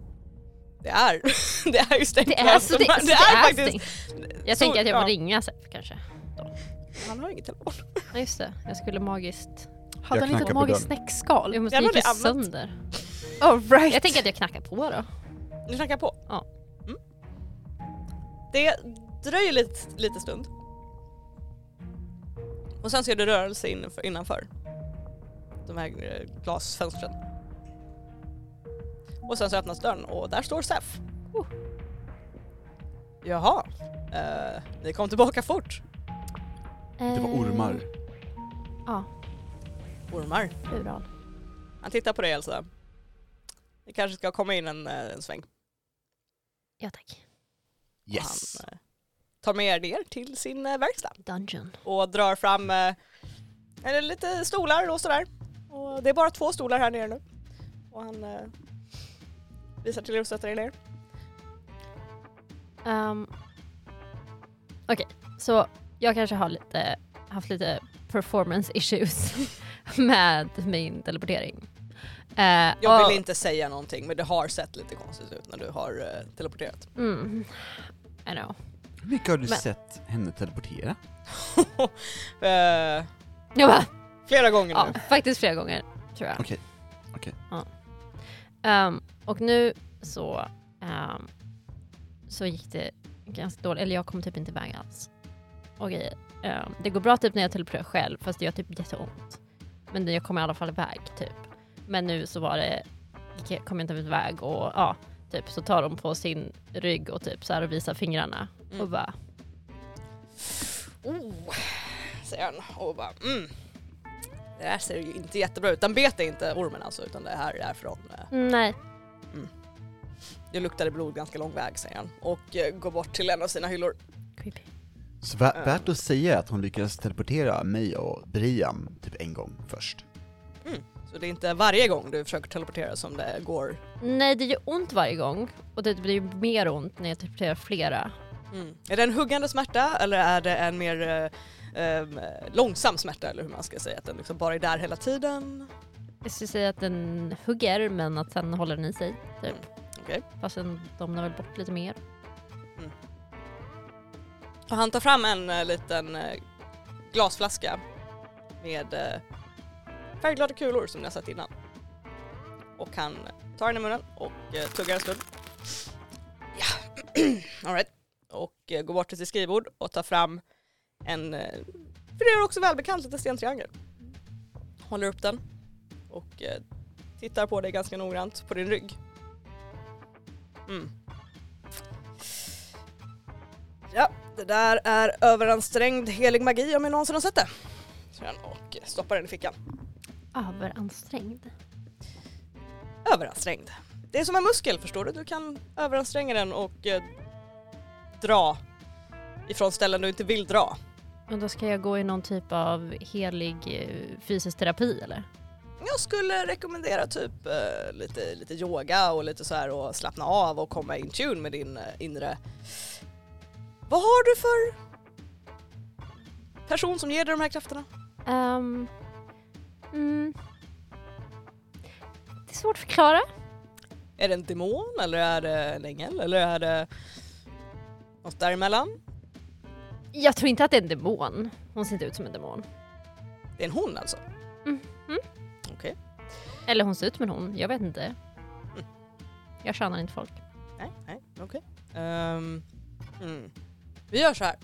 [SPEAKER 2] det är, det är ju stängt.
[SPEAKER 6] Det är
[SPEAKER 2] här.
[SPEAKER 6] så det, så det
[SPEAKER 2] Alltså, är
[SPEAKER 6] är,
[SPEAKER 2] faktiskt-
[SPEAKER 6] stängt. Jag
[SPEAKER 2] så-
[SPEAKER 6] tänker att jag får
[SPEAKER 2] ja.
[SPEAKER 6] ringa Sef kanske.
[SPEAKER 2] Han har ingen telefon.
[SPEAKER 6] Ja just det, jag skulle magiskt...
[SPEAKER 4] Hade han
[SPEAKER 3] knackar
[SPEAKER 4] inte ett
[SPEAKER 3] på
[SPEAKER 4] magiskt
[SPEAKER 3] dörren.
[SPEAKER 4] snäckskal?
[SPEAKER 6] Jag måste
[SPEAKER 2] Jävlar,
[SPEAKER 6] gick ju
[SPEAKER 2] det är annat.
[SPEAKER 6] sönder.
[SPEAKER 4] Oh, right.
[SPEAKER 6] Jag tänker att jag knackar på då.
[SPEAKER 2] Du knackar på?
[SPEAKER 6] Ja.
[SPEAKER 2] Mm. Det dröjer lite, lite stund. Och sen ser du rörelse innanför, innanför de här eh, glasfönstren. Och sen så öppnas dörren och där står Sef.
[SPEAKER 6] Oh.
[SPEAKER 2] Jaha, eh, ni kom tillbaka fort.
[SPEAKER 3] det var
[SPEAKER 6] Eh,
[SPEAKER 3] ormar.
[SPEAKER 6] Ja,
[SPEAKER 2] Ormar.
[SPEAKER 6] plural.
[SPEAKER 2] Han tittar på dig Elsa. Det kanske ska komma in en, eh, en sväng.
[SPEAKER 6] Ja tack.
[SPEAKER 3] Yes.
[SPEAKER 2] Och han eh, tar med er till sin eh, verkstad.
[SPEAKER 6] Dungeon.
[SPEAKER 2] och drar fram eh, eller lite stolar och sådär. Och det är bara två stolar här nere nu. Och han eh, visar till er och sätter er ner.
[SPEAKER 6] Ehm, Okej, så jag kanske har lite, haft lite performance issues med min teleportering. Eh,
[SPEAKER 2] Jag
[SPEAKER 6] och-
[SPEAKER 2] vill inte säga någonting men det har sett lite konstigt ut när du har eh, teleporterat.
[SPEAKER 6] Mm, I know.
[SPEAKER 3] Hur mycket har du
[SPEAKER 6] Men-
[SPEAKER 3] sett henne teleportera?
[SPEAKER 2] Eh,
[SPEAKER 6] Jag bara,
[SPEAKER 2] flera gånger
[SPEAKER 6] ja,
[SPEAKER 2] nu.
[SPEAKER 6] faktiskt flera gånger tror jag.
[SPEAKER 3] Okej, okej.
[SPEAKER 6] Ja. Ehm, och nu så, ehm, så gick det ganska dåligt, eller jag kom typ inte iväg alls. Och grejer. Ehm, det går bra typ när jag teleporterar själv fast det gör typ jätteont. Men jag kommer i alla fall iväg typ. Men nu så var det, gick jag- kom jag inte iväg och ja, typ så tar de på sin rygg och typ så här och visar fingrarna
[SPEAKER 2] Mm.
[SPEAKER 6] och bara
[SPEAKER 2] Oh, säger han och bara mm. Det här ser ju inte jättebra ut. Den bet inte ormen alltså utan det här är från eh,
[SPEAKER 6] nej.
[SPEAKER 2] det luktade blod ganska lång väg säger han och eh, går bort till en av sina hyllor.
[SPEAKER 6] Creepy.
[SPEAKER 3] Så vä- värt att säga att hon lyckades teleportera mig och Briam typ en gång först.
[SPEAKER 2] Så det är inte varje gång du försöker teleportera som det går.
[SPEAKER 6] Nej det gör ont varje gång och det blir ju mer ont när jag teleporterar flera.
[SPEAKER 2] Mm. Är det en huggande smärta eller är det en mer eh, ehm, långsam smärta eller hur man ska säga? Att den liksom bara är där hela tiden?
[SPEAKER 6] Jag skulle säga att den hugger men att sen håller den i sig. Typ.
[SPEAKER 2] Okej.
[SPEAKER 6] Fast den domnar väl bort lite mer.
[SPEAKER 2] Och han tar fram en eh, liten eh, glasflaska med eh, färgglada kulor som ni har sett innan. Och han tar den i munnen och eh, tuggar en stund. Ja, all right. Och eh, går bort till sitt skrivbord och tar fram en, eh, för det är också välbekant, liten stentriangel. Håller upp den och eh, tittar på dig ganska noggrant på din rygg. Mm. Ja, det där är överansträngd helig magi om jag någonsin har sett det. Så han och stoppar den i fickan.
[SPEAKER 6] Överansträngd.
[SPEAKER 2] Överansträngd. Det är som en muskel förstår du. Du kan överanstränga den och eh, dra ifrån ställen du inte vill dra.
[SPEAKER 6] Och då ska jag gå i någon typ av helig eh, fysisk terapi eller?
[SPEAKER 2] Jag skulle rekommendera typ eh, lite, lite yoga och lite så här och slappna av och komma in tune med din eh, inre... Vad har du för person som ger dig de här krafterna?
[SPEAKER 6] Ehm, mm. Det är svårt att förklara.
[SPEAKER 2] Är det en demon eller är det en ängel eller är det något däremellan?
[SPEAKER 6] Jag tror inte att det är en demon. Hon ser inte ut som en demon.
[SPEAKER 2] Det är en hon alltså?
[SPEAKER 6] Mm. Mm.
[SPEAKER 2] Okej.
[SPEAKER 6] Eller hon ser ut som en hon, jag vet inte. Jag tjänar inte folk.
[SPEAKER 2] Nej, nej, okej. Ehm, mm. Vi gör så här.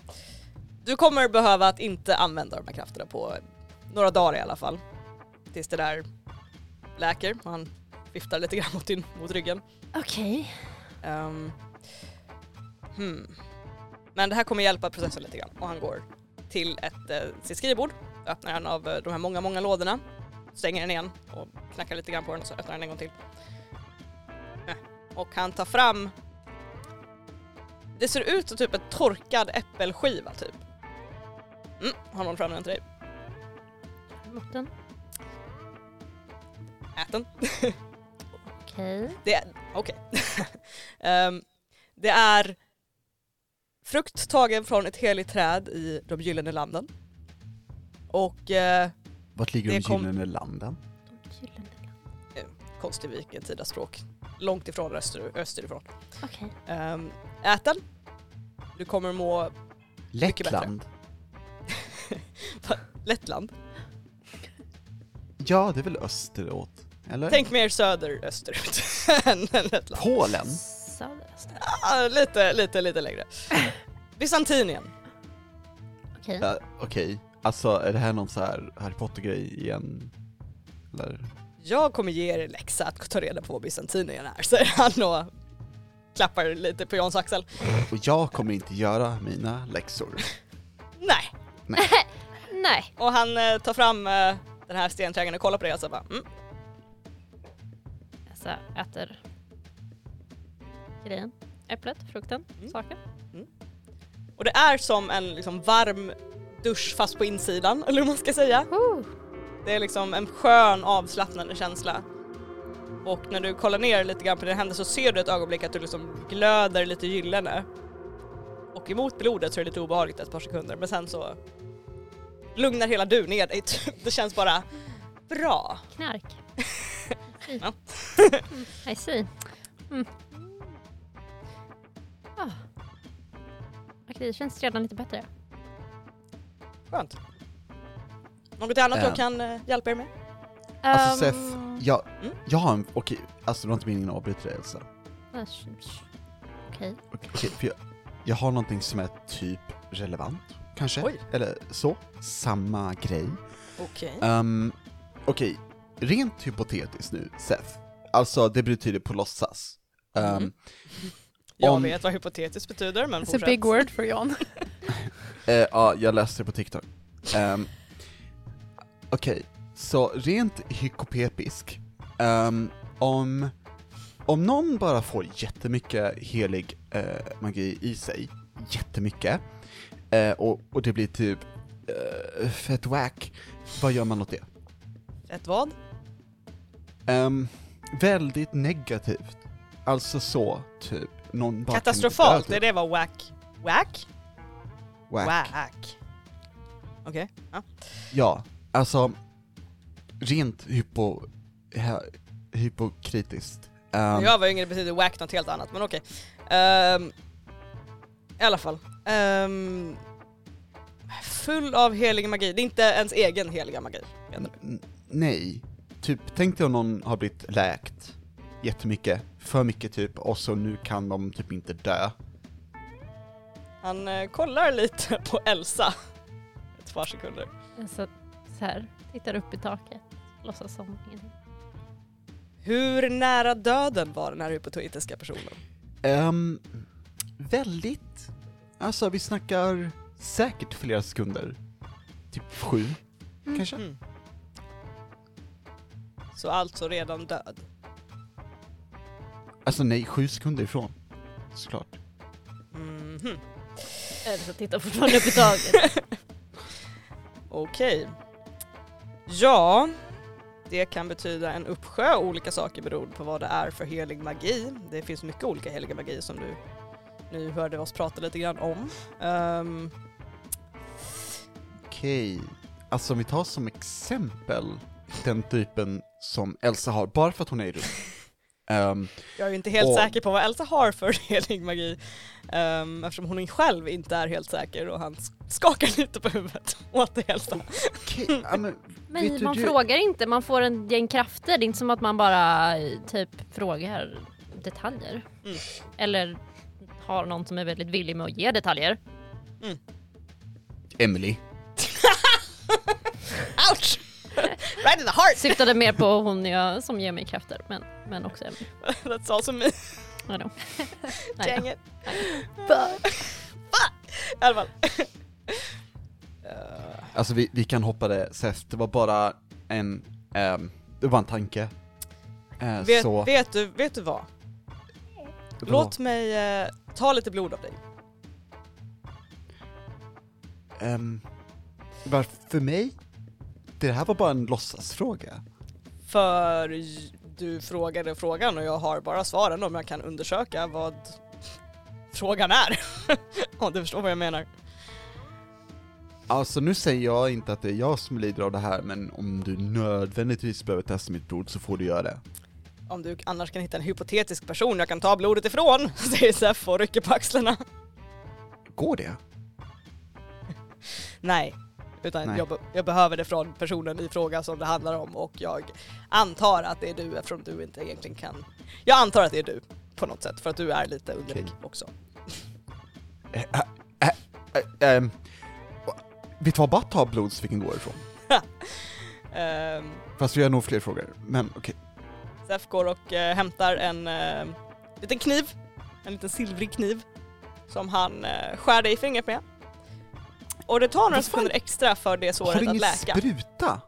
[SPEAKER 2] Du kommer behöva att inte använda de här krafterna på några dagar i alla fall. Tills det där läker och han viftar lite grann mot, din, mot ryggen.
[SPEAKER 6] Okej.
[SPEAKER 2] Ehm, hmm. Men det här kommer hjälpa processen lite grann och han går till ett, eh, sitt skrivbord, öppnar en av eh, de här många, många lådorna, stänger den igen och knackar lite grann på den och så öppnar den en gång till. Eh, Och han tar fram, det ser ut som typ en torkad äppelskiva typ. Mm, har någon fram den till dig?
[SPEAKER 6] Mot den.
[SPEAKER 2] Ät den.
[SPEAKER 6] Okej.
[SPEAKER 2] Det är, okej. Ehm, det är frukt tagen från ett heligt träd i de gyllene landen. Och eh,
[SPEAKER 3] Vart ligger
[SPEAKER 2] Det
[SPEAKER 3] de
[SPEAKER 2] kom-
[SPEAKER 3] gyllene landen?
[SPEAKER 6] Gyllene land.
[SPEAKER 2] konstig vilken tida språk. Långt ifrån öster, österifrån.
[SPEAKER 6] Okej.
[SPEAKER 2] Um, ät den. Du kommer må Mycket bättre.
[SPEAKER 3] Lettland?
[SPEAKER 2] Lettland.
[SPEAKER 3] Ja, det är väl österåt? Eller?
[SPEAKER 2] Tänk mer söder österut än än Lettland.
[SPEAKER 3] Polen?
[SPEAKER 6] Söderöst.
[SPEAKER 2] Ah, lite, lite, lite längre. Bysantinien.
[SPEAKER 6] Okej.
[SPEAKER 3] Ja, Okej, alltså är det här någon så här Harry Potter-grej igen? Eller?
[SPEAKER 2] Jag kommer ge er en läxa att ta reda på vad Bysantinien är, säger han och klappar lite på Jans axel.
[SPEAKER 3] Och jag kommer inte göra mina läxor.
[SPEAKER 2] Nej.
[SPEAKER 6] Nej.
[SPEAKER 2] Och han eh, tar fram eh, den här stenträgen och kollar på det och så bara mm.
[SPEAKER 6] Alltså äter grejen. Äpplet, frukten,
[SPEAKER 2] Mm.
[SPEAKER 6] saken.
[SPEAKER 2] Och det är som en liksom, varm dusch fast på insidan, eller hur man ska säga.
[SPEAKER 6] Oh.
[SPEAKER 2] Det är liksom en skön avslappnande känsla. Och när du kollar ner lite grann på dina händer så ser du ett ögonblick att du liksom glöder lite gyllene. Och emot blodet så är det lite obehagligt ett par sekunder men sen så lugnar hela du ner dig. typ. Det känns bara bra.
[SPEAKER 6] Knark.
[SPEAKER 2] Ja.
[SPEAKER 6] I see. Mm. Ah. Okej, det känns redan lite bättre.
[SPEAKER 2] Skönt. Något annat
[SPEAKER 3] Ähm.
[SPEAKER 2] jag kan eh, hjälpa er med?
[SPEAKER 3] Alltså
[SPEAKER 4] um,
[SPEAKER 6] Ehm,
[SPEAKER 3] Sef, jag,
[SPEAKER 2] Mm.
[SPEAKER 3] jag har en, okej, alltså det var inte meningen att avbryta dig Elsa.
[SPEAKER 6] nej, sh- sh- Okej.
[SPEAKER 3] Okej, okej, för jag, jag har någonting som är typ relevant, kanske?
[SPEAKER 2] Oj.
[SPEAKER 3] Eller så, samma grej.
[SPEAKER 2] Okej.
[SPEAKER 3] Um, Okej, rent hypotetiskt nu, Seth. Alltså det betyder på låtsas. Ehm,
[SPEAKER 2] Mm. Jag
[SPEAKER 3] om-
[SPEAKER 2] vet vad hypotetiskt betyder men
[SPEAKER 4] It's a
[SPEAKER 2] fortsätt.
[SPEAKER 4] big word for John.
[SPEAKER 3] Eh, Ja, jag läste det på TikTok. Um, Okej, så rent hykopepisk. ehm, om, om någon bara får jättemycket helig eh, magi i sig, jättemycket, eh, och, och det blir typ eh, fett wack, vad gör man åt det?
[SPEAKER 2] Ett vad?
[SPEAKER 3] Ehm, väldigt negativt. Alltså så, typ, någon bara kan inte
[SPEAKER 2] Katastrofalt,
[SPEAKER 3] dö,
[SPEAKER 2] det
[SPEAKER 3] typ.
[SPEAKER 2] det var whack. Whack?
[SPEAKER 3] Wack.
[SPEAKER 2] Whack. Okej. Ja.
[SPEAKER 3] Ja, alltså rent hypo, hä- hypokritiskt. Ehm,
[SPEAKER 2] Jag var yngre det betyder whack något helt annat men okej. Ehm, I alla fall. Ehm, full av helig magi, det är inte ens egen heliga magi. menar du?
[SPEAKER 3] n- nej, typ tänk dig om någon har blivit läkt jättemycket, för mycket typ, och så nu kan de typ inte dö.
[SPEAKER 2] Han eh, kollar lite på Elsa. Ett par sekunder.
[SPEAKER 6] Så, Alltså, så här, tittar upp i taket. Låtsas som ingenting.
[SPEAKER 2] Hur nära döden var den här hypotetiska personen?
[SPEAKER 3] Ehm, väldigt, alltså vi snackar säkert flera sekunder. Typ sju, kanske?
[SPEAKER 2] Mm. Så alltså redan död.
[SPEAKER 3] Alltså nej, sju sekunder ifrån. Såklart.
[SPEAKER 2] Mhm.
[SPEAKER 6] Elsa tittar fortfarande upp i taket.
[SPEAKER 2] Okej. Ja, det kan betyda en uppsjö olika saker beroende på vad det är för helig magi. Det finns mycket olika heliga magi som du nu hörde oss prata lite grann om. Ehm,
[SPEAKER 3] Okej. Alltså om vi tar som exempel den typen som Elsa har, bara för att hon är i rum. Ehm,
[SPEAKER 2] jag är ju inte helt
[SPEAKER 3] Och-
[SPEAKER 2] säker på vad Elsa har för helig magi ehm, eftersom hon själv inte är helt säker och han skakar lite på huvudet åt det Elsa.
[SPEAKER 3] okej, ja, men, vet
[SPEAKER 6] Men
[SPEAKER 3] du,
[SPEAKER 6] man
[SPEAKER 3] du-
[SPEAKER 6] frågar inte, man får en gäng krafter. Det är inte som att man bara eh, typ frågar detaljer.
[SPEAKER 2] Mm.
[SPEAKER 6] Eller har någon som är väldigt villig med att ge detaljer.
[SPEAKER 3] Emily.
[SPEAKER 2] Ouch! right right in the heart!
[SPEAKER 6] Syftade mer på hon jag, som ger mig krafter, men, men också Emily.
[SPEAKER 2] That's also me.
[SPEAKER 6] I don't know. Nej,
[SPEAKER 2] Dang it. I alla fall.
[SPEAKER 3] Alltså vi, vi kan hoppa det Seth, det var bara en, ehm, det var en tanke. Eh, så,
[SPEAKER 2] Vet, vet, du, vet du vad?
[SPEAKER 3] det var-
[SPEAKER 2] Låt mig eh, ta lite blod av dig.
[SPEAKER 3] ehm, bara för mig, det här var bara en låtsasfråga.
[SPEAKER 2] För j- du frågade frågan och jag har bara svaren om jag kan undersöka vad frågan är. Om du förstår vad jag menar.
[SPEAKER 3] Alltså nu säger jag inte att det är jag som lider av det här, men om du nödvändigtvis behöver testa mitt blod så får du göra det.
[SPEAKER 2] Om du annars kan hitta en hypotetisk person jag kan ta blodet ifrån, säger Zeff och rycker på axlarna.
[SPEAKER 3] Går det?
[SPEAKER 2] Nej. Utan
[SPEAKER 3] Nej.
[SPEAKER 2] Jag, be- jag behöver det från personen i fråga som det handlar om och jag antar att det är du eftersom du inte egentligen kan... Jag antar att det är du på något sätt för att du är lite underlig
[SPEAKER 3] Okej.
[SPEAKER 2] också.
[SPEAKER 3] Eh, eh, eh, eh, ehm, vet du vad, bara ta blod så vi kan gå ifrån.
[SPEAKER 2] Ehm,
[SPEAKER 3] Fast vi har nog fler frågor, men okej.
[SPEAKER 2] Zeff går och eh, hämtar en eh, liten kniv, en liten silvrig kniv som han eh, skär dig i fingret med. Och det tar några
[SPEAKER 3] Vad fan?
[SPEAKER 2] sekunder extra för det
[SPEAKER 3] Har du
[SPEAKER 2] såret att
[SPEAKER 3] ingen
[SPEAKER 2] läka.
[SPEAKER 3] spruta?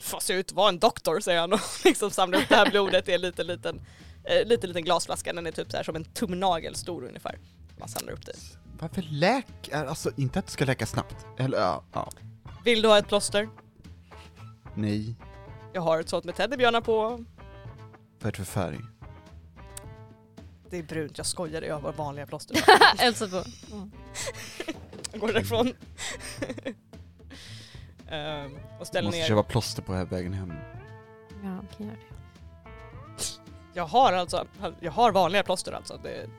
[SPEAKER 2] Får se ut att vara en doktor säger han och liksom samlar upp det här blodet i en liten liten, eh, liten, liten glasflaska. Den är typ så här som en tumnagel stor ungefär. Man samlar upp det. i.
[SPEAKER 3] Varför läker, alltså inte att det ska läka snabbt, eller ja, ja.
[SPEAKER 2] Vill du ha ett plåster?
[SPEAKER 3] nej,
[SPEAKER 2] Jag har ett sånt med teddybjörnar på.
[SPEAKER 3] vad är det för färg?
[SPEAKER 2] Det är brunt, jag skojade, jag har bara vanliga plåster.
[SPEAKER 6] Elsa på.
[SPEAKER 2] Jag går därifrån. Ehm, och ställer
[SPEAKER 3] Måste
[SPEAKER 2] ner
[SPEAKER 3] köpa plåster på här vägen hem.
[SPEAKER 6] Ja, kan göra det.
[SPEAKER 2] Jag har alltså, jag har vanliga plåster alltså. Det...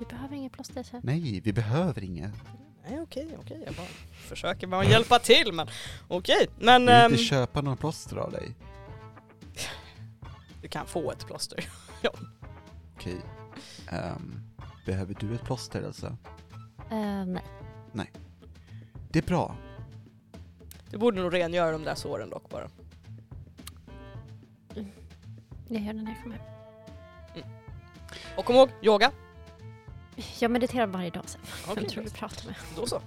[SPEAKER 6] Vi behöver inget plåster sen.
[SPEAKER 3] Nej, vi behöver inget.
[SPEAKER 2] Nej okej, okej, jag bara försöker bara hjälpa till men okej. Men
[SPEAKER 3] Vi vill
[SPEAKER 2] ehm,
[SPEAKER 3] inte köpa några plåster av dig.
[SPEAKER 2] du kan få ett plåster.
[SPEAKER 3] Okej. Ehm, behöver du ett plåster alltså?
[SPEAKER 6] Eh, nej.
[SPEAKER 3] Det är bra.
[SPEAKER 2] Du borde nog rengöra de där såren dock bara.
[SPEAKER 6] Jag gör det när jag kommer hem.
[SPEAKER 2] Och kom ihåg, yoga.
[SPEAKER 6] Jag mediterar varje dag sen.
[SPEAKER 2] Okej,
[SPEAKER 6] Vem tror du pratar med?
[SPEAKER 2] då så.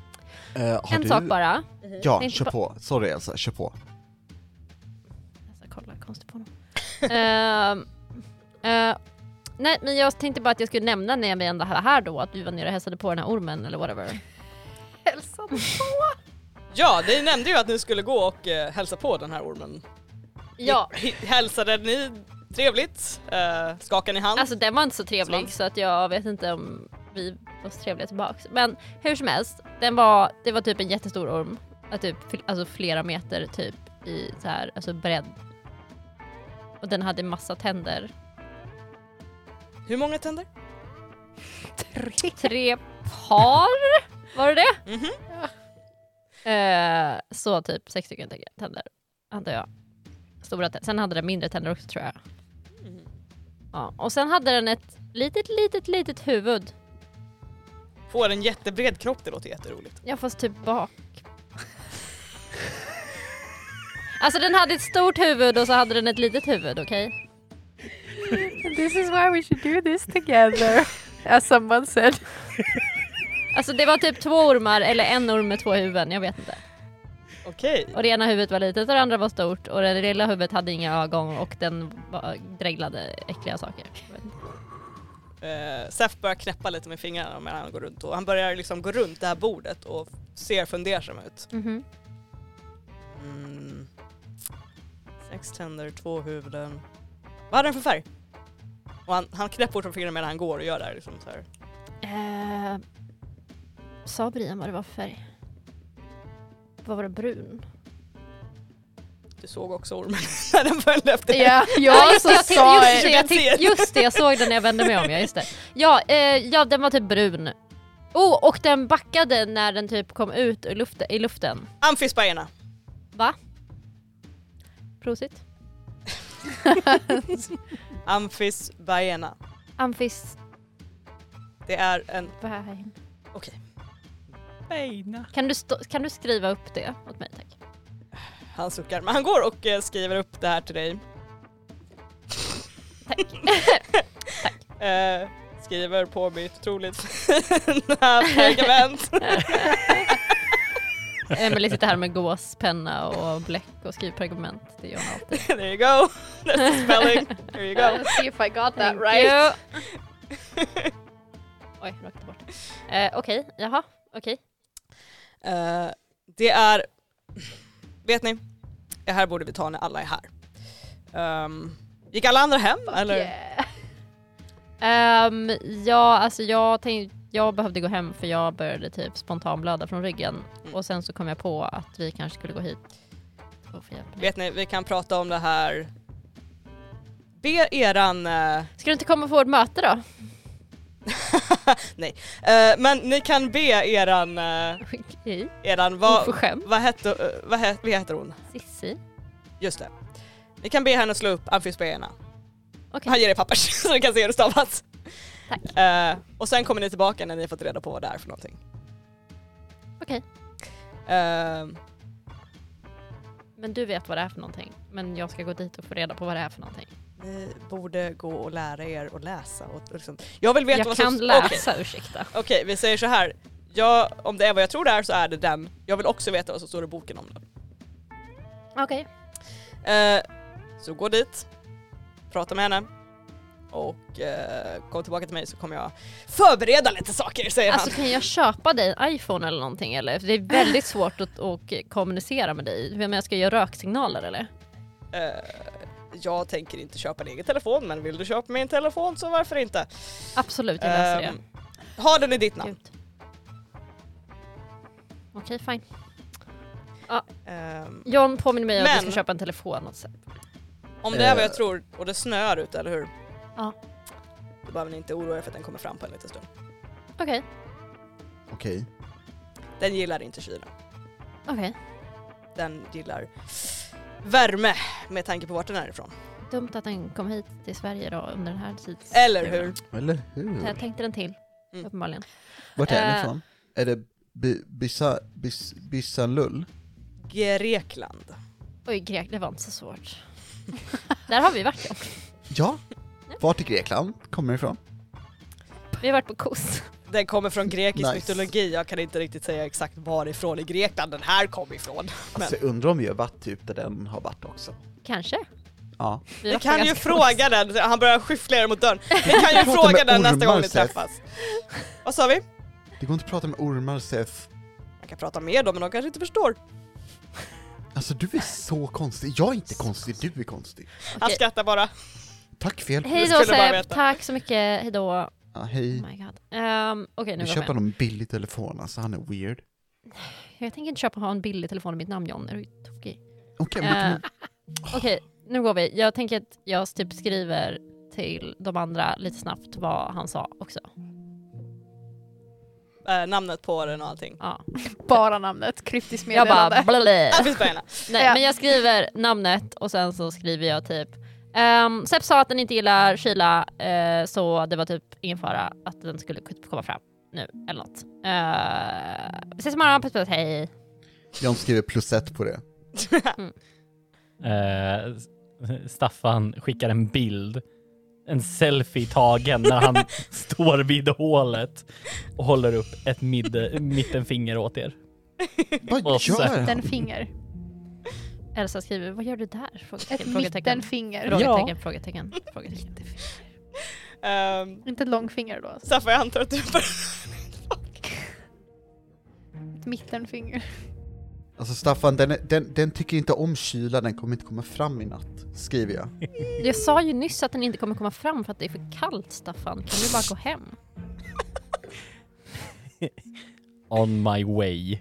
[SPEAKER 3] Eh, har
[SPEAKER 6] en
[SPEAKER 3] du...
[SPEAKER 6] sak bara.
[SPEAKER 3] Ja,
[SPEAKER 6] Nej,
[SPEAKER 3] kör
[SPEAKER 6] ba-
[SPEAKER 3] på. Sorry Elsa, kör på.
[SPEAKER 6] Elsa kollar konstigt Alltså, på honom. Ehm, eh, nej, men jag tänkte bara att jag skulle nämna när vi ändå var här då att vi var nere och hälsade på den här ormen eller whatever.
[SPEAKER 4] Hälsa på.
[SPEAKER 2] Ja, ni nämnde ju att ni skulle gå och eh, hälsa på den här ormen.
[SPEAKER 6] Ja,
[SPEAKER 2] Ni- Hälsade ni trevligt? Eh, skakade ni hand?
[SPEAKER 6] Alltså den var inte så
[SPEAKER 2] Slang.
[SPEAKER 6] trevlig så att jag vet inte om vi var så trevliga tillbaks. Men hur som helst, den var, det var typ en jättestor orm. Att typ, fl- alltså flera meter typ i så här, alltså bredd. Och den hade massa tänder.
[SPEAKER 2] Hur många tänder?
[SPEAKER 6] Tre par var det det?
[SPEAKER 2] Mhm.
[SPEAKER 6] Eh, så typ sex stycken tänder hade jag. Stora tänder. Sen hade den mindre tänder också tror jag. Mm.
[SPEAKER 2] Mhm.
[SPEAKER 6] Ja. Och sen hade den ett litet, litet, litet huvud.
[SPEAKER 2] Får en jättebred kropp, det låter jätteroligt.
[SPEAKER 6] Ja fast typ bak. Alltså den hade ett stort huvud och så hade den ett litet huvud, okej?
[SPEAKER 4] This is why we should do this together. As someone said.
[SPEAKER 6] Alltså det var typ två ormar, eller en orm med två huvuden, jag vet inte.
[SPEAKER 2] Okej.
[SPEAKER 6] Och det ena huvudet var litet och det andra var stort och det lilla huvudet hade inga ögon och den var- dreglade äckliga saker. Jag vet inte.
[SPEAKER 2] Eh, Seth börjar knäppa lite med fingrarna medan han går runt och han börjar liksom gå runt det här bordet och ser fundersam ut.
[SPEAKER 6] Mhm.
[SPEAKER 2] Mm. Sex tänder, två huvuden. Vad hade den för färg? Och han, han knäpper bort från fingrarna medan han går och gör det här liksom så här.
[SPEAKER 6] Eh, sa Brian vad det var för färg? Vad var det, brun?
[SPEAKER 2] Du såg också ormen när den följde efter dig.
[SPEAKER 4] Ja,
[SPEAKER 6] Ja,
[SPEAKER 4] jag
[SPEAKER 6] just,
[SPEAKER 4] så
[SPEAKER 6] det, jag,
[SPEAKER 4] sa
[SPEAKER 6] titt- just, det, jag,
[SPEAKER 2] Du kan se
[SPEAKER 6] titt-
[SPEAKER 2] det.
[SPEAKER 6] just det, jag såg den när jag vände mig om. Ja, just det. Ja, eh, ja, den var typ brun. Oh, och den backade när den typ kom ut i luften. I luften.
[SPEAKER 2] Amfisbajerna!
[SPEAKER 6] Va? Prosit.
[SPEAKER 2] Amfisbajerna.
[SPEAKER 6] Amfis...
[SPEAKER 2] Det är en... Okej.
[SPEAKER 6] Kan du, stå- kan du skriva upp det åt mig tack?
[SPEAKER 2] Han suckar, men han går och eh, skriver upp det här till dig. Tack. eh, skriver på mitt otroligt fina pergament.
[SPEAKER 6] Emelie sitter här med gåspenna och bläck och skriver pergament. Det gör hon alltid.
[SPEAKER 2] There you go. That's the spelling. There you go.
[SPEAKER 4] see if I got that
[SPEAKER 6] Thank
[SPEAKER 4] right.
[SPEAKER 6] you. Oj, rakt bort. Eh, okej, jaha, okej.
[SPEAKER 2] Eh, det är... Vet ni? Det här borde vi ta när alla är här. Ehm, gick alla andra hem eller?
[SPEAKER 4] Yeah.
[SPEAKER 6] Ehm, ja, alltså jag tänkte, jag behövde gå hem för jag började typ spontanblöda från ryggen
[SPEAKER 2] Mm.
[SPEAKER 6] och sen så kom jag på att vi kanske skulle gå hit och få hjälp. med det.
[SPEAKER 2] Vet ni, vi kan prata om det här. Be eran... eh,
[SPEAKER 6] Ska du inte komma på vårt möte då?
[SPEAKER 2] nej. Eh, men ni kan be eran... eh,
[SPEAKER 6] Okej,
[SPEAKER 2] eran vad,
[SPEAKER 6] oförskämd.
[SPEAKER 2] vad, hette, eh, vad, hette, vad heter hon?
[SPEAKER 6] Sissi.
[SPEAKER 2] Just det. Ni kan be henne slå upp amfisbeerna.
[SPEAKER 6] Okej.
[SPEAKER 2] Han ger er papper så ni kan se hur det stavas.
[SPEAKER 6] Tack.
[SPEAKER 2] Eh, och sen kommer ni tillbaka när ni har fått reda på vad det är för någonting.
[SPEAKER 6] Okej.
[SPEAKER 2] Eh,
[SPEAKER 6] Men du vet vad det är för någonting. Men jag ska gå dit och få reda på vad det är för någonting.
[SPEAKER 2] ni borde gå och lära er att läsa. Och, och liksom. Jag vill veta
[SPEAKER 6] jag
[SPEAKER 2] vad
[SPEAKER 6] kan
[SPEAKER 2] som... Okej.
[SPEAKER 6] läsa, ursäkta.
[SPEAKER 2] Okej, vi säger så här. Jag, om det är vad jag tror det är så är det den. Jag vill också veta vad som står i boken om den.
[SPEAKER 6] Okej.
[SPEAKER 2] Eh, så gå dit, prata med henne och eh, kom tillbaka till mig så kommer jag förbereda lite saker säger
[SPEAKER 6] Alltså kan jag köpa dig en iPhone eller någonting eller? För det är väldigt svårt att, att kommunicera med dig. Men jag ska göra röksignaler eller?
[SPEAKER 2] han. Eh, jag tänker inte köpa en egen telefon men vill du köpa min telefon så varför inte?
[SPEAKER 6] Absolut, jag löser
[SPEAKER 2] Ehm, ha den i ditt
[SPEAKER 6] det.
[SPEAKER 2] namn.
[SPEAKER 6] Gud. Okej, fine.
[SPEAKER 2] Ehm,
[SPEAKER 6] John påminner mig om att vi
[SPEAKER 2] Men-
[SPEAKER 6] ska köpa en telefon. Och så.
[SPEAKER 2] om det är vad
[SPEAKER 3] Eh.
[SPEAKER 2] jag tror och det snöar ute, eller hur?
[SPEAKER 6] Ja.
[SPEAKER 2] Då behöver ni inte oroa er för att den kommer fram på en liten stund.
[SPEAKER 6] Okej,
[SPEAKER 3] Okej.
[SPEAKER 2] Den gillar inte kyla.
[SPEAKER 6] okej.
[SPEAKER 2] Den gillar värme med tanke på vart den är ifrån.
[SPEAKER 6] Dumt att den kom hit till Sverige då under den här tids...
[SPEAKER 2] Eller hur?
[SPEAKER 3] Eller
[SPEAKER 6] Jag
[SPEAKER 3] hur?
[SPEAKER 6] tänkte den till,
[SPEAKER 2] Ehm. Mm.
[SPEAKER 6] uppenbarligen.
[SPEAKER 3] Vart är den
[SPEAKER 6] Eh.
[SPEAKER 3] ifrån? Är det Bi- Bisa- Bis- Bissanlull?
[SPEAKER 2] Grekland.
[SPEAKER 6] Oj, grek, det var inte så svårt. Där har vi varit John.
[SPEAKER 3] Ja. Vart i Grekland kommer det ifrån?
[SPEAKER 6] Vi har varit på kos.
[SPEAKER 2] Den kommer från grekisk
[SPEAKER 3] Nice.
[SPEAKER 2] mytologi, jag kan inte riktigt säga exakt varifrån i Grekland den här kom ifrån. Men
[SPEAKER 3] Alltså jag undrar om vi har varit typ där den har varit också.
[SPEAKER 6] Kanske.
[SPEAKER 3] Ja.
[SPEAKER 6] Vi
[SPEAKER 2] vi
[SPEAKER 6] var
[SPEAKER 2] kan ju
[SPEAKER 6] ganska
[SPEAKER 2] fråga den, han börjar skyffla er mot dörren. Vi kan ju
[SPEAKER 3] Prata
[SPEAKER 2] fråga
[SPEAKER 3] med
[SPEAKER 2] den nästa
[SPEAKER 3] ormar,
[SPEAKER 2] gång ni
[SPEAKER 3] Seth.
[SPEAKER 2] träffas. Vad sa vi?
[SPEAKER 3] Det går inte att prata med ormar Seth.
[SPEAKER 2] Man kan prata med dem men de kanske inte förstår.
[SPEAKER 3] Alltså du är så konstig. Jag är inte konstig, du är konstig.
[SPEAKER 2] Han
[SPEAKER 6] Okej.
[SPEAKER 2] skrattar bara.
[SPEAKER 3] Tack fel.
[SPEAKER 6] Hej
[SPEAKER 2] Jag
[SPEAKER 6] då
[SPEAKER 2] skulle bara
[SPEAKER 6] Seb,
[SPEAKER 2] veta.
[SPEAKER 6] tack så mycket, hej då. Oh
[SPEAKER 3] Ja, hej.
[SPEAKER 6] my god. Ehm, Okej nu
[SPEAKER 3] Vi
[SPEAKER 6] går jag
[SPEAKER 3] köper
[SPEAKER 6] med.
[SPEAKER 3] någon billig telefon, alltså han är weird.
[SPEAKER 6] Jag tänker inte köpa ha en billig telefon i mitt namn John, är du tokig?
[SPEAKER 3] Okej, men
[SPEAKER 6] Ehm,
[SPEAKER 3] men
[SPEAKER 6] Okej, nu går vi. Jag tänker att jag typ skriver till de andra lite snabbt vad han sa också.
[SPEAKER 2] Eh, namnet på den och allting.
[SPEAKER 6] Ja.
[SPEAKER 4] Bara namnet, kryptiskt
[SPEAKER 6] Jag bara
[SPEAKER 4] meddelande.
[SPEAKER 6] blä.
[SPEAKER 2] Det finns på ena.
[SPEAKER 6] Nej,
[SPEAKER 4] Ja.
[SPEAKER 6] men jag skriver namnet och sen så skriver jag typ Um, Sepp sa att den inte gillar kyla, eh, så det var typ ingen fara att den skulle typ komma fram nu eller något. Uh, ses imorgon, puss puss, hej.
[SPEAKER 3] John skriver plus ett på det.
[SPEAKER 5] Eh, Staffan skickar en bild, en selfie tagen när han står vid hålet och håller upp ett mid- mittenfinger åt er.
[SPEAKER 3] Vad
[SPEAKER 5] Och
[SPEAKER 3] gör
[SPEAKER 5] Seth.
[SPEAKER 3] han?
[SPEAKER 4] Mittenfinger.
[SPEAKER 6] Elsa skriver, vad gör du där? Frågetecken,
[SPEAKER 4] Ett
[SPEAKER 6] frågetecken,
[SPEAKER 4] mittenfinger.
[SPEAKER 6] frågetecken, frågetecken, frågetecken.
[SPEAKER 2] Ehm,
[SPEAKER 4] Inte ett långfinger då alltså.
[SPEAKER 2] Staffan jag antar att du
[SPEAKER 4] Ett mittenfinger.
[SPEAKER 3] Alltså Staffan, den, är, den, den tycker inte om kyla, den kommer inte komma fram i natt, skriver jag.
[SPEAKER 6] Jag sa ju nyss att den inte kommer komma fram för att det är för kallt Staffan, kan du bara gå hem?
[SPEAKER 5] On my way.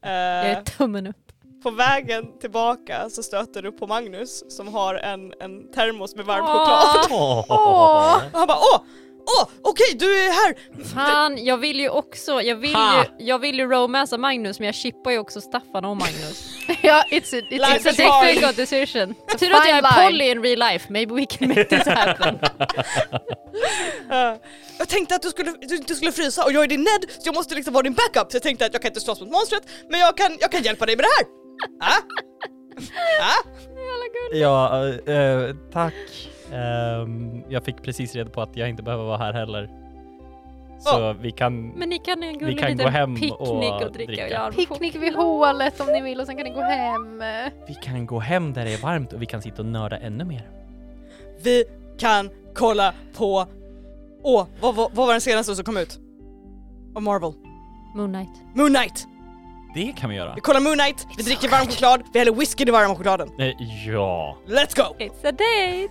[SPEAKER 6] Jag
[SPEAKER 2] Eh,
[SPEAKER 6] är tummen upp.
[SPEAKER 2] På vägen tillbaka så stöter du på Magnus som har en, en termos med varm choklad.
[SPEAKER 5] Åh.
[SPEAKER 2] Och han bara åh, åh okej du är här!
[SPEAKER 6] Fan, jag vill ju också, jag vill
[SPEAKER 5] Ha.
[SPEAKER 6] ju, jag vill ju romansa Magnus men jag chippar ju också Staffan och Magnus.
[SPEAKER 4] ja, it's a, it's a,
[SPEAKER 6] It's a
[SPEAKER 2] Life is
[SPEAKER 6] difficult decision. Tur att jag
[SPEAKER 4] fine line.
[SPEAKER 6] är Polly in real life, maybe we can make this happen.
[SPEAKER 2] Eh, jag tänkte att du, skulle, du inte skulle frysa och jag är din Ned så jag måste liksom vara din backup. Så jag tänkte att jag kan inte slåss mot monstret men jag kan, jag kan hjälpa dig med det här.
[SPEAKER 6] Jävla gud.
[SPEAKER 5] Ja, eh, eh, tack. Ehm, jag fick precis reda på att jag inte behöver vara här heller. Så vi kan...
[SPEAKER 6] Men ni kan ju en gullig
[SPEAKER 5] kan
[SPEAKER 6] liten
[SPEAKER 5] gå hem och
[SPEAKER 6] picknick och dricka.
[SPEAKER 5] dricka.
[SPEAKER 6] Och göra en
[SPEAKER 4] Picknick vid hålet om ni vill och sen kan ni gå hem.
[SPEAKER 5] Vi kan gå hem där det är varmt och vi kan sitta och nörda ännu mer.
[SPEAKER 2] Vi kan kolla på... Åh, vad, vad, vad var den senaste som kom ut? Av Marvel.
[SPEAKER 6] Moon Knight.
[SPEAKER 2] Moon Knight!
[SPEAKER 5] Det kan vi göra.
[SPEAKER 2] Vi kollar Moon Knight, vi dricker varm choklad, vi häller whisky i varma chokladen.
[SPEAKER 5] Eh, ja.
[SPEAKER 2] Let's go!
[SPEAKER 6] It's a date!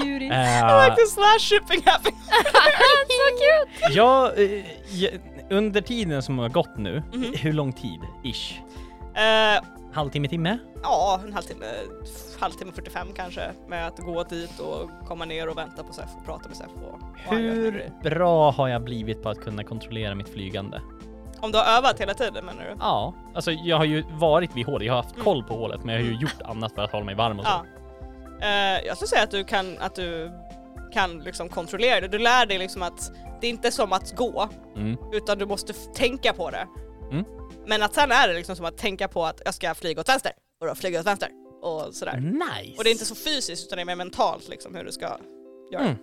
[SPEAKER 6] Cutie.
[SPEAKER 5] Eh,
[SPEAKER 2] This last shipping happening.
[SPEAKER 6] so cute!
[SPEAKER 5] jag, eh, jag, under tiden som har gått nu,
[SPEAKER 2] Mhm.
[SPEAKER 5] hur lång tid? Ish?
[SPEAKER 2] Eh,
[SPEAKER 5] Halvtimme, timme?
[SPEAKER 2] ja, en halvtimme, halvtimme 45 kanske med att gå dit och komma ner och vänta på Sef och prata med Sef. Och, och han gör sina
[SPEAKER 5] Hur
[SPEAKER 2] grejer.
[SPEAKER 5] bra har jag blivit på att kunna kontrollera mitt flygande?
[SPEAKER 2] Om du har övat hela tiden menar du?
[SPEAKER 5] Ja, alltså jag har ju varit vid hålet, jag har haft
[SPEAKER 2] Mm.
[SPEAKER 5] koll på hålet men jag har ju gjort annat för att hålla mig varm och så.
[SPEAKER 2] Ja. Eh, jag skulle säga att du kan, att du kan liksom kontrollera det. Du lär dig liksom att det är inte som att gå,
[SPEAKER 5] Mm.
[SPEAKER 2] utan du måste f- tänka på det.
[SPEAKER 5] Mm.
[SPEAKER 2] Men att sen är det liksom som att tänka på att jag ska flyga åt vänster och då flyger jag åt vänster och sådär.
[SPEAKER 5] Nice!
[SPEAKER 2] Och det är inte så fysiskt utan det är mer mentalt liksom hur du ska göra.
[SPEAKER 5] Mm.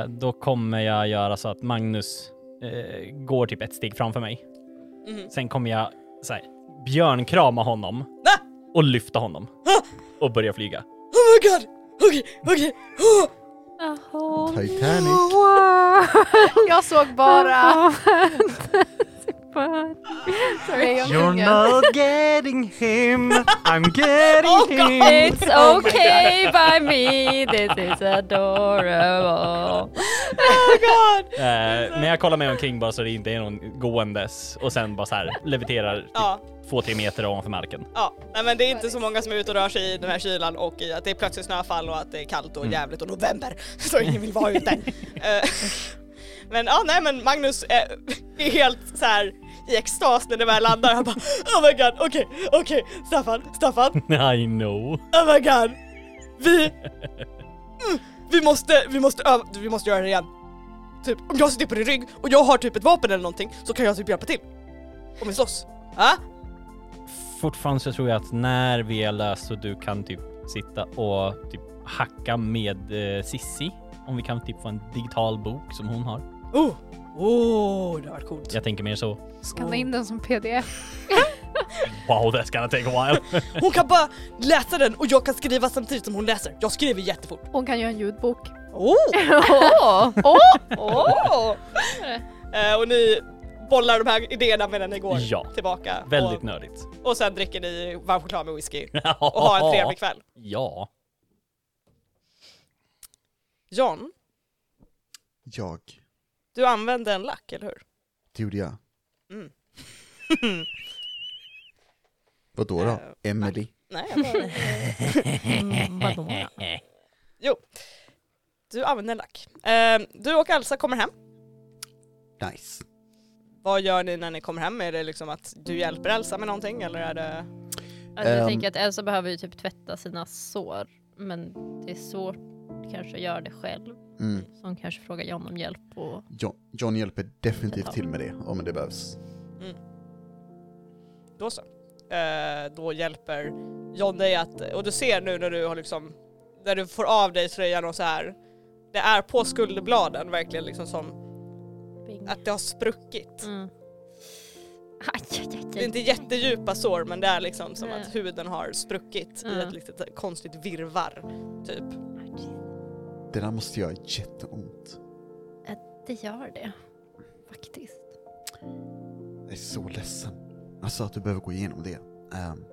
[SPEAKER 5] Eh, då kommer jag göra så att Magnus eh, går typ ett steg framför mig.
[SPEAKER 2] Mhm.
[SPEAKER 5] Sen kommer jag så här, björnkrama honom
[SPEAKER 2] Ah!
[SPEAKER 5] och lyfta honom och börja flyga. Eh,
[SPEAKER 2] Oh my god! Okej, okej! Oh!
[SPEAKER 6] A whole
[SPEAKER 3] Titanic.
[SPEAKER 4] Jag såg bara lejonungen.
[SPEAKER 5] not getting him, I'm getting him.
[SPEAKER 6] It's
[SPEAKER 2] Oh
[SPEAKER 6] okay by me, this is adorable.
[SPEAKER 5] Eh, men jag kollar mig omkring bara så det inte är någon gåendes och sen bara så här leviterar typ
[SPEAKER 2] Ja,
[SPEAKER 5] två, tre meter ovanför marken.
[SPEAKER 2] ja. Nej men det är inte så många som är ute och rör sig i den här kylan och i att det är plötsligt snöfall och att det är kallt och jävligt och november. Så ingen vill vara ute. Eh, men ja, nej men Magnus är, är helt så här i extas när det väl landar. Han bara Oh my god, okej, okej, Staffan, Staffan,
[SPEAKER 5] I know.
[SPEAKER 2] Oh my god! Vi... Mm, Vi måste, vi måste öva, vi måste göra det igen. Typ, om jag sitter på din rygg och jag har typ ett vapen eller någonting så kan jag typ hjälpa till. Om vi slåss. Ah? Ja?
[SPEAKER 5] Fortfarande så tror jag att när vi är löst så du kan typ sitta och typ hacka med eh, Sissi. Om vi kan typ få en digital bok som hon har.
[SPEAKER 2] Oh! Oh, det har varit coolt.
[SPEAKER 5] Jag tänker mer så.
[SPEAKER 4] Skanna in den som pdf.
[SPEAKER 5] Wow, that's gonna take a while.
[SPEAKER 2] Hon kan bara läsa den och jag kan skriva samtidigt som hon läser. Jag skriver jättefort.
[SPEAKER 4] Hon kan göra en ljudbok.
[SPEAKER 2] Oh!
[SPEAKER 6] Åh!
[SPEAKER 2] oh. Eh, och ni bollar de här idéerna medan ni går
[SPEAKER 5] Ja.
[SPEAKER 2] tillbaka.
[SPEAKER 5] Väldigt
[SPEAKER 2] och,
[SPEAKER 5] nördigt.
[SPEAKER 2] och sen dricker ni varm choklad med whisky och har en trevlig kväll.
[SPEAKER 5] Ja.
[SPEAKER 2] John,
[SPEAKER 3] Jag.
[SPEAKER 2] du använde en lack, eller hur?
[SPEAKER 3] Det gjorde jag.
[SPEAKER 2] Mm.
[SPEAKER 3] Vadå då? Emily.
[SPEAKER 2] Nej, jag bara... Jo. Du använder lack. Eh, du och Elsa kommer hem.
[SPEAKER 3] Nice.
[SPEAKER 2] Vad gör ni när ni kommer hem? Är det liksom att du hjälper Elsa med någonting eller är det...
[SPEAKER 6] Alltså, jag
[SPEAKER 3] Ehm.
[SPEAKER 6] tänker att Elsa behöver ju typ tvätta sina sår, men det är svårt kanske att göra det själv.
[SPEAKER 3] Mm.
[SPEAKER 6] Så hon kanske frågar John om hjälp och
[SPEAKER 3] John, John hjälper definitivt till med det om det behövs.
[SPEAKER 2] Då så. Eh, då hjälper John dig att... Och du ser nu när du har liksom... När du får av dig tröjan och så här. Det är på skulderbladen verkligen liksom som
[SPEAKER 6] bing.
[SPEAKER 2] att det har spruckit.
[SPEAKER 6] Mm. Aj, aj, aj, aj.
[SPEAKER 2] Det är inte jättedjupa sår men det är liksom som
[SPEAKER 6] Nej. Mm.
[SPEAKER 2] att huden har spruckit i
[SPEAKER 6] Ja.
[SPEAKER 2] ett litet konstigt virvar. Typ.
[SPEAKER 3] Det där måste göra jätteont.
[SPEAKER 6] Det gör det. Faktiskt.
[SPEAKER 3] Jag är så ledsen. Alltså att du behöver gå igenom det. Um,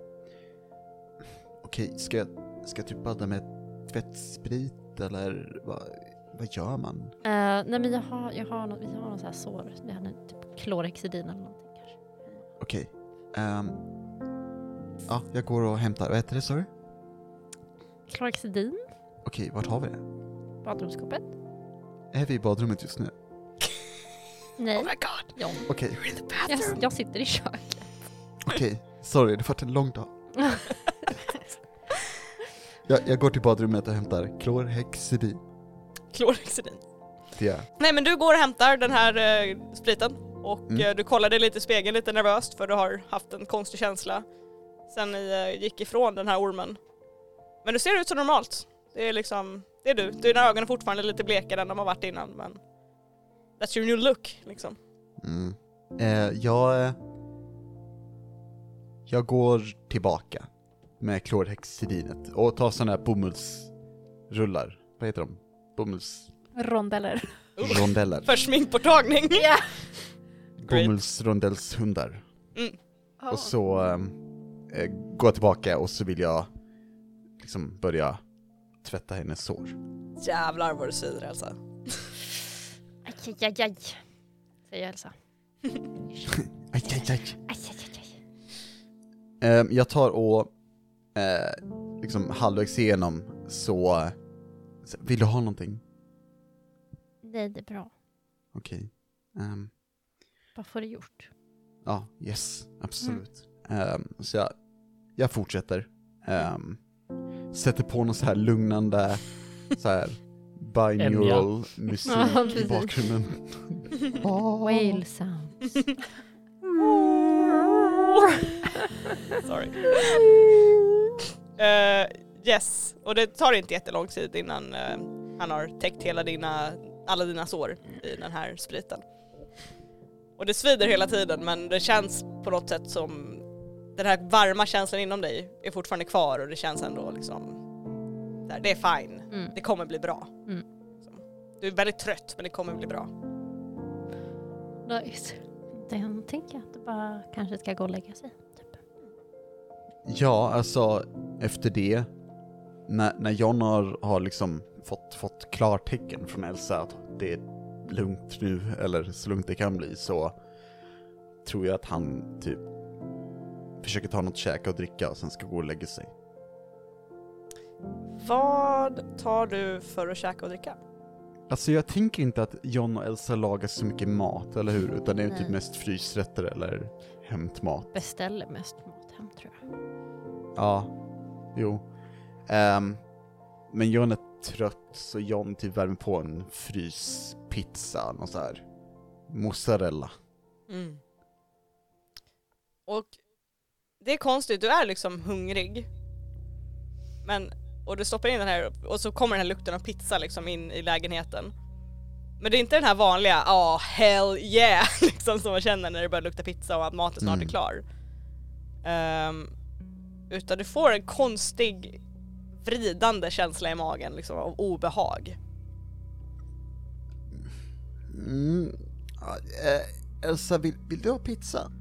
[SPEAKER 3] Okej, ska jag, ska jag typ badda med tvättsprit eller vad, vad gör man?
[SPEAKER 6] Eh, nej men jag har, jag har något, vi har något så här sår. Det är typ klorhexidin eller någonting kanske.
[SPEAKER 3] Okej. ehm, ja, jag går och hämtar. Vad heter det sa du?
[SPEAKER 6] Klorhexidin?
[SPEAKER 3] Okej, vart har vi det?
[SPEAKER 6] Badrumsskåpet?
[SPEAKER 3] Är vi i badrummet just nu?
[SPEAKER 6] Nej.
[SPEAKER 2] Oh god!
[SPEAKER 6] John.
[SPEAKER 3] Okej,
[SPEAKER 6] Jag, jag sitter i köket.
[SPEAKER 3] okej. Sorry, det har varit en lång dag. Jag, jag går till badrummet och hämtar klorhexidin.
[SPEAKER 2] Klorhexidin.
[SPEAKER 3] Det är
[SPEAKER 2] Nej men du går och hämtar den här eh, spriten och
[SPEAKER 3] Mm.
[SPEAKER 2] eh, du kollade lite i spegeln lite nervöst för du har haft en konstig känsla sen ni eh, gick ifrån den här ormen. Men du ser ut som normalt. Det är liksom, det är du. Dina ögon är fortfarande lite blekare än de har varit innan men that's your new look liksom.
[SPEAKER 3] Mm. Eh, jag... eh, Jag går tillbaka med klorhexidinet och tar sådana här bomullsrullar. Vad heter de? Bomullsrondeller.
[SPEAKER 4] Rondeller.
[SPEAKER 2] För sminkborttagning.
[SPEAKER 6] Ja.
[SPEAKER 2] Great.
[SPEAKER 3] Bomullsrondellshundar.
[SPEAKER 4] Oh.
[SPEAKER 3] Och så ehm, eh, går jag tillbaka och så vill jag liksom börja tvätta hennes sår.
[SPEAKER 2] Jävlar vad du syr alltså.
[SPEAKER 6] Aj, aj, aj, aj. Säger Elsa.
[SPEAKER 3] Aj, aj, aj.
[SPEAKER 6] Aj, aj, aj, aj.
[SPEAKER 3] Ehm, jag tar och eh, liksom halvvägs igenom så, eh, så... Vill du ha någonting?
[SPEAKER 6] Nej, det är bra.
[SPEAKER 3] Okej. Ehm,
[SPEAKER 6] Bara få det gjort.
[SPEAKER 3] Ja, yes, absolut.
[SPEAKER 6] Mm.
[SPEAKER 3] Ehm, så jag, jag fortsätter. Ehm, sätter på någon så här lugnande, så här binaural musik
[SPEAKER 6] Ja,
[SPEAKER 3] i
[SPEAKER 6] precis.
[SPEAKER 3] bakgrunden. Ah.
[SPEAKER 6] Whale sounds.
[SPEAKER 2] Sorry. Eh, yes, och det tar inte jättelång tid innan eh, han har täckt hela dina, alla dina sår i den här spriten. Och det svider hela tiden men det känns på något sätt som den här varma känslan inom dig är fortfarande kvar och det känns ändå liksom, där, det är fine,
[SPEAKER 6] Mm.
[SPEAKER 2] det kommer bli bra.
[SPEAKER 6] Mm.
[SPEAKER 2] Du är väldigt trött men det kommer bli bra.
[SPEAKER 6] Nice. Den tänker jag att du bara kanske ska gå och lägga sig. Typ.
[SPEAKER 3] Ja, alltså efter det, när, när John har, har liksom fått, fått klartecken från Elsa att det är lugnt nu, eller så lugnt det kan bli, så tror jag att han typ försöker ta något att käka och dricka och sen ska gå och lägga sig.
[SPEAKER 2] Vad tar du för att käka och dricka?
[SPEAKER 3] Alltså jag tänker inte att John och Elsa lagar så mycket mat, eller hur? Utan det är ju typ
[SPEAKER 6] Nej.
[SPEAKER 3] mest frysrätter eller hämtmat.
[SPEAKER 6] Beställer mest mat hem tror jag.
[SPEAKER 3] Ja, jo. Ehm, men John är trött så John typ värmer på en fryspizza, någon så här mozzarella.
[SPEAKER 2] Mm. Och det är konstigt, du är liksom hungrig. Men, och du stoppar in den här och så kommer den här lukten av pizza liksom in i lägenheten. Men det är inte den här vanliga ah hell yeah liksom som man känner när det börjar lukta pizza och att maten snart
[SPEAKER 3] Mm.
[SPEAKER 2] är klar. Ehm, utan du får en konstig vridande känsla i magen liksom av obehag.
[SPEAKER 3] Mm. Ja, eh, Elsa, vill, vill du ha pizza?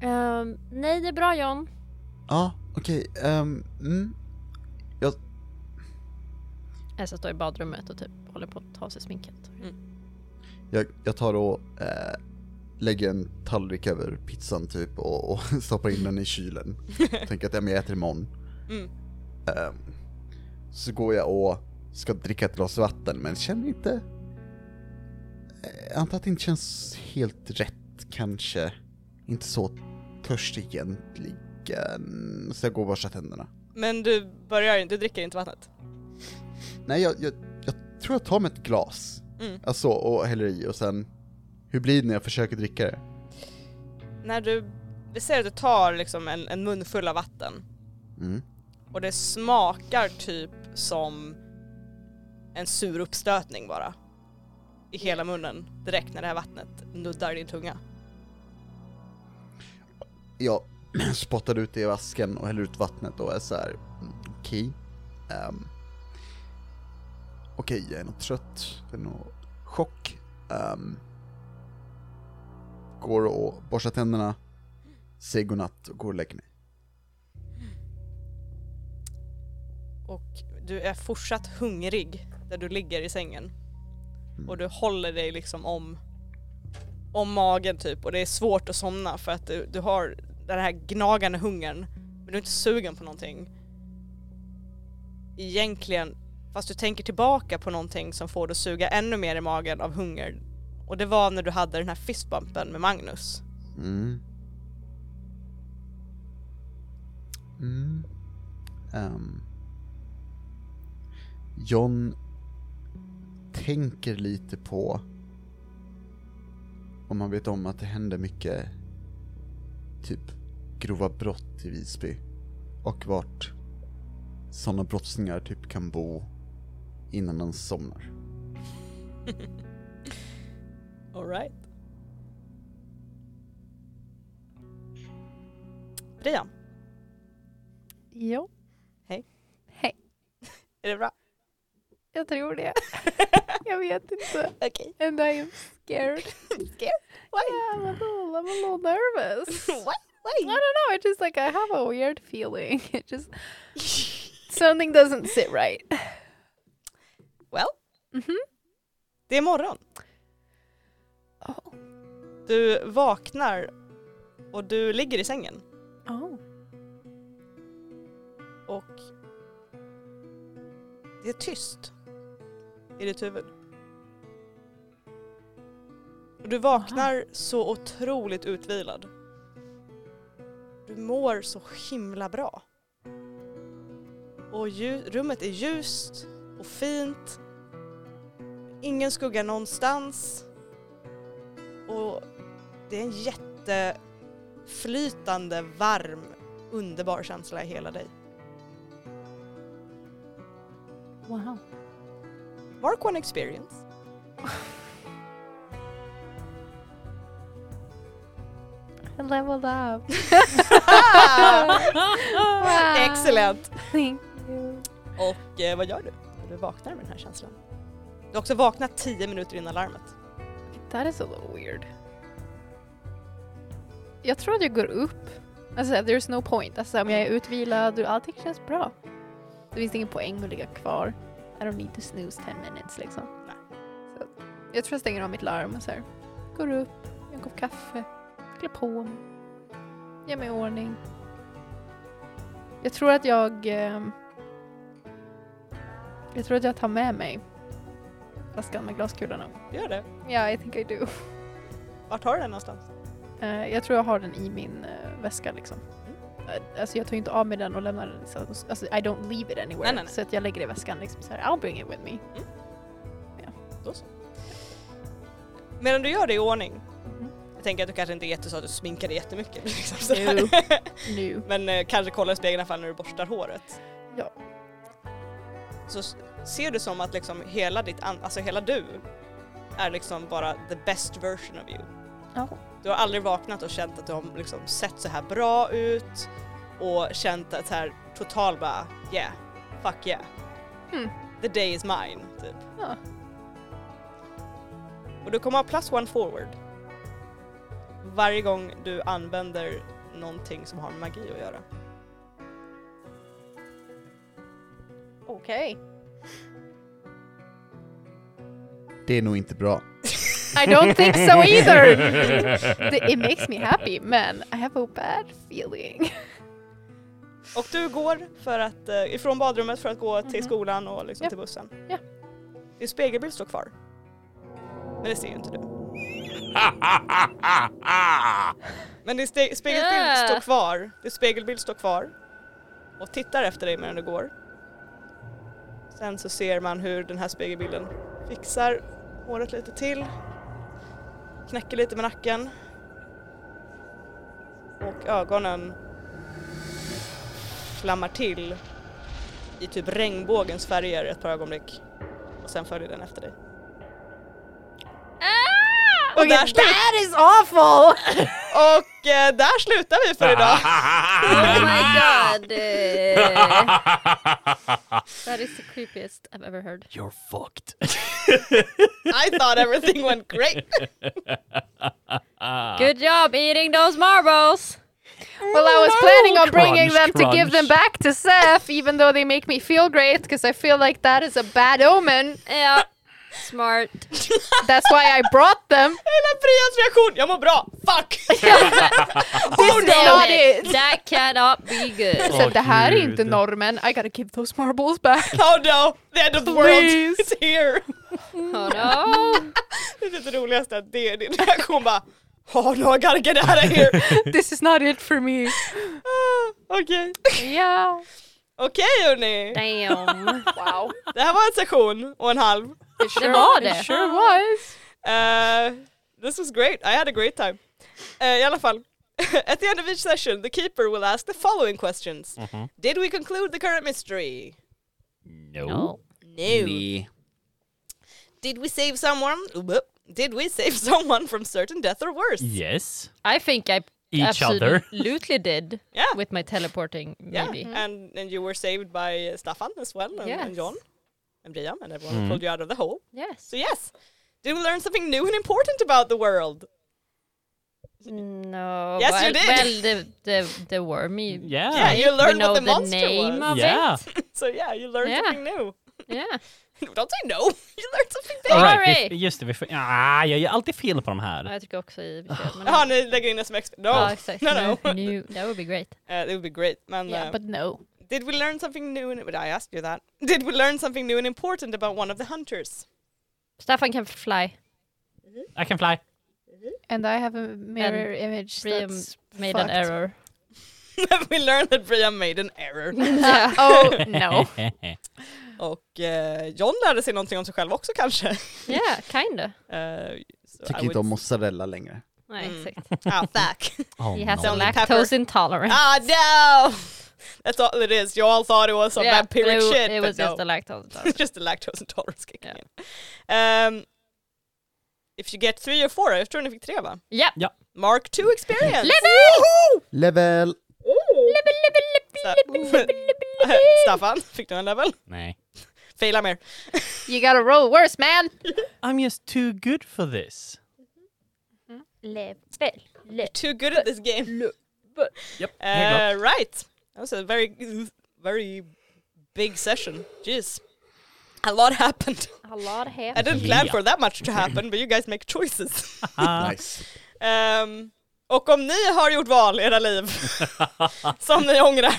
[SPEAKER 6] Ehm, nej, det är bra John.
[SPEAKER 3] Ja, okej. ehm, mm.
[SPEAKER 6] Elsa står i badrummet och typ håller på att ta av sig sminket.
[SPEAKER 3] jag, jag tar och eh, lägger en tallrik över pizzan typ och, och stoppar in den i kylen. Tänker att ja, men jag äter imorgon.
[SPEAKER 2] Mm.
[SPEAKER 3] Ehm, så går jag och ska dricka ett glas vatten men känner inte... Eh, Jag antar att det inte känns helt rätt kanske. Inte så törstig egentligen. Så jag går och borstar tänderna.
[SPEAKER 2] Men du börjar du dricker inte vattnet.
[SPEAKER 3] Nej, jag, jag, jag tror jag tar med ett glas.
[SPEAKER 2] Mm.
[SPEAKER 3] Alltså, och häller i och sen... Hur blir det när jag försöker dricka det?
[SPEAKER 2] När du, vi ser att du tar liksom en, en munfull av vatten
[SPEAKER 3] Mm.
[SPEAKER 2] Och det smakar typ som en sur uppstötning bara. I hela munnen direkt när det här vattnet nuddar din tunga.
[SPEAKER 3] jag spottar ut det i vasken och häller ut vattnet och är så här. mm, okej. Ehm, okej, jag är nog trött, jag är nog chock. Ehm, går och borstar tänderna, säger godnatt och går och lägger mig.
[SPEAKER 2] Och du är fortsatt hungrig där du ligger i sängen.
[SPEAKER 3] Mm.
[SPEAKER 2] Och du håller dig liksom om, om magen typ och det är svårt att somna för att du, du har den här gnagande hungern men du är inte sugen på någonting. Egentligen, fast du tänker tillbaka på någonting som får dig att suga ännu mer i magen av hunger och det var när du hade den här fistbumpen med Magnus.
[SPEAKER 3] Mm. Mm. Ehm. John tänker lite på Och man vet om att det händer mycket typ grova brott i Visby. Och vart sådana brottslingar typ kan bo innan de somnar.
[SPEAKER 2] Alright. Brian,
[SPEAKER 4] Jo.
[SPEAKER 2] Hej.
[SPEAKER 4] Hej.
[SPEAKER 2] är det bra?
[SPEAKER 4] Jag tror det. jag vet inte.
[SPEAKER 2] Okej.
[SPEAKER 4] And I am scared.
[SPEAKER 2] Scared? Why?
[SPEAKER 4] Yeah, I'm a little, I'm a little nervous.
[SPEAKER 2] Why?
[SPEAKER 4] I don't know. It's just like I have a weird feeling. It just something doesn't sit right.
[SPEAKER 2] Well,
[SPEAKER 4] Mhm.
[SPEAKER 2] det är morgon.
[SPEAKER 4] Oh.
[SPEAKER 2] Du vaknar och du ligger i sängen
[SPEAKER 4] Oh.
[SPEAKER 2] och det är tyst i ditt huvud. Och du vaknar så otroligt utvilad. Du mår så himla bra. Och lju- rummet är ljust och fint. Ingen skugga någonstans. Och det är en jätteflytande, varm, underbar känsla i hela dig.
[SPEAKER 4] Wow.
[SPEAKER 2] Mark one experience.
[SPEAKER 4] I leveled up. Wow.
[SPEAKER 2] Excellent!
[SPEAKER 4] Thank you.
[SPEAKER 2] Och eh, vad gör du när du vaknar med den här känslan? Du har också vaknat 10 minuter innan larmet.
[SPEAKER 4] That is a little weird. Jag tror att jag går upp. Alltså there's no point. Alltså om jag är utvilad och allting känns bra. Det finns ingen poäng med att ligga kvar. I don't need to snooze 10 minutes liksom.
[SPEAKER 2] Nej.
[SPEAKER 4] Så, jag tror jag stänger av mitt larm och så här. Går upp, gör en kopp kaffe, klär på mig. Gör mig i ordning. Jag tror att jag... ehm, jag tror att jag tar med mig flaskan med glaskulorna.
[SPEAKER 2] Du gör det.
[SPEAKER 4] Ja, yeah, I think I do.
[SPEAKER 2] Vart har du den någonstans?
[SPEAKER 4] Eh, jag tror jag har den i min eh, väska liksom. Eh, alltså jag tar ju inte av mig den och lämnar den. Så, alltså, I don't leave it anywhere.
[SPEAKER 2] Nej, nej, nej.
[SPEAKER 4] Så att jag lägger det i väskan liksom så här, I'll bring it with me.
[SPEAKER 2] Medan du gör det i ordning.
[SPEAKER 4] Mhm.
[SPEAKER 2] Jag tänker att du kanske inte är jätteså att du sminkar dig jättemycket. Liksom så här.
[SPEAKER 4] Jo. Nu.
[SPEAKER 2] Men eh, kanske kolla i spegeln i alla fall när du borstar håret.
[SPEAKER 4] Ja.
[SPEAKER 2] Så s- ser du som att liksom hela ditt, an- alltså hela du är liksom bara the best version of you.
[SPEAKER 4] Ja.
[SPEAKER 2] Du har aldrig vaknat och känt att du har liksom sett så här bra ut och känt att så här total bara yeah, fuck yeah.
[SPEAKER 4] Mm.
[SPEAKER 2] The day is mine, typ.
[SPEAKER 4] Ja.
[SPEAKER 2] Och du kommer ha plus one forward varje gång du använder någonting som har med magi att göra.
[SPEAKER 6] Okej.
[SPEAKER 3] Det är nog inte bra.
[SPEAKER 4] I don't think so either! The- it makes me happy men I have a bad feeling.
[SPEAKER 2] Och du går för att, eh, ifrån badrummet för att gå till
[SPEAKER 4] Mhm.
[SPEAKER 2] skolan och liksom
[SPEAKER 4] Ja.
[SPEAKER 2] till bussen.
[SPEAKER 4] Ja.
[SPEAKER 2] Din spegelbild står kvar. Men det ser ju inte du. Men din ste- spegelbild
[SPEAKER 6] Ja.
[SPEAKER 2] står kvar. Din spegelbild står kvar. Och tittar efter dig medan du går. Sen så ser man hur den här spegelbilden fixar håret lite till. Knäcker lite med nacken. Och ögonen flammar till i typ regnbågens färger ett par ögonblick. Och sen följer den efter dig. Och
[SPEAKER 4] Okay,
[SPEAKER 2] där, slu-
[SPEAKER 4] that is awful!
[SPEAKER 2] och eh, där slutar vi för idag.
[SPEAKER 6] Oh my god! eh, That is the creepiest I've ever heard.
[SPEAKER 5] You're fucked.
[SPEAKER 2] I thought everything went great.
[SPEAKER 6] Good job eating those marbles!
[SPEAKER 4] Well I was planning on
[SPEAKER 5] Crunch,
[SPEAKER 4] bringing them to give them
[SPEAKER 5] crunch.
[SPEAKER 4] back to Seth even though they make me feel great because I feel like that is a bad omen.
[SPEAKER 6] Ja, smart.
[SPEAKER 4] That's why I brought them.
[SPEAKER 2] Hela Frians reaktion, jag mår bra, fuck!
[SPEAKER 4] This is not
[SPEAKER 6] Damn
[SPEAKER 4] it!
[SPEAKER 6] it. That cannot be good.
[SPEAKER 4] Så
[SPEAKER 5] Åh,
[SPEAKER 4] det här är
[SPEAKER 5] gud.
[SPEAKER 4] inte normen. I gotta give those marbles back.
[SPEAKER 2] Oh no, the end of the world is here.
[SPEAKER 6] Oh no.
[SPEAKER 2] Det är det roligaste, att det är din reaktion bara Oh no, I gotta get out of here.
[SPEAKER 4] This is not it for me.
[SPEAKER 2] Ah, Okej,
[SPEAKER 4] Yeah.
[SPEAKER 2] okej hörni.
[SPEAKER 6] Damn.
[SPEAKER 4] Wow.
[SPEAKER 2] Det här var en session och en halv.
[SPEAKER 6] Det var det.
[SPEAKER 4] Sure was.
[SPEAKER 2] Eh, This was great. I had a great time. Eh, I alla fall. At the end of each session, the keeper will ask the following questions. Did we conclude the current mystery?
[SPEAKER 5] No.
[SPEAKER 2] No. Did we save someone? Whoop. Did we save someone from certain death or worse?
[SPEAKER 5] Yes.
[SPEAKER 6] I think I
[SPEAKER 5] Each other.
[SPEAKER 6] absolutely did
[SPEAKER 2] Yeah.
[SPEAKER 6] with my teleporting
[SPEAKER 2] Yeah,
[SPEAKER 6] maybe.
[SPEAKER 2] and and you were saved by uh, Staffan as well, and, and
[SPEAKER 6] Yes.
[SPEAKER 2] John, and Brian, and everyone who pulled you out of the hole.
[SPEAKER 6] Yes.
[SPEAKER 2] So yes, did we learn something new and important about the world?
[SPEAKER 6] No.
[SPEAKER 2] Yes,
[SPEAKER 6] well,
[SPEAKER 2] you did.
[SPEAKER 6] Well, the, the, the wormy.
[SPEAKER 5] Yeah.
[SPEAKER 2] Yeah, you
[SPEAKER 6] We
[SPEAKER 2] learned
[SPEAKER 6] know
[SPEAKER 2] what the,
[SPEAKER 6] the
[SPEAKER 2] monster
[SPEAKER 6] name
[SPEAKER 2] was.
[SPEAKER 6] of-
[SPEAKER 5] Yeah.
[SPEAKER 2] So yeah, you learned
[SPEAKER 6] Yeah.
[SPEAKER 2] something new.
[SPEAKER 6] Yeah.
[SPEAKER 2] Don't say no. You learned something big.
[SPEAKER 5] All
[SPEAKER 6] Sorry.
[SPEAKER 5] right, vi, just det, vi får, ah, jag gör alltid fel på de här.
[SPEAKER 6] Ja, Jag tycker också i och för sig att man-
[SPEAKER 2] Jaha, ni lägger eh, in det som extra. Ah, No,
[SPEAKER 6] Ja, exakt.
[SPEAKER 2] no, no.
[SPEAKER 6] Nu, nu, that would be great.
[SPEAKER 2] Uh, it would be great. Man,
[SPEAKER 4] Yeah,
[SPEAKER 2] uh,
[SPEAKER 4] but no.
[SPEAKER 2] did we learn something new? And, but I asked you that. Did we learn something new and important about one of the hunters?
[SPEAKER 6] Staffan kan fly.
[SPEAKER 5] I can fly.
[SPEAKER 4] And I have a mirror image
[SPEAKER 6] Brian
[SPEAKER 4] that's
[SPEAKER 6] made an
[SPEAKER 4] fucked.
[SPEAKER 6] error.
[SPEAKER 2] we learned that Bria made an error.
[SPEAKER 6] oh no.
[SPEAKER 2] Och eh, John lärde sig någonting om sig själv också kanske.
[SPEAKER 6] Yeah, kinda.
[SPEAKER 2] Eh, so
[SPEAKER 3] Tycker
[SPEAKER 2] I
[SPEAKER 3] inte
[SPEAKER 2] would-
[SPEAKER 3] om mozzarella längre.
[SPEAKER 6] Nej,
[SPEAKER 2] Mm.
[SPEAKER 6] exakt.
[SPEAKER 2] Ah, fuck.
[SPEAKER 5] Oh,
[SPEAKER 6] He has
[SPEAKER 5] no.
[SPEAKER 6] a
[SPEAKER 2] Only
[SPEAKER 6] lactose intolerance.
[SPEAKER 2] ah, no! That's all it is. You all thought it was some vampiric
[SPEAKER 6] it,
[SPEAKER 2] shit,
[SPEAKER 6] It
[SPEAKER 2] but
[SPEAKER 6] was
[SPEAKER 2] no.
[SPEAKER 6] just a lactose
[SPEAKER 2] It's
[SPEAKER 6] intolerance.
[SPEAKER 2] just the lactose intolerance kicking
[SPEAKER 6] Yeah.
[SPEAKER 2] in. Um, if you get three or four, jag tror ni fick tre va?
[SPEAKER 6] Ja.
[SPEAKER 5] Ja.
[SPEAKER 2] Mark two experience!
[SPEAKER 3] Level!
[SPEAKER 2] Sta- Staffan, fick du en level?
[SPEAKER 5] Nej.
[SPEAKER 2] Faila mer.
[SPEAKER 4] You gotta roll worse man!
[SPEAKER 5] I'm just too good for this.
[SPEAKER 2] Too good at this game.
[SPEAKER 5] Yep.
[SPEAKER 2] Uh, right. That was a very, very big session. Jeez. A lot happened.
[SPEAKER 6] A lot
[SPEAKER 2] I
[SPEAKER 6] hair.
[SPEAKER 2] didn't plan for that much to happen, but you guys make choices. Ah.
[SPEAKER 3] Nice.
[SPEAKER 2] Ehm, och om ni har gjort val i era liv som ni ångrar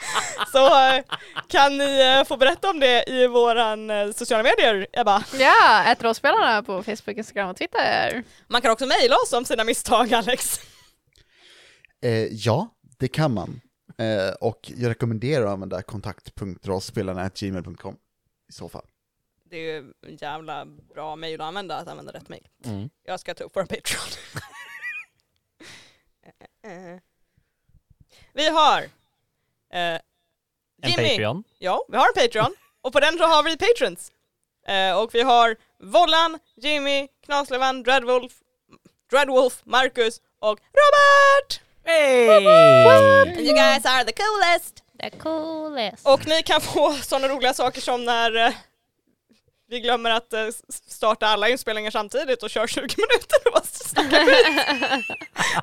[SPEAKER 2] så eh, kan ni eh, få berätta om det i våran eh, sociala medier, Ebba.
[SPEAKER 4] Ja, ät rollspelarna på Facebook, Instagram och Twitter.
[SPEAKER 2] Man kan också mejla oss om sina misstag, Alex.
[SPEAKER 3] Eh, ja, det kan man. Eh, och jag rekommenderar att använda kontakt.rollspelarna.gmail.com i så fall.
[SPEAKER 2] Det är ju en jävla bra mejl att använda, att använda rätt mejl.
[SPEAKER 5] Mm.
[SPEAKER 2] Jag ska ta upp vår Patreon. Eh, eh. Vi har eh,
[SPEAKER 5] En Patreon.
[SPEAKER 2] Ja, vi har en Patreon. Och på den så har vi patrons. Eh, och vi har Vollan, Jimmy, Knaslövan, Dreadwolf, Dreadwolf, Marcus och Robert!
[SPEAKER 5] Hey!
[SPEAKER 2] And you guys are the coolest!
[SPEAKER 6] The coolest.
[SPEAKER 2] Och ni kan få sådana roliga saker som när eh, vi glömmer att eh, s- starta alla inspelningar samtidigt och kör 20 minuter och bara snackar skit.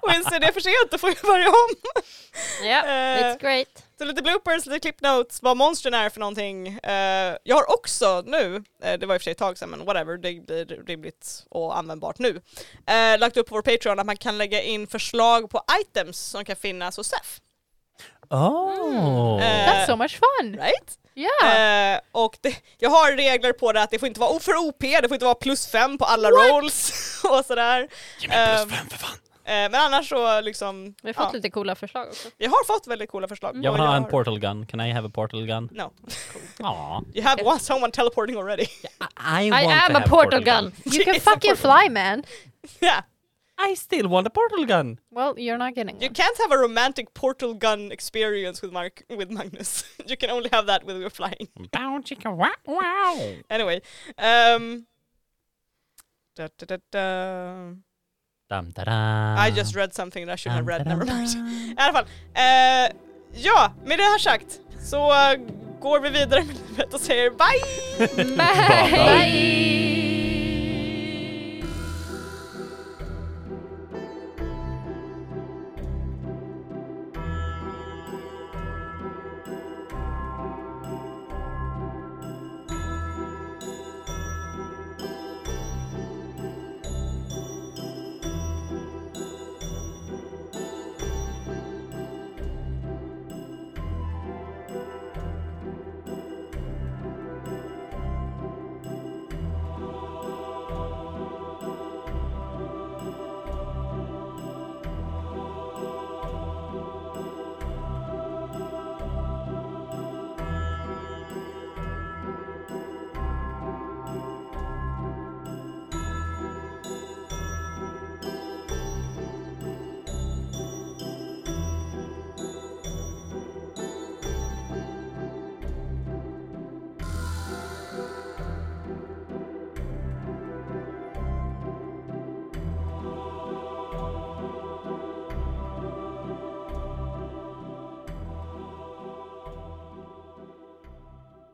[SPEAKER 2] Och inser det är för sent, då får vi börja om.
[SPEAKER 6] Ja,
[SPEAKER 2] Eh.
[SPEAKER 6] it's great.
[SPEAKER 2] Så lite bloopers, lite clip notes, vad monstren är för någonting. Eh, jag har också nu, eh, det var i och för sig ett tag sedan men whatever, det blir rimligt och användbart nu, eh, lagt upp på vår Patreon att man kan lägga in förslag på items som kan finnas hos SEF.
[SPEAKER 5] Oh!
[SPEAKER 2] Eh,
[SPEAKER 4] That's so much fun!
[SPEAKER 2] Right?
[SPEAKER 4] Yeah!
[SPEAKER 2] Eh, och det, jag har regler på det att det får inte vara för OP, det får inte vara plus fem på alla rolls och sådär.
[SPEAKER 5] Ge mig
[SPEAKER 2] ehm,
[SPEAKER 5] plus fem för fan!
[SPEAKER 2] Eh, men annars så liksom,
[SPEAKER 6] Vi har fått
[SPEAKER 2] ja,
[SPEAKER 6] lite Mm. coola förslag också.
[SPEAKER 2] vi har fått väldigt coola förslag.
[SPEAKER 5] Jag
[SPEAKER 2] Och
[SPEAKER 5] vill ha en
[SPEAKER 2] har-
[SPEAKER 5] portal gun. Can I have a portal gun?
[SPEAKER 2] No,
[SPEAKER 5] Aw.
[SPEAKER 2] you have one, someone teleporting already.
[SPEAKER 5] I,
[SPEAKER 6] I am a portal gun.
[SPEAKER 4] You can
[SPEAKER 2] It's a
[SPEAKER 4] fucking fly man!
[SPEAKER 2] yeah.
[SPEAKER 5] I still want a portal gun.
[SPEAKER 4] Well, you're not getting
[SPEAKER 2] You
[SPEAKER 4] one.
[SPEAKER 2] can't have a romantic portal gun experience with Mark with Magnus. you can only have that when you're flying.
[SPEAKER 5] Bow chicka wow wow.
[SPEAKER 2] Anyway, um, da, da, da, da.
[SPEAKER 5] Dum, da,
[SPEAKER 2] I
[SPEAKER 5] Ah.
[SPEAKER 2] just read something that I shouldn't have read. Never mind. I alla fall, eh, ja, med det här sagt så eh, går vi vidare med livet och säger bye.
[SPEAKER 6] Bye!